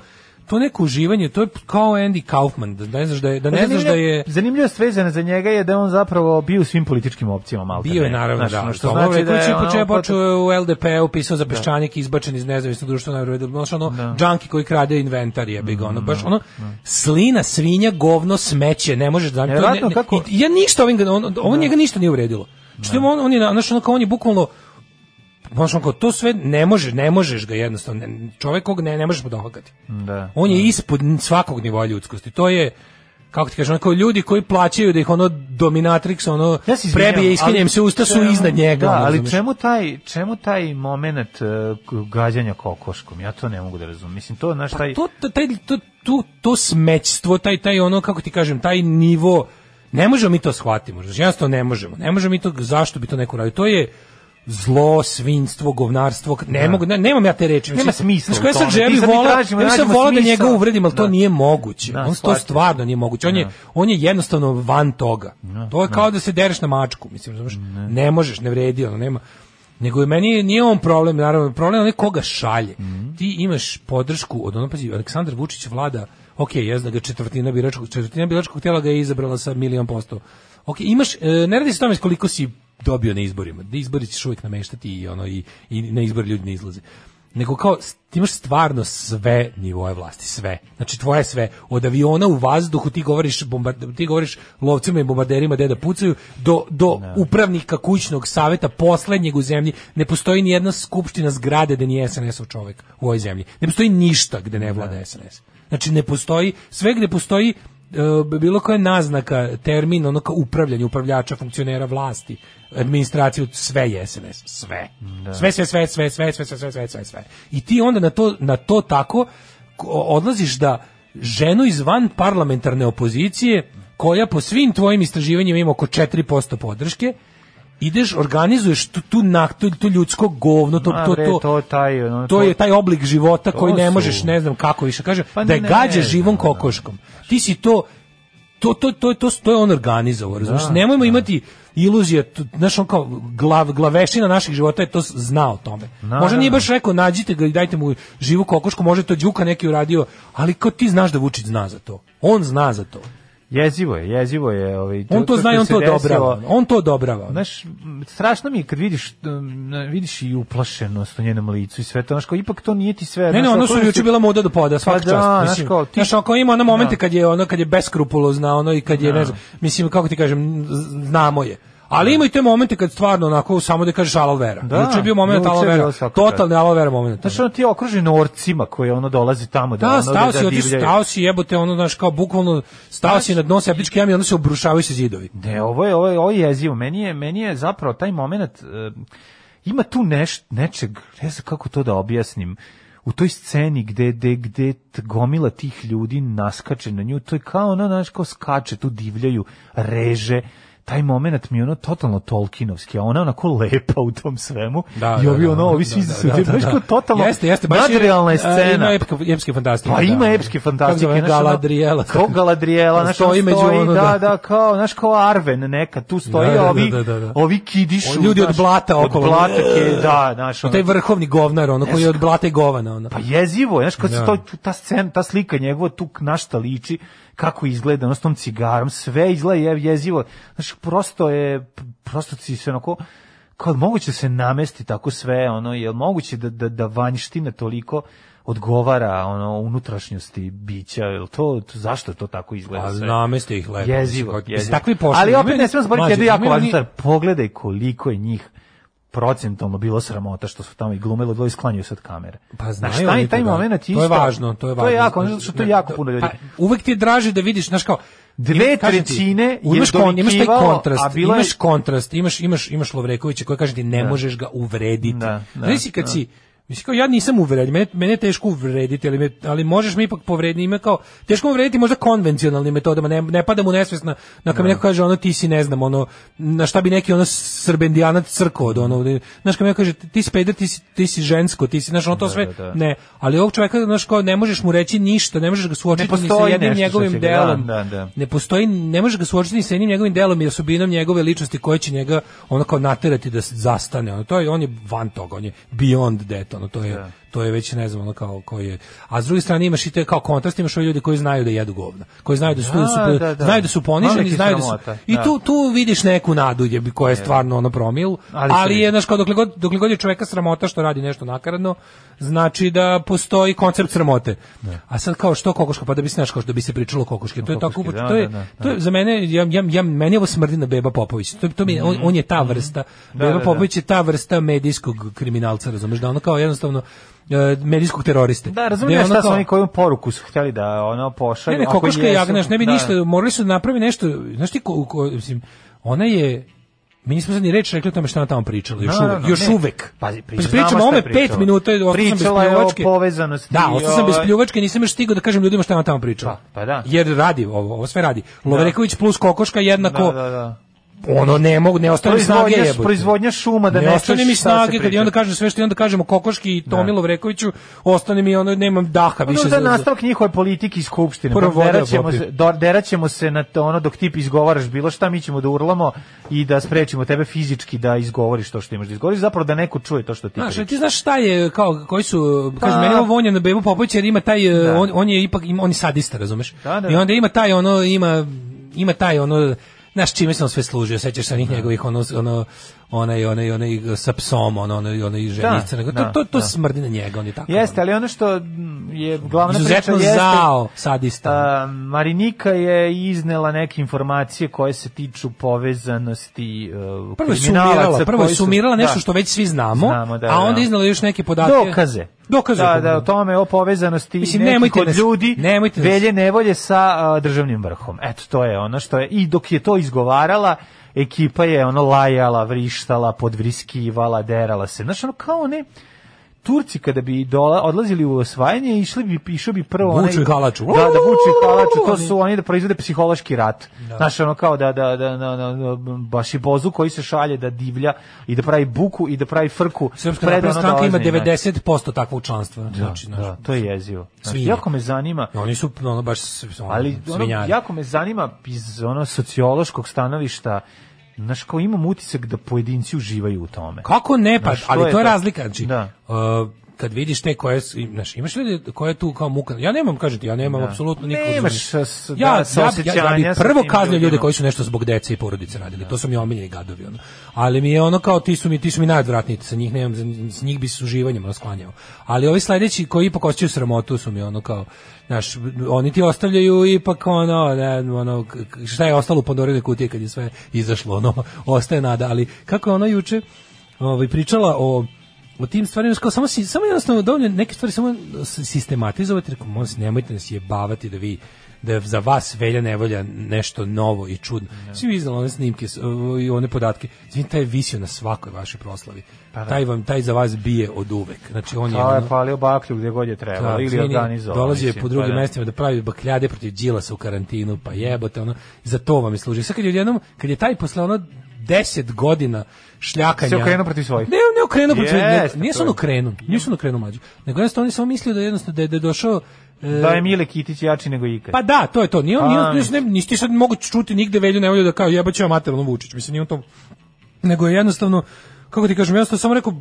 to neko uživanje, to je kao Andy Kaufman, da ne znaš da je, da Pa, ne znaš da je... Zanimljiva stvar vezana za njega je da je on zapravo bio u svim političkim opcijama, malo. Bio je naravno, Znaš, ono da. što Tomo znači da Vojković je je ono, Da. počeo pot- počeo u LDP, upisao za peščanik, izbačen iz nezavisnog društva na Vrvedu. Znaš, ono, Da. džanki koji krade inventar je ga, ono, Mm, baš ono, slina, svinja, govno, smeće, ne možeš da... to je- ne- Nevjerojatno ne- kako- Da. i- ja ništa ovim, ga- on, ovo njega ništa nije uredilo. Što on, on je, na- znaš, ono, kao on je bukvalno, znaš, ono, kao to sve ne možeš, ne možeš ga jednostavno, ne, čovjek kog ne, ne možeš podokakati. Da. On je ispod svakog nivoa ljudskosti. To je kako ti kažem, onako ljudi koji plaćaju da ih ono dominatrix ono Ja se izvinjavam, prebije, iskinjem ali se usta su čemu- iznad njega. Da, ali ono, razumeš? čemu taj, čemu taj moment eh, k- gađanja kokoškom? Ja to ne mogu da razumem. Mislim, to, znaš, taj... Pa to, to, taj, to, to, to smećstvo, taj, taj ono, kako ti kažem, taj nivo, ne možemo mi to shvatimo, znači jednostavno ne možemo, ne možemo mi to, zašto bi to neko radio, to je zlo, svinstvo, govnarstvo, k- ne mogu, ne, nemam ja te reči. Da. Nema mislim, smisla Znaš, koja u sad tome, želi ti sad mi vola, tražimo, ja bi sad nađemo volao da smisao. njega uvredim, ali to Da. nije moguće. Da, on to shvatio. stvarno nije moguće. On, je, on je jednostavno van toga. to je kao da se dereš na mačku, mislim, razumeš? Ne. možeš, ne vredi, ono, nema. Nego je meni nije on problem, naravno, problem je onaj koga šalje. Ti imaš podršku od ono, pazi, Aleksandar Vučić vlada, ok, jezda ga četvrtina biračkog, četvrtina biračkog tijela ga je izabrala sa milion posto. Ok, imaš, e, ne radi se o tome koliko si dobio na izborima, da izbori ćeš uvijek nameštati i, ono, i, i na izbor ljudi ne izlaze. Nego kao, s- ti imaš stvarno sve nivoje vlasti, sve. Znači tvoje sve, od aviona u vazduhu ti govoriš, bombard, ti govoriš lovcima i bombarderima gde da pucaju, do, do upravnika kućnog saveta, poslednjeg u zemlji, ne postoji ni jedna skupština zgrade da nije SNS-ov čovek u ovoj zemlji. Ne postoji ništa gde ne vlada SNS. Znači ne postoji, sve gde postoji e, bilo koja naznaka, termin, ono kao upravljanje, upravljača, funkcionera vlasti, administraciju, sve je SNS, sve. Da. Sve, sve, sve, sve, sve, sve, sve, sve, sve, sve, sve. I ti onda na to, na to tako ko- odlaziš da ženu iz van parlamentarne opozicije koja po svim tvojim istraživanjima ima oko 4% podrške, ideš, organizuješ tu, tu, nak- tu, tu ljudsko govno, to, Ma to, bre, to, to taj, ono, to to- je taj oblik života To koji ne su- možeš, ne znam kako više kažem, Pa da je ne gađaš živom znam, da. kokoškom. Ti si to to to to to to je on organizovao, razumiješ? Da, Nemojmo imati iluzije, tu- znaš on kao glav, glavešina naših života je to s- zna o tome. Da, Možda da, nije da. baš rekao nađite ga i dajte mu živu kokošku, može to Đuka neki uradio, ali kao ti znaš da Vučić zna za to. On zna za to. Jezivo je, jezivo je. Ovaj, On to zna i što on se to desilo- odobrava. On to odobrava. Pa Znaš, m, strašno mi je kad vidiš, um, na- vidiš i uplašenost u njenom licu i sve to, znaš, kao, ipak to nije ti sve. Ne, znaš, ne, ono ali su to je juče si- bila moda do poda, svaka Pa da, čast. znaš Mislim, kao, ti- znaš, ako ima ono momente Da. kad je ono kad je beskrupulozna, ono i kad je ne znam, mislim kako ti kažem, z- znamo je. Ali ima i te momente kad stvarno onako samo da kažeš aloe vera. Da, juče je bio moment juče je aloe bilo vera. svaka Totalni aloe vera moment. Znaš, ono ti je okružen orcima koji ono dolazi tamo da, Da, ono stao si, da otiš, divljaju. stao si, jebote, ono, znaš, kao bukvalno, stao si na dno septičke jame i onda se obrušavaju se zidovi. Ne, ovo je, ovo je, ovo je jezivo. Meni je, meni je zapravo taj moment, e, ima tu neš, nečeg, ne znam kako to da objasnim, u toj sceni gde, gde, gde t- gomila tih ljudi naskače na nju, to je kao ono, znaš, kao skače, tu divljaju, reže, taj moment mi je ono totalno Tolkienovski, a ona je onako lepa u tom svemu. Da, I da, ovi da, ono, da, ovi da, svi da, su, da, da, znaš, da. kao totalno Jeste, jeste, baš je, nadrealna a, je scena. Ima epke- epske fantastike. Pa da. ima epske Kako fantastike. se zove, znaš, ono, Galadrijela. Kao Galadrijela, znaš, Stoji stoji među stoji, ono, da, da. da, kao, znaš, kao Arven neka, tu stoji, Da, da, a ovi, da, da, da. ovi kidišu. Ljudi od znaš, blata okolo. Od blata, ke, da, znaš, ono, Pa Taj vrhovni govnar, ono, koji je od blata i govana, ono. pa jezivo, je, znaš, kad Da. se to, ta scena, ta slika njegova, tu na šta liči, kako izgleda, ono, s tom cigarom, sve izgleda je, jezivo, znaš, prosto je, prosto ti se onako, kao moguće da se namesti tako sve, ono, je moguće da, da, da vanjština toliko odgovara ono unutrašnjosti bića jel to, to zašto to tako izgleda A sve? nameste Pa ih lepo. Jezivo, Mislim, jezivo. Takvi pošli. Ali opet Imaju- ne smemo zaboraviti Mlađe, jednu jako imaju važnu oni- stvar. Pogledaj koliko je njih procentualno bilo sramota što su tamo i glumilo dvoje i sklanjaju se od kamere. Pa Znaš, znaju taj, oni to, taj da. momenat To je važno, to je važno. To je jako, znaš, što to je jako puno ljudi. Pa, uvek ti je draže da vidiš, znaš kao, Dve im- kažem ti, trećine je imaš, kon, imaš taj dovikivao, kontrast, a bilo je- imaš kontrast, imaš, imaš, imaš Lovrekovića koji kaže ti ne možeš ga uvrediti. Da, da, Znaš si kad si, Mislim kao ja nisam uvredio, mene, mene je teško uvrediti, ali, me, ali možeš me ipak povrediti, ima kao, teško me uvrediti možda konvencionalnim metodama, ne, ne pada mu nesvest na, na Da. kad mi neko kaže ono ti si ne znam, ono, na šta bi neki ono srbendijanac crko od ono, znaš kad mi neko kaže ti si peder, ti si, ti si žensko, ti si, znaš ono to sve, da, da. ne, ali ovog čovjeka, znaš kao, ne možeš mu reći ništa, ne možeš ga suočiti Ne ni sa postoji jednim nešto što njegovim će ga- delom. da, da, da. Ne postoji, ne možeš ga suočiti ni sa jednim njegovim delom i osobinom njegove ličnosti koje će njega ono kao naterati da s- zastane. Ono, to je, on je van toga, on je beyond that, ono, to je, Da. to je već ne znam ono kao koji je. A s druge strane imaš i te kao kontrast, imaš ove ljudi koji znaju da jedu govna, koji znaju da su, da, su, Da, da, da. znaju da su poniženi, Malo ih je znaju da su, sramota, i da. tu, tu vidiš neku nadu je, koja je stvarno ono promil, Ali ali, se je, vidi. znaš, kao dokle god, dokle god je čoveka sramota što radi nešto nakaradno, znači da postoji koncept sramote. Da. A sad kao što kokoška, pa da bi se, znaš, kao što bi se pričalo o kokoški, to je tako, Kokoški, da, to je, da, da, to je za mene, ja, ja, ja, meni ovo smrdi na Beba Popović, to, to mi, on, on je ta vrsta, Beba Mhm. da, da. Popović je ta vrsta medijskog kriminalca, razumeš, da ono kao jednostavno, e, medijskog teroriste. Da, Gde razumijem ono šta su kao- oni koju poruku su htjeli da ono pošalju. ne, ne, ako kokoška je jesu, jagnjaš, ne bi da. ništa, morali su da napravi nešto, znaš ti, ko, ko- mislim, ona je, mi nismo sad ni reč rekli o tome šta ona tamo pričala, još Naravno, uvek, još ne. uvek. Pazi, pri- Pa znamo šta pričamo je o ome pričala. pet minuta, ostao sam bez Pričala je o pljuvačke. povezanosti Da, i ostao sam bez ovaj- pljuvačke, nisam još stigao da kažem ljudima šta ona tamo pričala. Pa, pa da. Jer radi ovo, ovo sve radi. Lovreković plus kokoška jednako, Da, da, da. ono ne mogu, ne ostane mi snage Proizvodnja, jebote. proizvodnja šuma da ne ne ostane čuješ mi šta se snage kad i priča. onda kažem sve što i onda kažemo Kokoški i Tomi Lovrekoviću, ostane mi ono nemam daha Više više. no, za- da za- nastavak njihove politike iz Skupštine. Prvo Pa vode deraćemo, popio. se, do, deraćemo se na to, ono dok ti izgovaraš bilo šta, mi ćemo da urlamo i da sprečimo tebe fizički da izgovoriš to što imaš da izgovoriš, zapravo da neko čuje to što ti Znaš, pričaš. a ti znaš šta je, kao, koji su, Pa- kažem, meni je ovo vonja na Bebu Popović, jer ima taj, e, on, on je ipak, ima, on je sadista, razumeš? Da, da. I onda ima taj, ono, ima, ima taj, ono, znaš, čime se on sve služio, sećaš se onih Da. njegovih, ono, ono, onaj, onaj, onaj, sa psom, ono, onaj, onaj ženica, nego to, da, to, to da. smrdi na njega, on je tako. Jeste, ono. ali ono što mm, je glavna Izuzetno priča jeste... zao sadista. a, Marinika je iznela neke informacije koje se tiču povezanosti uh, Prvo je kriminalaca sumirala, prvo je koji su- sumirala nešto da. što već svi znamo, Znamo, da, a onda da. iznala još neke podatke. dokaze. Dokaze. Da, da, o tome, o povezanosti Mislim, Mislim, nekih nemojte od nas- ljudi, nemojte nas- velje nevolje sa a, državnim vrhom. Eto, to je ono što je, i dok je to izgovarala, ekipa je ono lajala, vrištala, podvriskivala, derala se. Znaš, ono kao one, Turci kada bi dola, odlazili u osvajanje, išli bi, išao bi prvo... onaj- Buču i halaču. Da, da, buču i halaču, to su oni da proizvode psihološki rat. Znaš, ono kao da, da, da, da, da, da baš i bozu koji se šalje da divlja i da pravi buku i da pravi frku. Srpska pred napredna ono stranka ima dolaženje, znaš. 90% takvog članstva. znači, znači. Da, znaš, da, to je jezivo. Znaš, Svinje. jako me zanima Oni su ono baš s- ono, ali ono, svinjari. jako me zanima iz ono sociološkog stanovišta znaš kao imam utisak da pojedinci uživaju u tome Kako ne pa, Znaš, što ali je to je to? razlika, znači. Da. uh, kad vidiš te koje, su- znaš, imaš ljudi koje tu kao muka. Ja nemam, kažete, ja Da. nemam apsolutno nikog. Nemaš razumeš. s- da, saosećanja ja, sa bi prvo tim kaznio ljude ljudima. koji su nešto zbog dece i porodice radili. To su mi omiljeni gadovi ono. Ali mi je ono kao ti su mi ti su mi najodvratniji, sa njih nemam za- s njih bi se uživanjem rasklanjao. Ali ovi sledeći koji ipak osjećaju sramotu su mi ono kao Znaš, oni ti ostavljaju ipak ono, ne, ono, k- k- šta je ostalo u Pandorine kutije kad je sve izašlo, ono, ostaje nada, ali kako je ona juče ovaj, pričala o o tim stvarima, kao samo, si- samo jednostavno dovoljno neke stvari samo s- sistematizovati, rekao, molim vas, nemojte nas jebavati da vi da je za vas velja nevolja nešto novo i čudno. Svi vi iznali one snimke s- o, i one podatke. Zvim, taj je visio na svakoj vašoj proslavi. Taj, vam, taj za vas bije od uvek. Znači, on je, Pa da. Kao je ono- palio baklju gdje god je trebalo da, ili izvini, organizovao Dolazio je mislim, po drugim pa da. mestima da pravi bakljade protiv Đilasa u karantinu, pa jebote, ono, za to vam je služi. Sad kad je odjednom, kad je taj posle ono 10 godina šljakanja... Se okrenuo protiv svojih. Ne, ne okrenuo protiv svojih. ne, Jeste, Nije to se je. on okrenuo, nije se on okrenuo mlađu. Nego jednostavno on je samo mislio da je jednostavno da je, da je došao... e, da je Mile Kitić jači nego ikad pa da, to je to. Nije on, Pa, nije on, nije, ne, nisi ti sad moguće čuti nigde Velju Nevolju da kao jebaće materijalno Vučić. Mislim, nije on to... Nego je jednostavno, kako ti kažem, jednostavno sam rekao,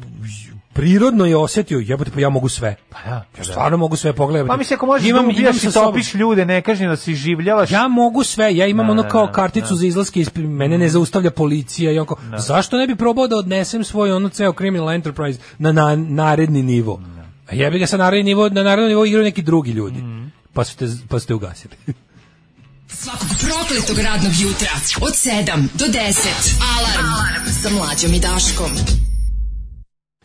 prirodno je osetio, jebote, pa ja mogu sve. Pa da, ja stvarno mogu sve pogledati. pa mi se ako možeš da ubijaš i topiš ljude ne kažem da si življavaš Ja mogu sve, ja imam Da, ono da, kao da, karticu za izlaske iz mene ne zaustavlja policija i onko. Zašto ne bi probao da odnesem svoj ono ceo criminal enterprise na, na naredni nivo? Da. A jebi ga sa naredni nivo, na naredni nivo igraju neki drugi ljudi. Mhm. Pa ste pa ste ugasili. Svakog prokletog radnog jutra od 7 do 10. Alarm, Alarm. sa mlađom i Daškom.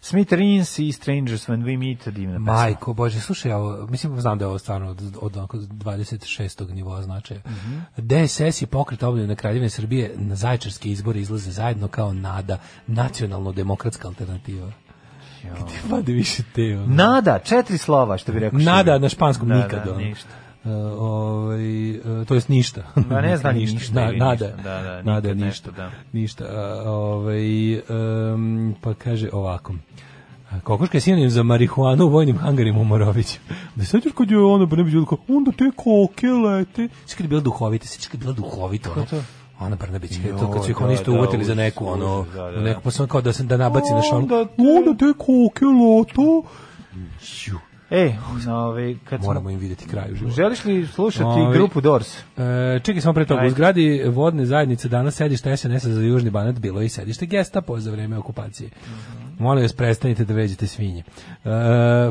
Smith Rins i Strangers When We Meet divna pesma Majko, bože, slušaj, ovo, mislim, znam da je ovo stvarno od, od onako 26. nivoa značaja. Mhm. DSS i pokret obljene kraljevine Srbije na zajčarske izbore izlaze zajedno kao NADA, nacionalno-demokratska alternativa. Gde vade više te? ono? Nada, četiri slova što bi rekao Nada Šiver. na španskom Da, nikad. da, ono. ništa. E, ovaj, e, to jest ništa. Ma ne zna ni ništa Na- ili nada, ništa, da, da, nada, nikad ništa, nešto, da. ništa. A, ovaj, em, pa kaže ovako. A, Kokoška je sinonim za marihuanu u vojnim hangarima u Moroviću. Da se sećaš kad je ono, pa ne bi bilo kao, onda te koke lete. Sve kad je bila duhovita, sve kad je bila duhovita. Ono, ona Brnabić, kad, to, kad su ih Joj, oni da, isto da, uvatili za užas, neku, ono, užas, da, da, da. neku, pa sam kao da, se, da nabaci na šalu. Onda te- Onda te koke lete. E, na ove, kad smo- Moramo im vidjeti kraj u životu. Želiš li slušati Ovi- grupu Doors? E, čekaj samo pre toga, u Ajde. zgradi vodne zajednice danas sedište SNS-a za Južni Banat bilo je i sedište gestapo za vreme okupacije. Molim vas, prestanite da vređate svinje. E,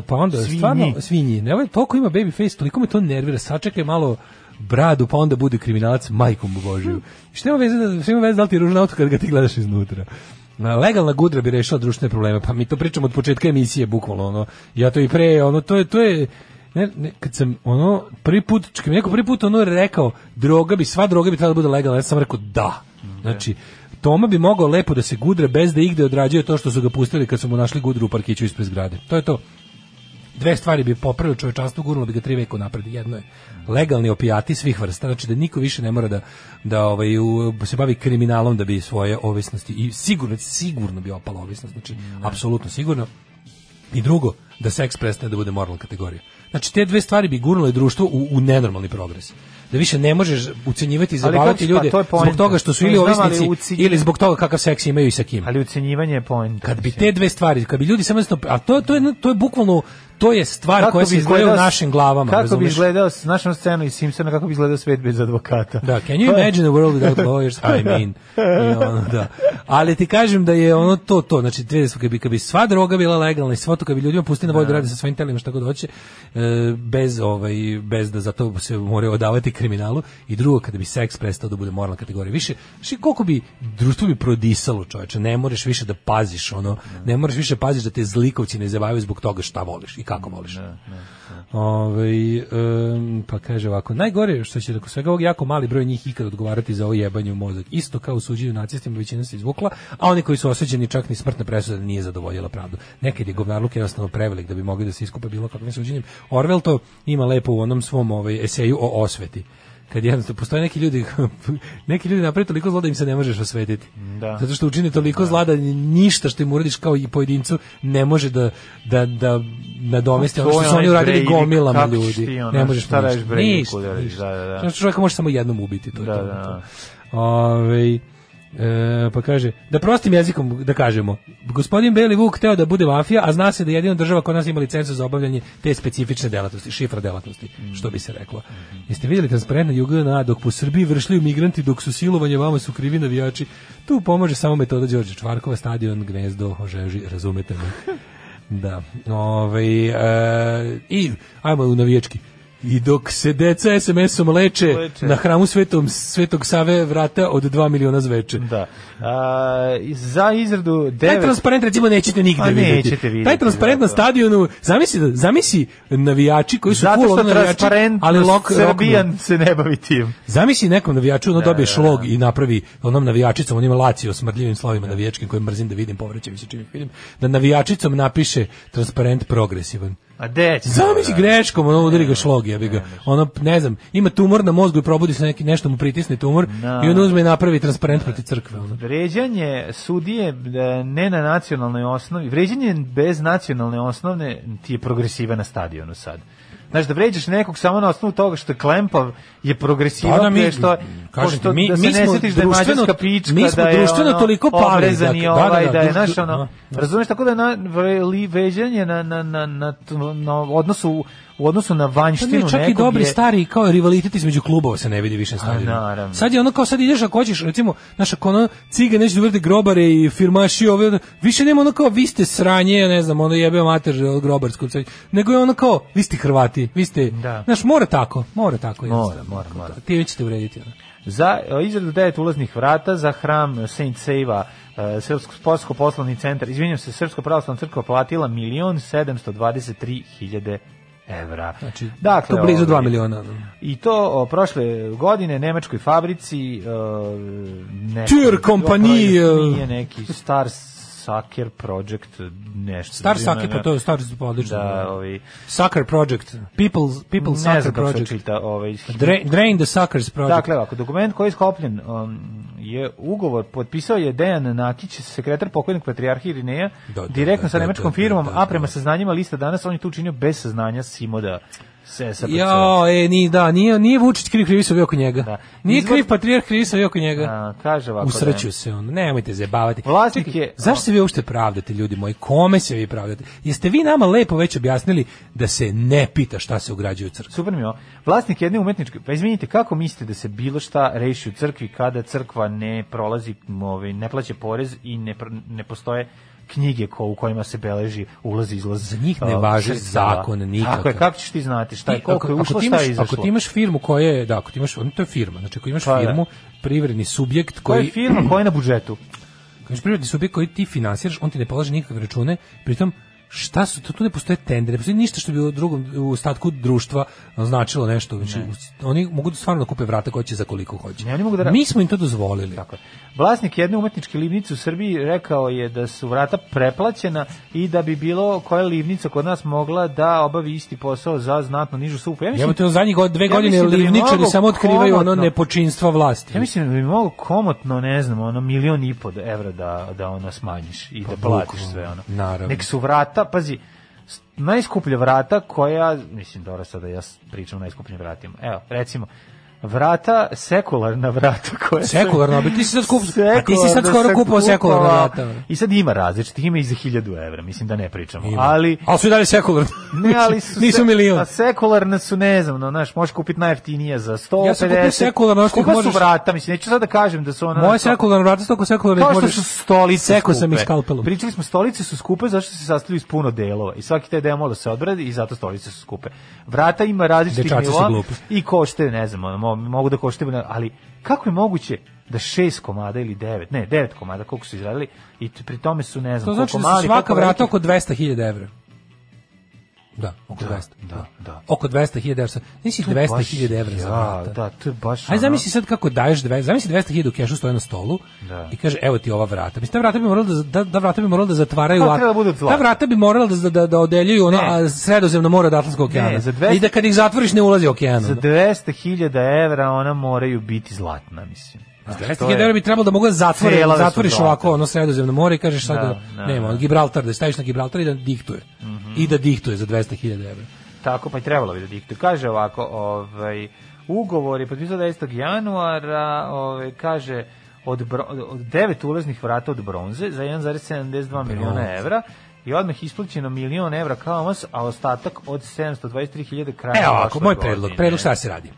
pa onda, Svinji. stvarno, svinji. Ne, ovaj, toliko ima baby face, toliko me to nervira. Sačekaj malo bradu, pa onda bude kriminalac majkom Božiju. I Šta ima veze, da, šta ima veze da li ti je ružna auto kad ga ti gledaš iznutra? Na, Legalna gudra bi rešila društvene probleme, pa mi to pričamo od početka emisije, bukvalno, ono, ja to i pre, ono, to je, to je, ne, ne, kad sam ono prvi put, čekaj, mi je neko prvi put ono rekao, droga bi, sva droga bi trebala da bude legalna, ja sam rekao da. Znači, Toma bi mogao lepo da se gudre bez da igde odrađuje to što su ga pustili kad su mu našli gudru u parkiću ispred zgrade. To je to dve stvari bi popravilo čovečanstvo, gurnulo bi ga tri veka napred. Jedno je legalni opijati svih vrsta, znači da niko više ne mora da, da ovaj, u- se bavi kriminalom da bi svoje ovisnosti i sigurno, sigurno bi opala ovisnost, znači Da. apsolutno sigurno. I drugo, da seks prestane da bude moralna kategorija. Znači, te dve stvari bi gurnule društvo u, u nenormalni progres. Da više ne možeš ucenjivati i Ali zabavati kako- pa, ljude to je zbog poenta. toga što su Ne ili znam, ali ovisnici ucenji- ili zbog toga kakav seks imaju i sa kim Ali ucenjivanje je point. kad bi te dve stvari, kad bi ljudi samo jednostavno, a to to je to je bukvalno to je stvar koja se koja je u našim glavama, Kako bi razumeš? izgledao s našom scenu iz Simpsona, kako bi izgledao svet bez advokata? Da, can you imagine a world without lawyers? I mean. I ono, da. Ali ti kažem da je ono to to, znači dve kad bi kad bi sva droga bila legalna i sve to kad bi ljudima pustili na volju da rade sa svojim telima šta god hoće, e, bez ovaj bez da zato se moraju odavati kriminalu i drugo kada bi seks prestao da bude moralna kategorija. Više, znači koliko bi društvo bi prodisalo, čoveče, ne možeš više da paziš ono, ne moraš više paziš da te zlikovci ne zabavaju zbog toga šta voliš. I kako voliš. Ovaj, em, pa kaže ovako, najgore je što će tako svega ovog jako mali broj njih ikad odgovarati za ovo jebanje u mozak. Isto kao u suđenju nacistima većina se izvukla, a oni koji su osuđeni čak ni smrtna presuda nije zadovoljila pravdu. Nekad je govnarluk jednostavno prevelik da bi mogli da se iskupe bilo kakvim suđenjem. Orwell to ima lepo u onom svom ovaj, eseju o osveti kad jednostavno postoje neki ljudi neki ljudi naprave toliko zla da im se ne možeš osvetiti. Da. Zato što učine toliko zla da ništa što im uradiš kao i pojedincu ne može da da da nadomesti ono To što je su oni onaj uradili Breivik, gomilama kako ćeš ti, ljudi. ono, Ne možeš šta mu ništa. radiš Breiviku, Ništa, da radiš, ništa. da, da, da. Znaš, čovjeka može samo jednom ubiti, to je Da, to. da, da. Ovaj, e, pa kaže, da prostim jezikom da kažemo, gospodin Beli Vuk teo da bude mafija, a zna se da jedina država koja nas ima licencu za obavljanje te specifične delatnosti, šifra delatnosti, što bi se reklo. Jeste vidjeli transparentno JGNA, dok po Srbiji vršljuju migranti, dok su silovanje, vama su krivi navijači, tu pomaže samo metoda Đorđe Čvarkova, stadion, gnezdo, ožeži, razumete me. Da. Ovaj, e, I, ajmo u navijački. I dok se deca SMS-om leče, Leče. na da hramu svetom, Svetog Save vrata od 2 miliona zveče. Da. A, za izradu Taj devet... transparent recimo nećete nigde Pa vidjeti. nećete da, vidjeti, Taj transparent na zato. stadionu, zamisli, da- zamisli navijači koji su Zato full što ono navijači, transparent ali lok, rockman. Srbijan Da, se ne bavi tim. Zamisli nekom navijaču, ono dobije šlog i napravi onom navijačicom, onim lacio smrdljivim slovima navijačkim koje mrzim da vidim, povraćam se čim ih vidim, da navijačicom napiše transparent progresivan. A de će se Zamisli to greškom, ono udari ga Da, šlog, jebi ga. Ono, ne znam, ima tumor na mozgu i probudi se neki, nešto mu pritisne tumor Da. i on uzme i napravi transparent proti crkve. Ono. Vređanje sudije e, ne na nacionalnoj osnovi, vređanje bez nacionalne osnovne ti je progresiva na stadionu sad. Znaš, da vređaš nekog samo na osnovu toga što je klempav, je progresiva, Pa da, mi- što, kažem ti, pošto mi- da se mi ne smo sjetiš da je društveno- mađarska pička, mi smo da je društveno ono, toliko pali, obrezan dakle, i da, da, ovaj, da, da je, društveno- znaš, ono, da. razumeš, tako da je na, vre- li- veđanje na, na, na, na, na odnosu, u odnosu na Sad vanjštinu mi je Pa čak i nekog dobri je- stari kao rivalitet između klubova se ne vidi više na stadionu. naravno. Sad je ono kao sad ideš ako hoćeš recimo naš ako ono ciga neće dovrti grobare i firmaši ove ono, više nema ono kao vi ste sranje, ne znam, ono jebe mater grobarsko sve. Nego je ono kao vi ste Hrvati, vi ste. Da. Znaš, mora tako, mora tako Mora, jednostavno. mora, mora. Ti već ćete urediti. Ono. Za e, izradu devet ulaznih vrata za hram Saint Seiva, e, Srpsko sportsko poslovni centar, izvinjam se, Srpska pravoslavna crkva platila milion sedamsto dvadeset tri hiljade evra. Znači, to blizu ovaj, 2 miliona. ono. I to o, prošle godine nemačkoj fabrici e, neko- Tür kompanije. nije neki Star Sucker Project nešto. Star Ima, Sake, pa to je Star pa odlično. Da, ovi, Sucker Project, People's, People's ne Sucker znam kako se Project. čita. Ovaj, Dra- Drain the Suckers Project. Dakle, ovako, dokument koji je sklopljen um, je ugovor, potpisao je Dejan Nakić, sekretar pokojnog patrijarha Irineja, Da, da, direktno da, sa da, nemačkom da, firmom, da, da, a prema da. saznanjima lista danas on je tu učinio bez saznanja Simoda SSPC. Ja, e, ni, da, nije, nije Vučić kriv, krivi su ovi oko njega. Da. Nije Izvor- kriv patrijarh, krivi su ovi oko njega. A, kaže ovako. Usreću da- se on, nemojte zebavati. Vlasnik Čekaj, je- Zašto se vi uopšte pravdate, ljudi moji? Kome se vi pravdate? Jeste vi nama lepo već objasnili da se ne pita šta se ugrađuje u crkvu? Super mi je ovo. Vlasnik jedne umetničke, pa izvinite, kako mislite da se bilo šta reši u crkvi kada crkva ne prolazi, m, ovaj, ne plaća porez i ne, pr- ne postoje knjige ko, u kojima se beleži ulaz i izlaz. Za njih ne a, važi sredstava. zakon nikakav. Tako je, kako ćeš ti znati šta je, Ti, koliko je ušlo, ti šta imaš, je izašlo? ako ti imaš firmu koja je, da, ako ti imaš, on, to je firma, znači ako imaš Pa da. firmu, privredni subjekt Koja je koji firma, koja je na budžetu? Kažeš privredni subjekt koji ti finansiraš, on ti ne polaže nikakve račune, pritom šta su to tu ne postoje tender, ne postoji ništa što bi u drugom u ostatku društva značilo nešto. Znači, oni mogu stvarno da kupe vrata koja će za koliko hoće. Ne, oni mogu da ra- Mi smo im to dozvolili. Tako je. Vlasnik jedne umetničke livnice u Srbiji rekao je da su vrata preplaćena i da bi bilo koja livnica kod nas mogla da obavi isti posao za znatno nižu supu. Ja mislim, Jebote, u zadnjih god- dve ja godine mislim da bi livničari mogao samo otkrivaju ono komotno- nepočinstva vlasti. Ja mislim da bi mogo komotno, ne znam, ono milion i po evra da, da ono smanjiš i da platiš Pa bukvalno, sve ono. naravno. Nek su vrata, pazi, s- najskuplja vrata koja, mislim, dobro sada ja s- pričam o najskupljim vratima. Evo, recimo, vrata, sekularna vrata koja se- Sekularno, ali ti si sad kup- pa ti si sad Sekularna skoro da se kupao sekularna kupala. vrata. I sad ima različitih, ima i za 1000 evra, mislim da ne pričamo. Ali, ali su i dalje sekularni. ne, ali su Nisu se- milion. A sekularne su, ne znam, no, znaš, možeš kupiti najjeftinije za 150. Ja sam kupio sekularno, znaš, Skupa kako možeš- su vrata, mislim, neću sad da kažem da su ona... Moje sekularno vrata su toliko sekularni. Kao što su stolice Sekao sam skupe. ih skalpelom. Pričali smo, stolice su skupe zato što se sastavljaju iz puno delova i svaki taj deo mora da se odbradi i zato stolice su skupe. Vrata ima različitih Dečaci su nivoa glupi. i košte, ne znam, ono, mo- mogu da košte, ali kako je moguće da šest komada ili devet, ne, devet komada, koliko su izradili, i t- pri tome su, ne znam, To znači koliko da su mali, svaka koliko vrata veliki. oko 200.000 evra. Da, oko Da, 200. da, da. Oko 200.000 evra. sa- Nisi To je baš- 200.000 evra ja, za vrata. da, to je baš Aj ono- zamisli sad kako daješ, dve- zamisli 200.000 u kešu stoje na stolu Da. i kaže evo ti ova vrata. Mislim ta vrata bi morala da da, da vrata bi morala da zatvaraju. Pa, a- treba da budu od zlata. ta vrata bi morala da da, da odeljuju ono Ne. a sredozemno more od Atlantskog Ne, okeana. za 200 I da kad ih zatvoriš ne ulazi okean. Za ono. 200.000 evra ona moraju biti zlatna, mislim. Znaš, Jeste, to je- Hedera bi trebalo da mogu zatvore, Cela da su zatvoriš zlata. ovako ono sredozemno more i kažeš sad da, Da, da, nema, da. Mhm. Gibraltar, da staviš na Gibraltar i da diktuje. I da diktuje za 200.000 evra. Tako, pa i trebalo bi da diktuje. Kaže ovako, ovaj, ugovor je potpisao 10. januara, ovaj, kaže, od, bro- od devet ulaznih vrata od bronze za 1,72 miliona evra i odmah isplaćeno milion evra kao mas, a ostatak od 723.000 kraja. Evo E, ovako, moj predlog, predlog šta se radi.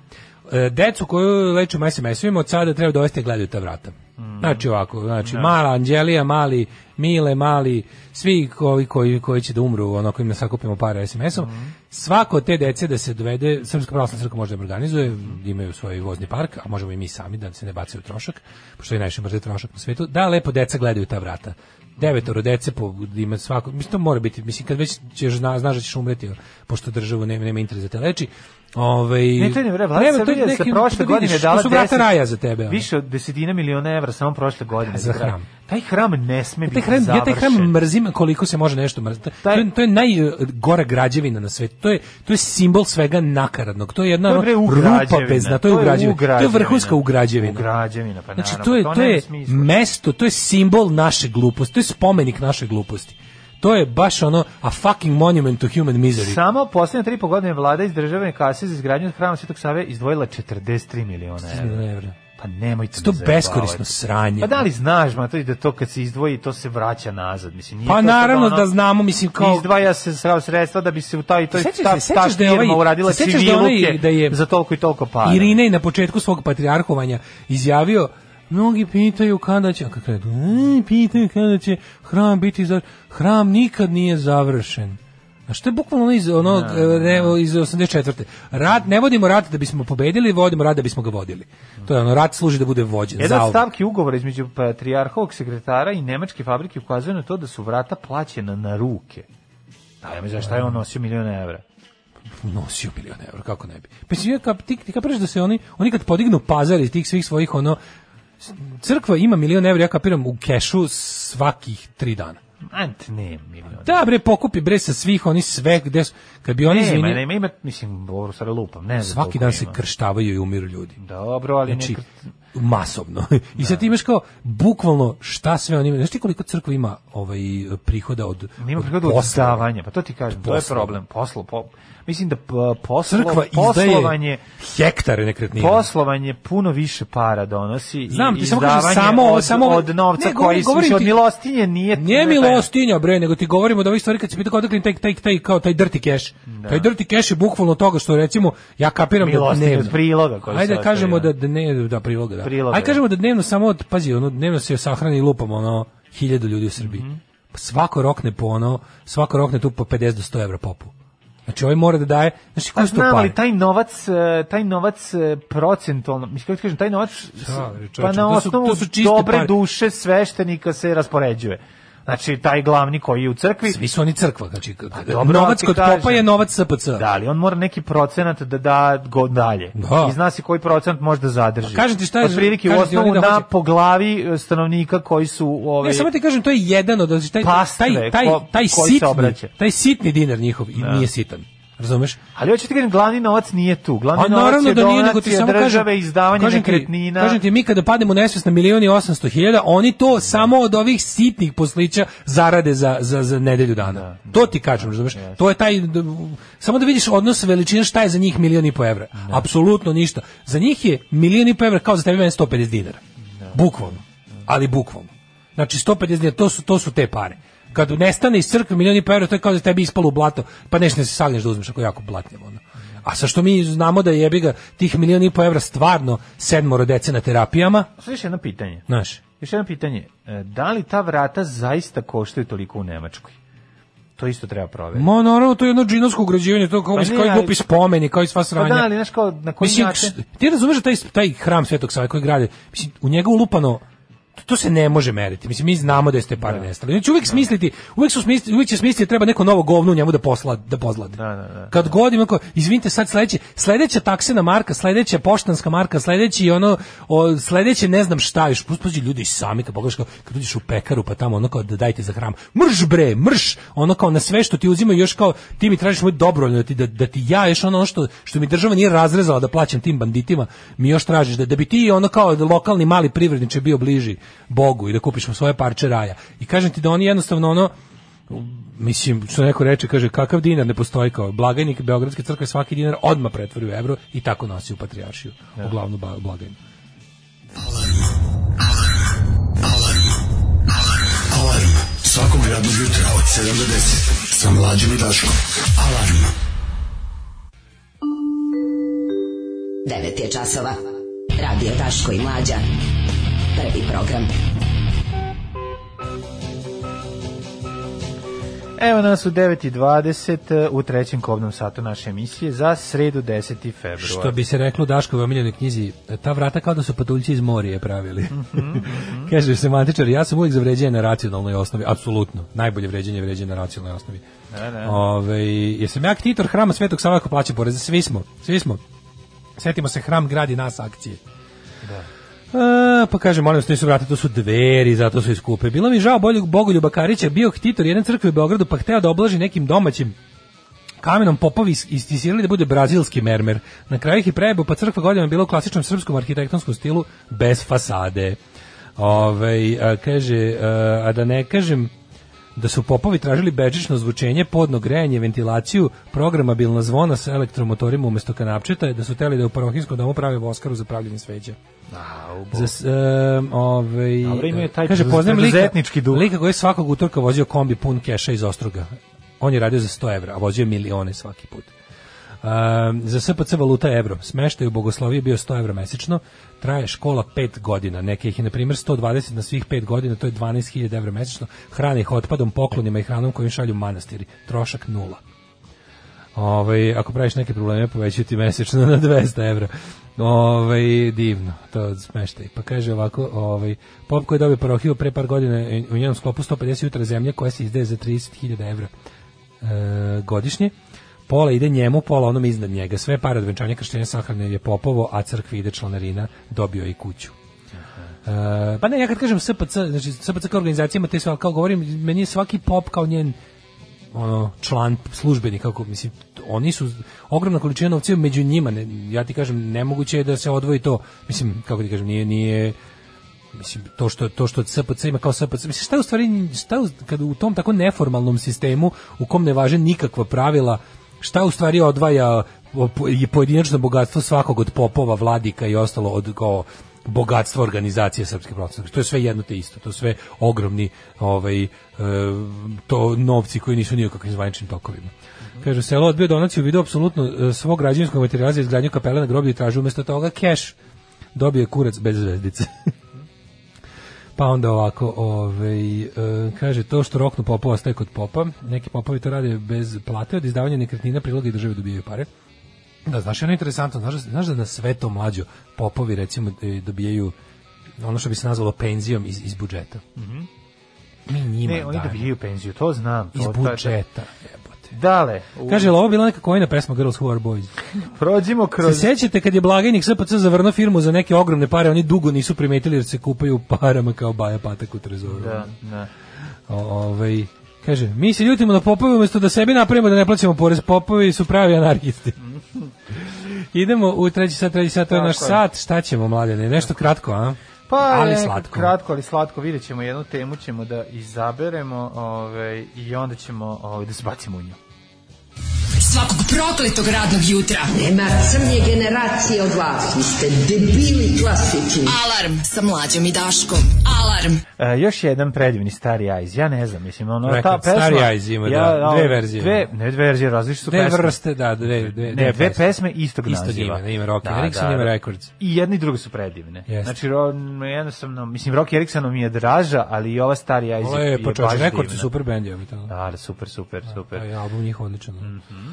E, Decu koju lečimo SMS-ovima od sada treba dovesti da gledaju ta vrata. Znači ovako, znači mala Anđelija, mali Mile, mali, svi koji, koji, koji će da umru, ono kojim ne sakupimo par SMS-om, svako od te dece da se dovede, Srpska pravoslavna crkva može da im organizuje, da imaju svoj vozni park, a možemo i mi sami da se ne bacaju trošak, pošto je najviše mrze trošak na svetu, da lepo deca gledaju ta vrata. Devetoro dece po, ima svako, mislim to mora biti, mislim kad već ćeš, zna, znaš da ćeš umreti, pošto državu nema, nema interes da te leči, ovaj, Ne, to je ne vreme. Vlada Treba, to je Srbije sa neki- da prošle to vidiš, godine to dala su vrata 10 raja za tebe. ono. Više od desetina miliona evra samo prošle godine. Za za kraj. hram. Taj hram ne sme Ja taj biti hram, ja taj hram završen. mrzim koliko se može nešto mrziti. To Taj- je, to je najgora građevina na svetu. To je, to je simbol svega nakaradnog. To je jedna To je ono, bre rupa ugrađevina. bez dna. To je ugrađevina. To je ugrađevina. vrhunska ugrađevina. Ugrađevina, pa Znači, naravno, to je, pa to nema je smisla. mesto, to je simbol naše gluposti. To je spomenik naše gluposti. To je baš ono a fucking monument to human misery. Samo poslednje tri i po godine vlada iz državne kase za izgradnju hrama Svetog Save izdvojila 43 miliona evra. Evra. Pa nemojte To me beskorisno zajebavati. sranje. Pa da li znaš, ma, to i da to kad se izdvoji, to se vraća nazad. Mislim, nije Pa to sad naravno ono- da znamo, mislim, kao- Izdvaja se sa- sredstva da bi se u taj, toj, Sećaš se- ta, ta sećaš da je firma ovaj- uradila se sećaš da onaj civiluke da je- za toliko i toliko para. Irina je na početku svog patrijarhovanja izjavio Mnogi pitaju kada će, a kako je, "E, pitaju kada će hram biti završen. Hram nikad nije završen. A što je bukvalno ono iz, onog, e, re- iz 84. Rat, ne vodimo rat da bismo pobedili, vodimo rat da bismo ga vodili. To je ono, rat služi da bude vođen. Jedan od zauvek. stavki ugovora između patrijarhovog sekretara i nemačke fabrike ukazuje na to da su vrata plaćena na ruke. Da, ja šta je on nosio miliona evra? nosio milion evra, kako ne bi. Pa si ja kap, ti, ti kapiraš da se oni, oni kad podignu pazar iz tih svih svojih, ono, s- crkva ima milion evra, ja kapiram, u kešu svakih tri dana. Ant ne, miliona. Da, bre, pokupi, bre, sa svih, oni sve, gde su, kad bi oni ne, Pa izvini, ma, ne, ima, ima, mislim, dobro, sad lupam, ne znam svaki koliko dan se da ima. krštavaju i umiru ljudi. Dobro, ali Znači, nekad- masovno. I Da. sad ti imaš kao, bukvalno, šta sve oni imaju. Znaš ti koliko crkva ima ovaj, prihoda od, Nema prihoda od poslova? davanja, pa to ti kažem, to je Posla. problem. Poslo, po, mislim da p- poslo, Crkva poslovanje, izdaje hektare nekretnina. poslovanje puno više para donosi Znam, i ti samo kažem, izdavanje samo ovo- od, samo ovo- od novca Ne, govorim- koji se govorim više od ti- milostinje nije... Nije ne, taj- milostinja bre, nego ti govorimo da ovih stvari kad se pita kao odakle im taj, taj, taj, kao taj dirty cash. Taj dirty cash je bukvalno toga što recimo, ja kapiram Da. Milostinja da od dnevno. priloga koji se Ajde ostavi, kažemo da. da, da ne, da priloga, da. Priloga, Ajde da. kažemo da dnevno samo, od, pazi, ono, dnevno se sahrani lupom, ono, hiljadu ljudi u Srbiji. Mhm. Pa svako rokne po ono, svako rokne tu po 50 do 100 evra popu. Znači ovaj mora da daje, znači Pa koji su to znam, pare? ali taj novac, e, taj novac e, procentualno, mislim kako ti kažem, taj novac s- bre, Da, čoveče, pa na to su- osnovu to su čiste dobre pare. duše sveštenika se raspoređuje. Znači, taj glavni koji je u crkvi, Svi su oni crkva, znači dobro, ali novac ti kod popa kažem. je novac SPC. da li, on mora neki procenat da da go dalje. Da. I zna se koji procenat može da zadrži. Pa kažem ti šta je- Otprilike u kažem ti osnovu oni da na hoće- po glavi e, stanovnika koji su... Ove, Ne, samo ti kažem, to je jedan od znači, taj, Pastve taj, taj, ko- taj, koji se sitni, obraća. Da. taj sitni dinar njihov i nije sitan. Razumeš? Ali hoću ti kažem, glavni novac nije tu. Glavni A novac naravno je da nije, nego ti donacija samo države, kažem, izdavanje kažem ti- nekretnina. kažem ti, mi kada pademo u nesvest na milioni i osamsto hiljada, oni to samo od ovih sitnih poslića zarade za, za, za nedelju dana. Da, to ti kažem, razumeš? To je taj, d- samo da vidiš odnos veličina šta je za njih milion i po evra. Da. Apsolutno ništa. Za njih je milion i po evra kao za tebe meni 150 dinara. Bukvalno. Ali bukvalno. Znači 150 dinara, to su, to su te pare. Kad nestane iz crkve milion i po evra, to je kao da tebi ispalo u blato, pa nešto ne se sagneš da uzmeš ako je jako blatnjamo. Ono. A sa što mi znamo da jebi ga tih milion i po evra stvarno sedmoro dece na terapijama, Sad još jedno pitanje. znaš, Još jedno pitanje. E, Da li ta vrata zaista koštaju toliko u Nemačkoj? To isto treba proveriti. Ma naravno, to je jedno džinovsko ugrađivanje, to kao, Pa mislim, ne, kao i ali- glupi spomeni, kao i sva Pa sranja. da, ali znaš kao, na koji mislim, način... kš- ti razumeš da taj, taj hram Svetog Save koji grade, mislim, u njega ulupano to, to se ne može meriti. Mislim mi znamo da ste pare nestale. Znači uvek smisliti, uvek su smisliti, uvek će smisliti da treba neko novo govno u njemu da posla da pozlade. Kad god ima ko, izvinite sad sledeće, sledeća taksena marka, sledeća poštanska marka, sledeći ono o, sledeće ne znam šta još. Puspuđi ljudi sami kad pogledaš kao, kad uđeš u pekaru pa tamo ono kao da dajte za hram. Mrš bre, mrš. Ono kao na sve što ti uzimaju još kao ti mi tražiš moj dobro da ti da, da ti ja još ono što što mi država nije razrezala da plaćam tim banditima, mi još tražiš da da bi ti ono kao lokalni mali privredniče bio bliži Bogu i da kupiš mu svoje parče raja. I kažem ti da oni jednostavno ono mislim što neko reče kaže kakav dinar ne postoji kao blagajnik beogradske crkve svaki dinar odma pretvori u evro i tako nosi u patrijaršiju u glavnu ba- blagajnu. Alarm svakog radnog jutra od 7 do 10 sa mlađom i Daškom. Alarm. 9 je časova. Radio Daško i Mlađa. Prvi program. Evo nas u 9.20 e, u trećem kobnom satu naše emisije za sredu 10. februar. Što bi se reklo u Daškovoj omiljenoj knjizi, ta vrata kao da su patuljci iz morije pravili. Mhm, Kaže semantičar, ja sam uvijek za vređenje na racionalnoj osnovi, apsolutno. Najbolje vređenje je vređenje na racionalnoj osnovi. Da, da. Ove, jesam ja ktitor hrama Svetog Sava ako plaća poreze? Svi smo, svi smo. Sjetimo se, hram gradi nas akcije. Da. A, pa kaže, molim vas, nisu vrata, to su dveri, zato su iskupe. Bilo mi žao boljeg Bogoljuba Karića, bio htitor jedne crkve u Beogradu, pa hteo da oblaži nekim domaćim kamenom popovi is- istisirali da bude brazilski mermer. Na kraju ih i prejebo, pa crkva godinama je bila u klasičnom srpskom arhitektonskom stilu bez fasade. Ove, a, kaže, a, a da ne kažem da su popovi tražili bežično zvučenje, podno grejanje, ventilaciju, programabilna zvona sa elektromotorima umesto kanapčeta, da su teli da u parohijskom domu prave voskaru za pravljenje sveđa. Za, s- em, ovaj, Dobro, imaju taj kaže, poznajem lika, preduzetnički duh. lika koji je svakog utorka vozio kombi pun keša iz Ostruga. On je radio za 100 evra, a vozio je milione svaki put. Em, za SPC valuta je evro. Smeštaj u Bogosloviji je bio 100 evra mesečno. Traje škola 5 godina. Neke ih je, na primjer, 120 na svih 5 godina, to je 12.000 evra mesečno. Hrane ih otpadom, poklonima i hranom koju im šalju manastiri. Trošak nula. Ovaj ako praviš neke probleme, povećaju ti mesečno na 200 evra. Ovaj divno, to smeštaj. Pa kaže ovako, ovaj pop koji je dobio parohiju pre par godina i u njenom sklopu 150 jutra zemlje koja se izdaje za 30.000 evra e, godišnje. Pola ide njemu, pola onom iznad njega. Sve pare od venčanja krštenja sahrane je popovo, a crkvi ide članarina, dobio je i kuću. E, pa ne, ja kad kažem SPC, znači SPC kao organizacija ima te sve, ali kao govorim, meni je svaki pop kao njen ono, član službeni, kako, mislim, oni su ogromna količina novca je među njima, ne, ja ti kažem, nemoguće je da se odvoji to, mislim, kako ti kažem, nije, nije, mislim to što to što SPC ima kao SPC mislim šta je u stvari šta u, kad u tom tako neformalnom sistemu u kom ne važe nikakva pravila šta u stvari odvaja o- po- i pojedinačno bogatstvo svakog od popova, vladika i ostalo od kao bogatstvo organizacije Srpske pravoslavne crkve. To je sve jedno te isto, to su sve ogromni ovaj e, to novci koji nisu ni u kakvim zvaničnim tokovima. Kaže, selo odbio donaciju u vidu apsolutno e, svog građevinskog materijala za izgradnju kapele na groblju i traži umjesto toga keš. Dobio je kurac bez zvezdice. Pa onda ovako, ovaj, e, kaže, to što roknu popova ostaje kod popa, neki popovi to rade bez plate, od izdavanja nekretnina, priloga i države dobijaju pare. Da, znaš, ono je interesantno, znaš, znaš da na sve to mlađo popovi, recimo, e, dobijaju ono što bi se nazvalo penzijom iz, iz budžeta. Mi Ne, njima Mhm. E, oni dajemo dobijaju penziju, to znam. To, iz to- to- budžeta. jebote. Dale, u- Kaže, jel ovo bila neka kojina pesma Girls Who Are Boys? prođimo Se kroz... sjećate kad je blagajnik SPC zavrnuo firmu za neke ogromne pare, oni dugo nisu primetili jer se kupaju u parama kao baja patak u trezoru. Da, da. O, ovaj, kaže, mi se ljutimo na popove umjesto da sebi napravimo da ne plaćamo porez. Popovi su pravi anarhisti. Idemo u treći sat, treći sat, to je Tako naš je. sat. Šta ćemo, mladene? Nešto kratko, a? Pa, ali nekako slatko. Kratko, ali slatko, vidjet ćemo jednu temu, ćemo da izaberemo ovaj, i onda ćemo ovaj, da se bacimo u nju. Svakog prokletog radnog jutra. Nema crnje generacije od vas. Vi ste debili klasični. Alarm sa Mlađom i Daškom. Alarm. E, još jedan predivni Stari Eyes, ja ne znam, mislim, ono, Rekao, ta pesma... Starry Eyes ima, da, ovaj, dve verzije. Dve, ne, dve verzije, različite su Dve pesme. vrste, da, dve, dve, Ne, dve pesme istog Istog naziva. Da, imena, da, ima Rocky Erickson, ima Records. I jedni i drugi su predivne. Jeste. Znači, ro- jednostavno, mislim, Rocky Erickson mi je draža, ali i ova Stari Eyes Ovo je, je, pa čovječe, baš rekord su divna. super bendi, ovi tamo. Da, Mm-hmm. da, super, super, super. Taj album njih odličan. da.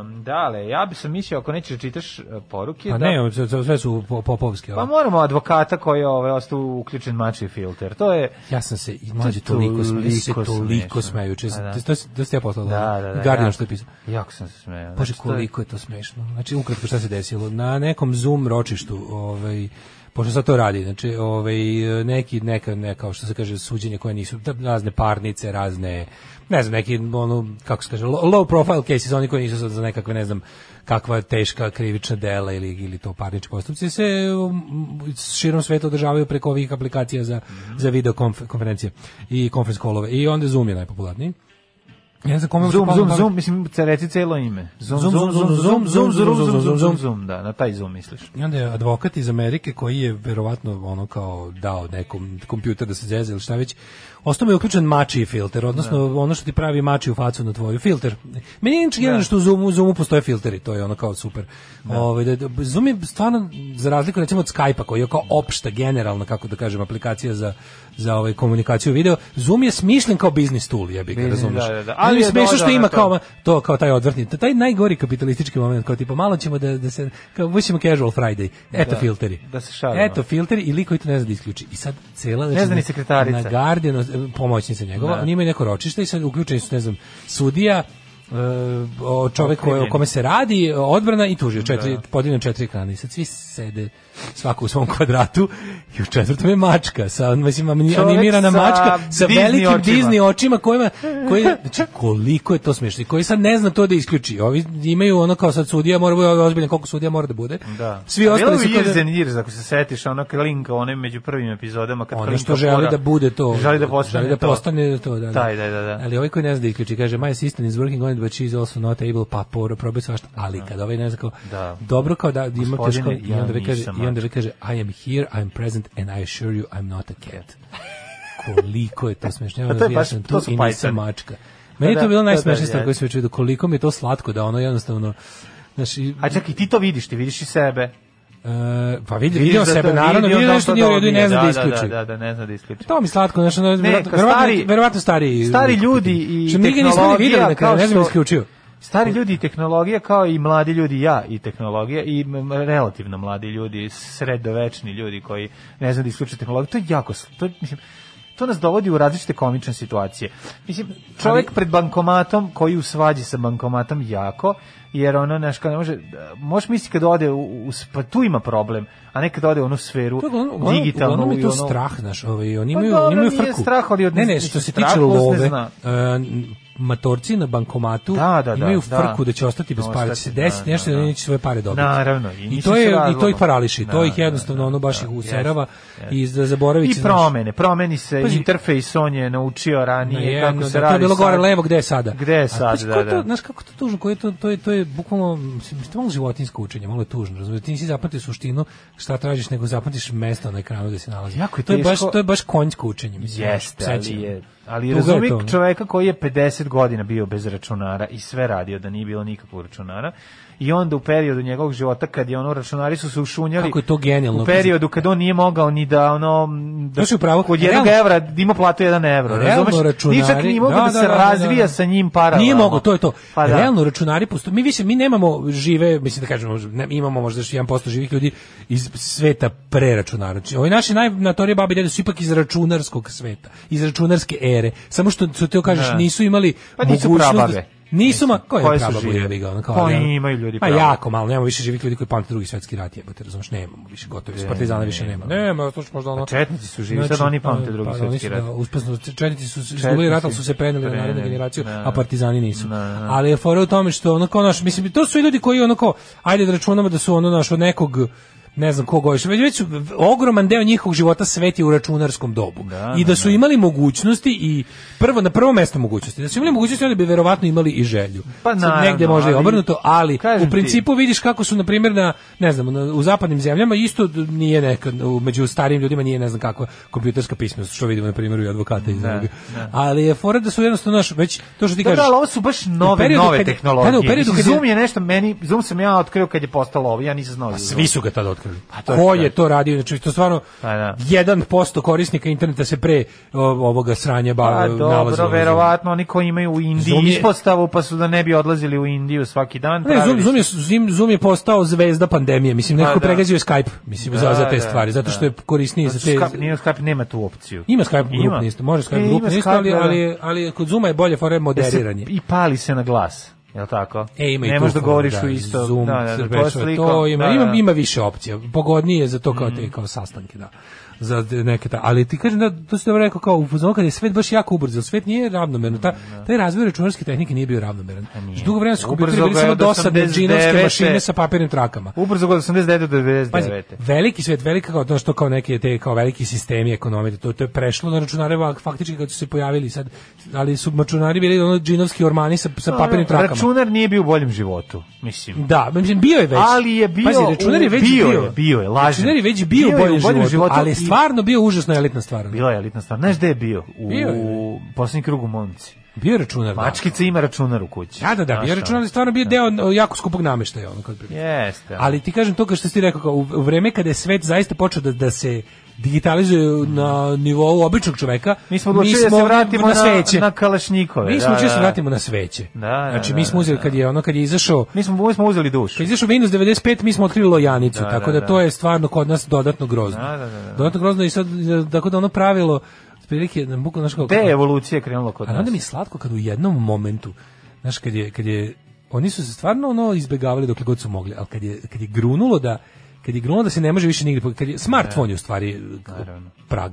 Um, dale, ja bi sam mislio ako nećeš da čitaš e, poruke, Pa da, ne, sve, sve su po- popovski. pa Pa, moramo advokata koji je ovaj ostao uključen mači filter. To je Pa Ja sam se mlađe toliko smejao, ja sam se toliko smejao, juče sam- to- to si- to ste ja poslala, Da, da, da. Guardian ja- što je pisao. Jako sam se smejao. Bože, Znači, to je- koliko je to smešno. Znači, ukratko šta se desilo. Na nekom Zoom ročištu, ovaj, pošto sad to radi, znači, ovaj, neki, neka, neka, kao što se kaže, suđenje koje nisu, da, razne parnice, razne, ne znam, neki, ono, kako se kaže, lo- low profile cases, oni koji nisu sad za nekakve, ne znam, kakva teška krivična dela ili, ili to parnični postupci se um, širom sveta održavaju preko ovih aplikacija za, Mhm. za video konf- konferencije i conference callove. I onda Zoom je najpopularniji. Ja ne znam kome je Zoom, palo na zoom, pamet- zoom, mislim, ce- reci celo ime. Zoom, Zoom, zoom, zoom, zoom, zoom, zoom, zoom, zoom, zoom, zoom, zoom, da, na taj zoom misliš. I onda je advokat iz Amerike koji je verovatno ono kao dao nekom kompjuter da se zeze ili šta već. Ostao mu je uključen mačiji filter, odnosno Da. ono što ti pravi mači u facu na tvoju filter. Meni je inače generalno što u Zoomu, Zoomu postoje filteri, to je ono kao super. Ovaj, da- da- Zoom je stvarno, za razliku recimo od Skype-a koji je kao opšta, generalna, kako da kažem, aplikacija za, za ovaj komunikaciju video, Zoom je smišljen kao biznis tool, jebi ga, Biznis, razumeš. da, da, da. Ali Ali je je smešno što dodao ima na kao, to. to kao taj odvrtni, taj najgori kapitalistički moment, kao tipa malo ćemo da, da se, kao baš ćemo casual Friday, eto Da, filteri. da se šalimo. Eto filteri i liko i to ne zna da isključi. I sad cela, znači, Ne zna ni sekretarica. Na Guardianu, pomoćnica njegova, Da. oni imaju neko ročište i sad uključeni su, ne znam, sudija, e, o čovek koje- o kome se radi, odbrana i tužio, četiri, da. Da. podijeljeno četiri ekrana i sad svi sede svako u svom kvadratu i u četvrtom je mačka, sa, mislim, ani- Čovek animirana sa mačka sa Disney velikim očima. Disney očima kojima koji znači koliko je to smešno i koji sad ne zna to da isključi. Ovi imaju ono kao sad sudija mora bude ozbiljan koliko sudija mora da bude. Da. Svi ostali su su kao Years da- and Years, ako se setiš, ono klinka, one među prvim epizodama kad ono klinka što želi fora- da bude to. Želi da postane želi da to. postane to, da. da. Taj, da, da, da. Ali ovaj koji ne zna da isključi, kaže my assistant is working on it, but she is also not able, pa poro, probaj svašta, ali kad ovaj ne zna kao, Da. dobro kao da ima Gospodine, teško, i ja onda vi kaže, nisam i onda vi kaže, I am here, I am present, and I assure you I'm not a cat. Koliko je to smešno. Ja A to je razvija baš- sam tu to su i pajcani. nisam mačka. Meni je Da, to bilo da, da, najsmešnije stvar jeste. koju sam već vidio, koliko mi je to slatko da ono jednostavno, znaš, i- A čak i ti to vidiš, ti vidiš i sebe. e, pa vidi, Vidiš video da to- sebe, naravno, vidio video da nešto to nije u redu i ne dobije, zna da da, isključi. Da, da, da, ne zna da isključi. To mi slatko, znači, ne, verovatno, kao stari, stari- verovatno stari. Stari ljudi i Što mi ga nismo ni videli tehnologija na kraju, kao ne znam što- isključio. Stari ljudi i tehnologija kao i mladi ljudi ja i tehnologija i m- relativno mladi ljudi, sredovečni ljudi koji ne znaju da isključe tehnologiju, to je jako, s- to, je, mislim, to nas dovodi u različite komične situacije. Mislim, čovjek pred bankomatom koji u svađi sa bankomatom jako, jer ono, znaš, kao ne može, možeš misliti kad ode, u, u, s- pa tu ima problem, a ne kad ode u onu sferu To je uglavnom- uglavnom- digitalnu. Uglavnom je to i ono- strah, znaš, ovaj, oni Pa imaju, dobro, imaju nije frku. strah, ali od- ne, ne, što se strah tiče plus ne love, zna. e, n- matorci na bankomatu Da, da, da, imaju da. frku da će ostati bez para, da će se Ostati, desiti da, nešto da, da da. neće svoje pare dobiti. Naravno, i I mislim to, je, se i to ih razlogom. parališi, to Da, ih da, jednostavno da, ono baš da, ih userava jeste, i da zaboravi I će, znaš, promene, promeni se Pazi- interfejs, on je naučio Na ranije jedno, kako se da, radi. To je bilo gore sad. levo, gde je sada? Gde je A, sad, pazi, da, ko je to- da. Znaš kako je to tužno, koje je to, to je, to je bukvalno, mislim, to je malo životinsko učenje, malo je tužno, razumiješ, ti nisi zapamtio suštinu šta tražiš, nego zapamtiš mesto na ekranu gde se nalazi. Jako je to je baš, teško- to je baš konjsko učenje, mislim. Jeste, znaš, ali pseće. je, ali Tuga je razumi to, ono. čoveka koji je 50 godina bio bez računara i sve radio da nije bilo nikakvog računara. I onda u periodu njegovog života kad je ono računari su se ušunjali. Kako je to genijalno. U periodu kad on nije mogao ni da ono da To si u pravu. kod jednog Realno- evra da ima platu 1 evro, Realno razumeš? računari- Ni čak ni mogao da, da, da, se da, da, da. razvija sa njim paralelno. Nije mogo, to je to. Pa da. Realno računari posto mi više mi nemamo žive, mislim da kažemo, ne, imamo možda još 1% živih ljudi iz sveta pre računara. Znači, ovi naši najnatorije babi i dede su ipak iz računarskog sveta, iz računarske ere. Samo što su te kažeš Da. nisu imali Pa nisu mogućnost da- prababe. Nisu ma koje, Koje su prababu žive? jebi ga, ono kao, Pa ono- imaju ljudi Ma prababu. jako malo, nemamo više živih ljudi koji pamte drugi svetski rat, jebote, razumeš, nemamo više gotovi, partizana više nema. Nema, to će možda Pa ono. četnici su živi, sad oni pamte Drugi da, oni su, svetski rat. Da, uspešno, četnici su izgubili rat, ali su se preneli na narednu Preneli, generaciju, da. a partizani nisu. Da, da. Ali je fora u tome što ono kao naš, mislim, to su i ljudi koji ono kao, ajde da računamo da su ono naš od nekog ne znam koga još, već, već su ogroman deo njihovog života sveti u računarskom dobu. I da su imali mogućnosti i prvo, na prvo mesto mogućnosti. Da su imali mogućnosti, onda bi verovatno imali i želju. Pa Sad naravno, negde možda i ali- obrnuto, ali Kažem ti. u principu vidiš kako su, na primjer, na, ne znam, na- u zapadnim zemljama isto d- nije neka, u- među starijim ljudima nije, ne znam kakva, kompjuterska pismenost, što vidimo, na primjer, i advokata iz ovog. Ali je fora da su jednostavno, naš, već, to što ti Da, kažeš, da, ali ovo su baš u nove, periodu nove kad je- tehnologije. da, da, u periodu Mislim, kad je- Zoom je nešto, meni, Zoom sam ja otkrio kad je postalo ovo, ja nisam znao. za Zoom. Pa svi su ga tada iskreno. Pa to Ko je Pa da. je to radio? Znači, to stvarno, jedan posto korisnika interneta se pre o, ovoga sranja ba, Pa nalazilo. dobro, Razumiješ? verovatno oni koji imaju u Indiji Zoom je- ispostavu pa su da ne bi odlazili u Indiju svaki dan. Ne, Zoom, pravili Zoom, je, Zoom, Zoom je postao zvezda pandemije, mislim, Pa nekako da. pregazio je Skype, mislim, za, za te Da, da, stvari, zato što je da. korisniji Zato što za te... Skype, nije, Skype nema tu opciju. Ima Skype grup Ima. na isto, može E, Skype grup ima na isto, Skype, ali, da, da. ali, ali kod Zooma je bolje fore moderiranje. Da se I pali se na glas, je li tako? E, ima i ne tu možeš da foru, govoriš da, u isto. Zoom, da, da, da, Skype, je slikom, to ima, da, da. Mm. ima, ima više opcija. Pogodnije je za to kao te kao sastanke, da. Za te neke ta, ali ti kažem da to se dobro rekao kao u fazonu kad je svet baš jako ubrzo, svet nije ravnomeran. Ta Da, taj razvoj računarske tehnike nije bio ravnomeran. Dugo vremena su kompjuteri Pa Ubrzo bili ga je samo od dosadne 89. džinovske mašine sa papirnim trakama. Ubrzo god 89 do 99. Pazi, veliki svet, velika kao to što kao neke te kao veliki sistemi ekonomije, to, to je prešlo na računare va- faktički kad su se pojavili sad, ali su računari bili ono džinovski ormani sa, sa papirnim trakama. Računar nije bio u boljem životu, mislim. Da, mislim bio je već. Ali je bio Pazi, računar je u- već bio bio. je, bio je, lažem. Računar je već bio, Bio je u boljem životu, ali i- je stvarno bio užasno elitna stvar. Bila je elitna stvar. Znaš gde je bio? U, Bio je. u posljednji krug u Monci. Bio je računar. da. Mačkica ima računar u kući. Da, da, da, Znaš bio je računar, ali stvarno bio deo o, jako skupog nameštaja ono kad ono. Jeste. Ali ti kažem to kao što si ti rekao, kao, u u vreme kada je svet zaista počeo da, da se digitalizuje na nivou običnog čoveka, Mi smo odlučili da se smo vratimo na, na sveće. na kalašnjikove. Mi smo da, odlučili da se da. vratimo na sveće. Da, da, Znači da, mi smo da, uzeli kad je ono kad je izašao Mi smo, mi smo uzeli dušu. Kad je izašao Windows 95 mi smo otkrili lojanicu, Da, tako da, da, da. to je stvarno kod nas dodatno grozno. Da, da, da, da. Dodatno grozno i sad tako da ono pravilo otprilike na buku znaš kako. Te je evolucija krenula kod Ali onda nas. mi je slatko kad u jednom momentu znaš kad je kad je oni su se stvarno ono izbegavali dokle god su mogli, ali kad je kad je grunulo da kad je grunulo da se ne može više nigde po- kad je smartfon je u stvari Naravno. prag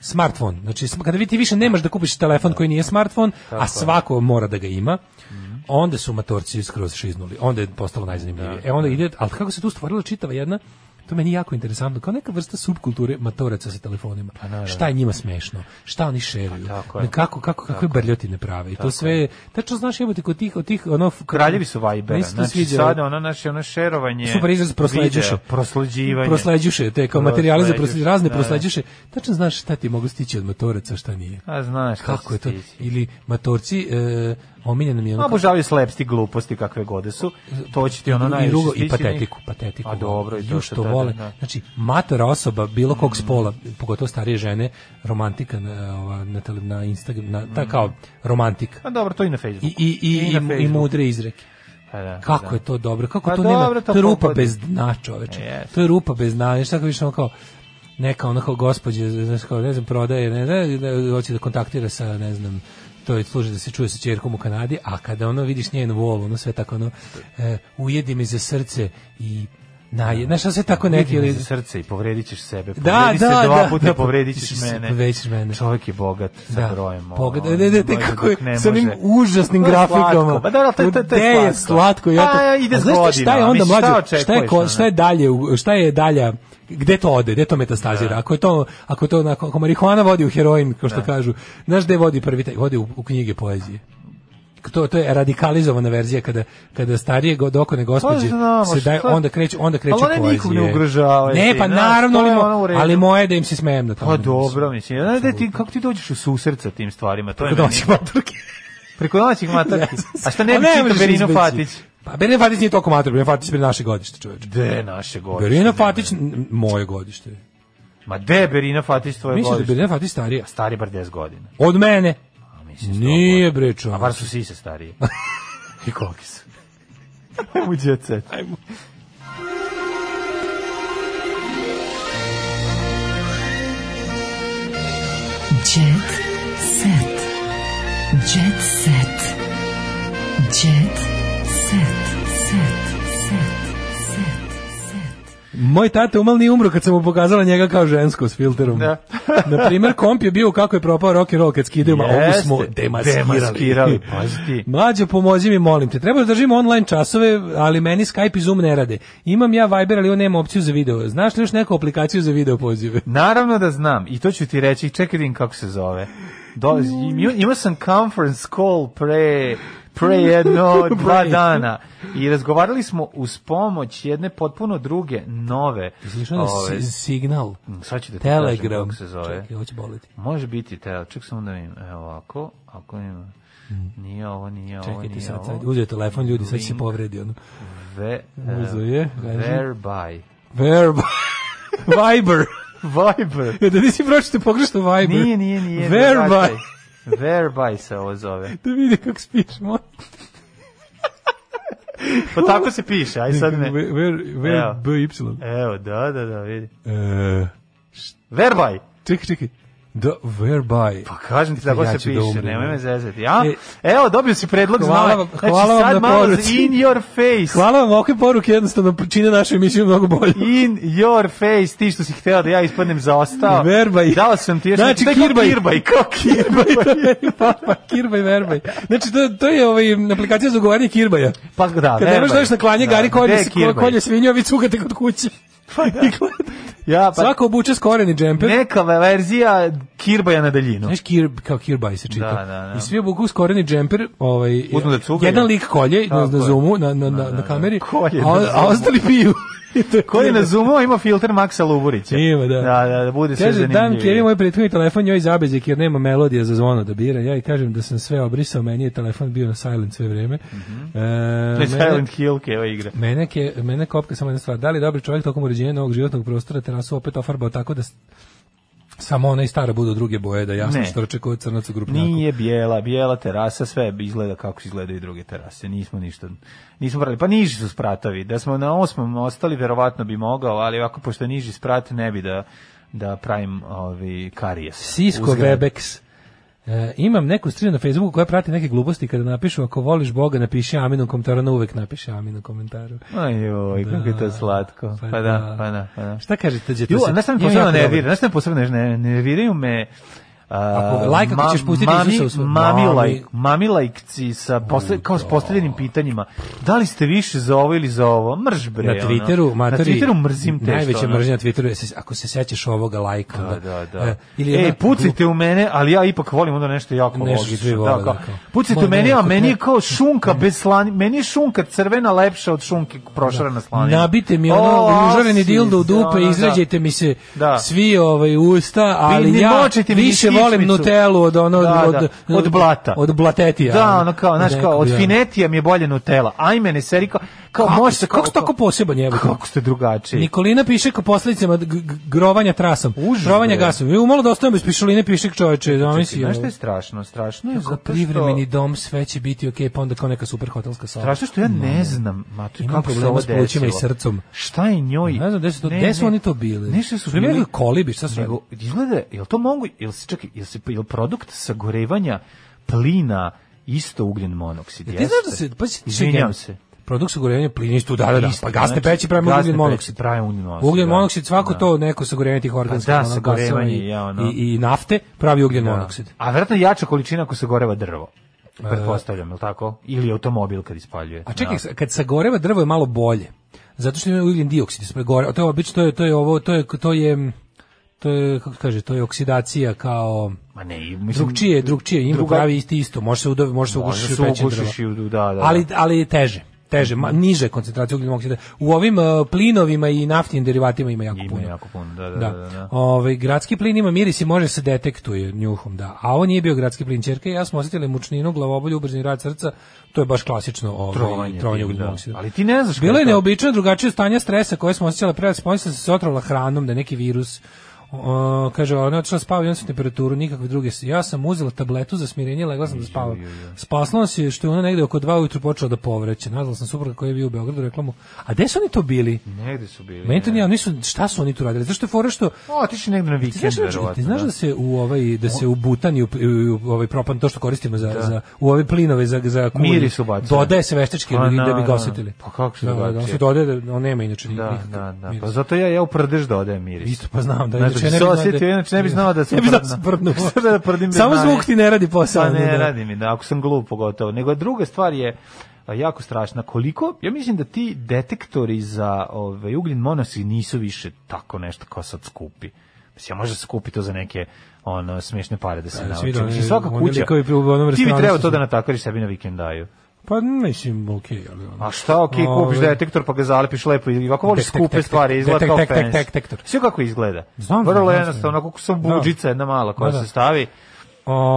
smartfon. Znači sm- kada vi ti više nemaš da kupiš telefon koji nije smartfon, Tako je. Mhm. a svako mora da ga ima, onda su matorci skroz šiznuli. Onda je postalo Da, najzanimljivije. E onda ide, ali kako se tu stvorila čitava jedna To meni je jako interesantno, kao neka vrsta subkulture matoraca sa telefonima. Šta je njima smešno? Šta oni šeruju? Pa Znači, tako je. Kako, kako, kakve brljotine prave? I to sve, tačno znaš, jebote, kod tih, od tih, ono... Kraljevi su Vibera. Meni se to Znači, sviđa. sada ono naše ono šerovanje. Super izraz prosleđuše. videa, Prosleđivanje. Prosleđuše, te kao materijale za prosleđuše, razne da, da. prosleđuše. Tačno znaš šta ti mogu stići od motoraca, šta nije. A znaš šta Kako će je to? stići. Ili matorci, e, omiljeno mi je ono... Ma obožavaju slepsti gluposti kakve gode su. To će ti ono I najviše drugo, stići. i patetiku, patetiku. A dobro, i to Ju što što da, da, vole. da. Mm. Znači, matora osoba, bilo kog spola, pogotovo starije žene, romantika na, ova, na, tele- na Instagram, na, ta kao romantika. A dobro, to i na Facebooku. I, i, i, i, na i Facebooku. mudre izreke. Pa da, Kako da. je to dobro? Kako Pa to nema? dobro, to To je rupa pogodi. bez dna, čoveče. Jeste. To je rupa bez dna. Znaš, tako više ono kao neka ona kao gospođa, znaš, kao, ne znam, prodaje, ne znam, da hoće da kontaktira sa, ne znam, to je služi da se čuje sa ćerkom u Kanadi, a kada ono vidiš njen vol, ono sve tako ono, e, ujedi mi za srce i naje, znaš, ono sve tako neki, Vidi Da. me ili, za srce i povredit ćeš sebe. Da, Povredi se da, dva da, puta da, i povredit ćeš povredit ćeš- mene. povredit ćeš mene. Čovjek je bogat sa Da, brojem. pogled- ono, ne, ne, te može kako je, dok ne sa onim može. užasnim To je slatko. grafikama. Pa da, da, to je- to je- to je Gde je slatko. slatko, jako- A, ide A s znaš ti šta je godinama, onda mislim, šta mlađe, šta je, očekuješ, ono? ko, šta je dalje, u- šta je dalja, gde to ode, gde to Da. metastazira, ako je to, ako je to onako, ako marihuana vodi u heroin, kao što kažu, znaš gde vodi prvi taj, vodi u, u knjige poezije. To, to je radikalizovana verzija kada kada starije god okone gospođe Pa znamo, se daje šta- onda kreće onda kreće Ali one poezije. nikog ne ugrožavaju, Ne, ti, pa znaš, naravno, to ali, je mo- ono u redu. ali moje je da im se smejem na tome. Pa mislim. dobro, mislim. Znaš da ti, kako ti dođeš u susret sa tim stvarima? To je Kod meni- domaćih maturki. Preko domaćih matarki. A šta ne bi A čitao Da. Pa možeš Berino izbeći. Fatić? Pa Berina Fatić nije toliko matur, Berina Fatić je pre naše godište, čoveče. De naše godište. Berina Fatić, n- moje godište. Ma de Berina Fatić tvoje Mislim da je godište? Berina Fatić starija. Stari bar 10 godina. Od mene. A mislim, sto Nije godina. bre A čoveče. bar su sise starije. I koliki su. Ajmo jet set. Ajmo. Jet set. Jet set. Jet set. Set. Set. Set. Moj tata umal nije umro kad sam mu pokazala njega kao žensko s filterom. Da. Na primer, komp je bio u kako je propao rock and roll kad skidaju, ma ovo Jeste, smo demaskirali. demaskirali, pazi ti. Mlađo, pomozi mi, molim te. Treba da držimo online časove, ali meni Skype i Zoom ne rade. Imam ja Viber, ali on nema opciju za video. Znaš li još neku aplikaciju za video pozive? Naravno da znam, i to ću ti reći, čekaj da vidim kako se zove. Do, im- imao sam conference call pre, pre jedno, dva dana i razgovarali smo uz pomoć jedne potpuno druge, nove. Slišao da ove, si- signal, Mm, sad ću da ti kažem Telegram. kako se zove. Čekaj, ovo će boleti. Može biti te, ček samo da vidim, evo ovako, ako ima, nije ovo, nije ovo, Čekaj, ti nije sad, ovo. sad uzeo telefon ljudi, sad će se povredi. Ono. Ve, e, Uzeo je, kaže. whereby, Verb. Viber. Viber. Ja, da nisi pročite pogrešno Viber. Nije, nije, nije. Verbi. Verbaj se ovo zove. Da vidi kako spiš, moj. Pa tako se piše, aj sad ne. Ver, ver, ver, Evo. b, y. Evo, da, da, da, vidi. E, Verbaj. čekaj, čekaj. Da, verbi. Pa kažem ti tako Ja se ću da piše, umrem, nemoj ne. me zezati. Ja? E, Evo, dobio si predlog hvala znala. vam- Znači, hvala vam sad na malo poruci. in your face. Hvala vam, ovakve poruke jednostavno čine našu emisiju mnogo bolje. In your face, ti što si hteo da ja ispadnem zaostao. Verbaj. Dao sam ti još Znači, to je kao kirbaj. kirbaj, kao kirbaj. pa, pa, kirbaj, verbaj. Znači, to, to je ovaj, aplikacija za ugovaranje kirbaja. Pa da, Kad nemaš dođeš na klanje, Da, gari gde kolje, je se- kirbaj? Pa, da. kolje svinju, a vi cugate kod kuće. I gleda- Ja, pa Svako obuče skoreni džemper. neka verzija kirbaja na daljinu. Znaš, kir, kao kirbaj se čita. Da, da, da. I svi obuku skoreni džemper. Ovaj, Uzmu da cugaju. Jedan lik kolje na, Tako na je. Da, zoomu, na, na, na, na kameri, Kolje a, na o- a Zoomu. ostali piju. I to je Koji je kirbaj. na Zoomu ima filter Maksa Luburića. Ima, da. Da, da, da bude sve Kaže, zanimljivo. dan Pjeri moj prethodni telefon joj zabezek jer nema melodija za zvono da bira. Ja i kažem da sam sve obrisao, meni je telefon bio na silent sve vreme. E, To je Mhm. mene- Silent Hill keva igra. Mene, ke, mene kopka samo jedna stvar. Da li je dobri čovjek tokom uređenja novog životnog prostora terasu opet ofarbao tako da s- samo ona i stara budu druge boje, da jasno Ne. štrče kod crnac u grupnjaku? Nije bijela, bijela terasa, sve izgleda kako izgledaju i druge terase. Nismo ništa, nismo brali. Pa niži su spratovi. Da smo na osmom ostali, verovatno bi mogao, ali ovako, pošto je niži sprat, ne bi da da pravim ovi karijes. Sisko u zgradi. Webex. E, imam neku strinu na Facebooku koja prati neke gluposti kada napišu ako voliš Boga napiši amin u komentaru, ona uvek napiše amin u komentaru. Aj, joj, kako je to slatko. pa Pa da. da, pa da, pa da. Šta kažete? Đe, to Ju, se- a znaš šta mi imam posebno jako nervira? problem. Znaš šta mi posebno ne- nerviraju me a, Ako- like ako ćeš pustiti mami, Isusa u svoj- mami, Mami. like, mami lajkci sa posle, kao s postavljenim pitanjima. Da li ste više za ovo ili za ovo? Mrž bre. Na ono. Twitteru, na matori, Twitteru mrzim te. Najveća što, ono. mržnja na Twitteru je, se- ako se sećaš ovoga lajka. Da, da, da. E, ili Ej, jedna- pucite u mene, ali ja ipak volim onda nešto jako Nešto logično. svi vole, Da, kao, da, kao. pucite Moj u mene, a neko meni je ne- kao šunka bez slani, meni je šunka crvena lepša od šunke prošarana slanina. Da. Nabite mi ono O, užareni asi, dildo u dupe, ono, da. izređajte mi se Da. svi ovaj usta, ali ni ja močite mi ni više volim kičmicu. Nutellu od ono Da, od, da, od blata. Od blatetija. Da, ono kao, znaš kao, Rekao od bi ja. finetija mi je bolje Nutella. Ajme, ne seri kao, kao da. Kako može ste- se kako ste tako poseban jebe? Kako ste drugačiji? Nikolina piše kao posledicama g- g- grovanja trasom. Užas, Trovanja bre. gasom. Vi umalo da ostavimo bez pišuline pišek čoveče, da Čekaj, mislim. Znaš što je strašno? Strašno je Kako zato što... privremeni dom, sve će biti okej, pa onda kao neka super hotelska soba. Strašno što ja ne znam, mater, Imam kako se problema ovo s desilo. plućima i srcom. Šta je njoj? Ne znam gde su, to, Ne, gde su ne. oni to bili. Nešto su Primjer, bili kolibi, šta su Nego, izgleda, jel to mogu, jel se, čekaj, jel se, jel produkt sagorevanja plina isto ugljen monoksid? Ti jeste? znaš da se, pa si- Izvinjam se. Produkt sagorevanja plina isto da, da, da. Isto, Pa gasne znači, peći pravimo gasne ugljen peći monoksid. pravi ugljen monoksid, Ugljen da. monoksid, svako Da. to neko sagorevanje tih organskih Pa da, ono, sagorevanje, gasova i, ja, ono. Da. i, i nafte pravi ugljen monoksid. A verovatno jača količina ako se goreva drvo. Pretpostavljam, jel tako? Ili automobil kad ispaljuje. Da. A čekaj, kad sagoreva drvo je malo bolje. Zato što ima ugljen dioksid ispred gore. A To je obično to je to je ovo to je to je to je kako se kaže, to je oksidacija kao Ma ne, mislim, drugčije, drugčije, ima druga- pravi isti isto, može se udove, može se Može ugušiš i se peći ugušiš drva. i u- da, da, da. Ali ali je teže, teže, ma, niže je koncentracija ugljenog oksida. U ovim e, plinovima i naftnim derivatima ima jako Ima puno. jako puno, da, da, Da. da, da, da. Ovaj gradski plin ima miris i može se detektuje njuhom, da. A ovo nije bio gradski plin ćerka i ja smo osetili mučninu, glavobolju, ubrzani rad srca. To je baš klasično ovaj Trovanje, trovanje da. ugljenog oksida. Ali ti ne znaš Bilo kako je je to. neobično drugačije stanje stresa koje smo osjećala pre, spojila sam se otrovala hranom da je neki virus O, kaže, ona je otišla spava, imam sam temperaturu, nikakve druge. Ja sam uzela tabletu za smirenje, legla sam da spavam. Spasla se što je ona negde oko dva ujutru počela da povreće. Nazvala sam supruga koji je bio u Beogradu, rekla mu, a gde su oni to bili? Negde su bili. Meni to ne. nije, oni su, šta su oni tu radili? Zašto je fora što, O, otišli negde na ti vikend, znaš, da- verovatno. ti znaš da se u ovaj da se u butan i u, i u ovaj propan to što koristimo za Da. za u ove plinove za za kulje, Miris ubacuje. Dodaje se veštački A, da, na, bi na. ga osetili. Pa kako se da, da, on drugačije? se dodaje da on nema inače Da, nikakav da, da. miris. Pa zato ja ja u prdež dodajem miris. Isto pa znam da Znaš, inače bi ne se bi osjetio, inače ne bi znao da sam ne bi znao da prdno. sam prdnuo. Sada da prdim bez Samo znanja. zvuk ti ne radi posao. Pa ne, da. radi mi, da, ako sam glup pogotovo. Nego druga stvar je a, jako strašna. Koliko, ja mislim da ti detektori za ovaj, ugljen monoksid nisu više tako nešto kao sad skupi. Mislim, ja možda se kupi to za neke ono, smiješne pare da se E, nauči. svi da, Mislim, svaka oni kuća, likovi pri- u onom ti bi restoranu trebao su- to da natakariš sebi na vikendaju. Pa mislim okej, ali ono. A šta, ok, kupiš Ovaj. detektor pa ga zalepiš lepo i ovako voliš Detek- skupe detek- stvari, izgleda detek- kao detek- fans. detektor. Sve kako izgleda. Znam, Vrlo znam, jednostavno, znam. onako kako sam Da. buđica jedna mala koja Da, da. se stavi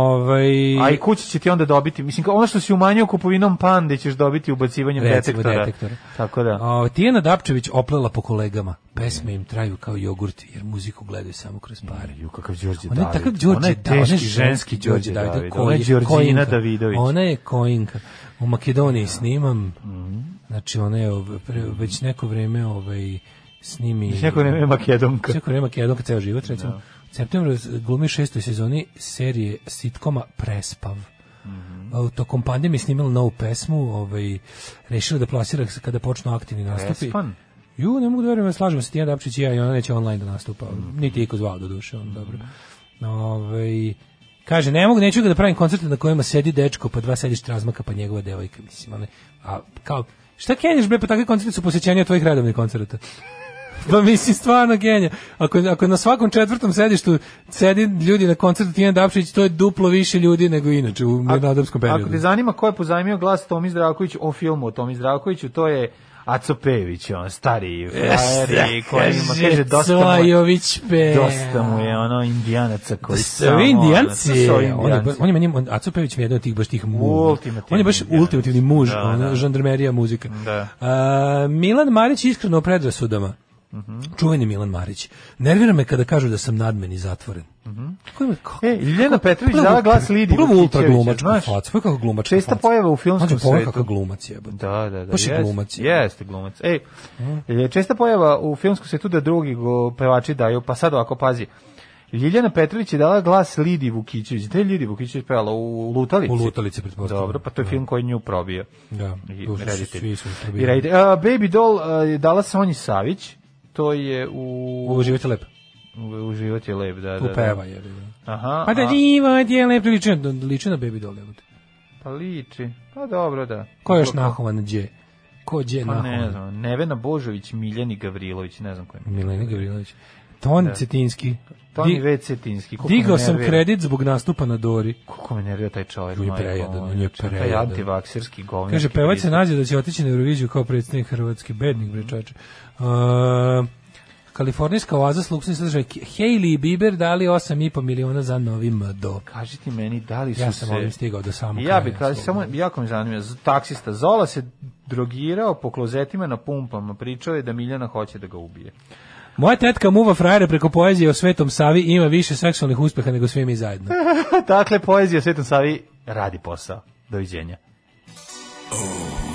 Ovaj A i kući će ti onda dobiti, mislim, kao ono što si umanjio kupovinom pande ćeš dobiti ubacivanjem Recimo, detektora. detektora. Tako da. O, Tijena Dapčević oplela po kolegama. Pesme im traju kao jogurt, jer muziku gledaju samo kroz pare. Ju, kakav Đorđe Ona je David. takav Đorđe Ona je Da- ona teški ženski ženski Đorđe Đorđe David. David. koji Ona je Đorđina kojinka. Davidović. Ona je kojinka. U Makedoniji snimam. Mhm. Znači, ona je ov- pre- već neko vreme ovaj, snimi... Već neko vreme je Makedonka. Već neko vreme je Makedonka ceo život, recimo. U septembru glumi u šestoj sezoni serije sitkoma Prespav. A, Tokom pandemije snimila novu pesmu, ovaj, rešila da plasira se kada počnu aktivni nastupi. Prespan? Ju, ne mogu da verujem, slažem se, Tijan Dapčić i ja, i ona neće online da nastupa. Niti je iko zvao do duše, on dobro. Ovaj, kaže, ne mogu, neću ga da pravim koncerte na kojima sedi dečko, pa dva sediš razmaka, pa njegova devojka, mislim. One, a kao, šta kenješ, bre, pa takve koncerte su posećenje od tvojih redovnih koncerta. Pa mislim stvarno genija. Ako, ako na svakom četvrtom sedištu sedi ljudi na koncertu Tijana Dapšić, to je duplo više ljudi nego inače u mirnodopskom periodu. Ako te zanima ko je pozajmio glas Tomi Zdravkoviću o filmu o Tomi Zdravkoviću, to je Aco Pejević, on stariji frajeri koji ima, kaže, dosta mu, je- Cvajović pe. dosta mu je ono indijanaca koji samo... Svi ono, indijanci. to su ovi On je, ba- Indijanci. on je meni, on, Aco Pejević mi je jedan od tih baš tih muž. Ultimativni On je baš Indijanac. ultimativni muž, Da, ono, da. žandarmerija muzika. Da. A, Milan Marić je iskreno o predrasudama. Mhm. Čuveni Milan Marić. Nervira me kada kažu da sam nadmen i zatvoren. Kako ima- kako- Mhm. E, Ljiljana Petrović Pogledaj dala ultra- glas Lidiji pogledaj ultra Vukićeviću, glumačku znaš? facu, pogledaj kako glumačka Česta faca. pojava u filmskom Mađo, pogledaj svetu. kakav glumac jebote. Da, da, da. Baš je Mm. jest- glumac. Jeste glumac. Ej, je česta pojava u filmskom svetu da drugi go pevači daju, pa sad ovako pazi. Ljiljana Petrović je dala glas Lidi Vukićević. Gde je Lidi Vukićević pevala? U Lutalici? U Lutalici, pretpostavljam. Dobro, pa to je Da. film koji je nju probio. Da, I duže su- reditelj. svi su I probijeni. reditelj. A, Baby Doll a, je dala Sonji Savić. To je u... Ovo život je lepo. u- u život je lep, da, Tu da. da. peva jebote. Aha, Pa da a- život je lepo, liči na, liči na Baby Doll jebote. Pa liči. Pa dobro, da. Ko je još nahovan đe? Ko đe Pa ne nahovan? znam, Nevena Božović, Miljani Gavrilović, ne znam ko je. Milena Gavrilović. Ton Da. Cetinski. Toni Di- V. Cetinski. koliko me Digao sam nervira. kredit zbog nastupa na Dori. Koliko me nervira taj čovjek. On je majko prejadan, moja. on je Taj prejadan. antivakserski govnjak. Kaže, i pevač se pritom. nađe da će otići na Euroviziju kao predstavnik Hrvatske, bednik bre čoveče. Uh, kalifornijska oaza s luksnim sadržajem Hailey i Bieber dali 8,5 miliona za novi MDO. Kaži ti meni, da li su Ja se... sam ovim stigao do samog Ja bih kraja, kaži, slobodno. samo, jako me zanima, z- taksista Zola se drogirao po klozetima na pumpama, pričao je da Miljana hoće da ga ubije. Moja tetka muva frajere preko poezije o Svetom Savi i ima više seksualnih uspeha nego svi mi zajedno. dakle, poezija Svetom Savi radi posao. Doviđenja.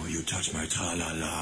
Oh, you touch my tra-la-la.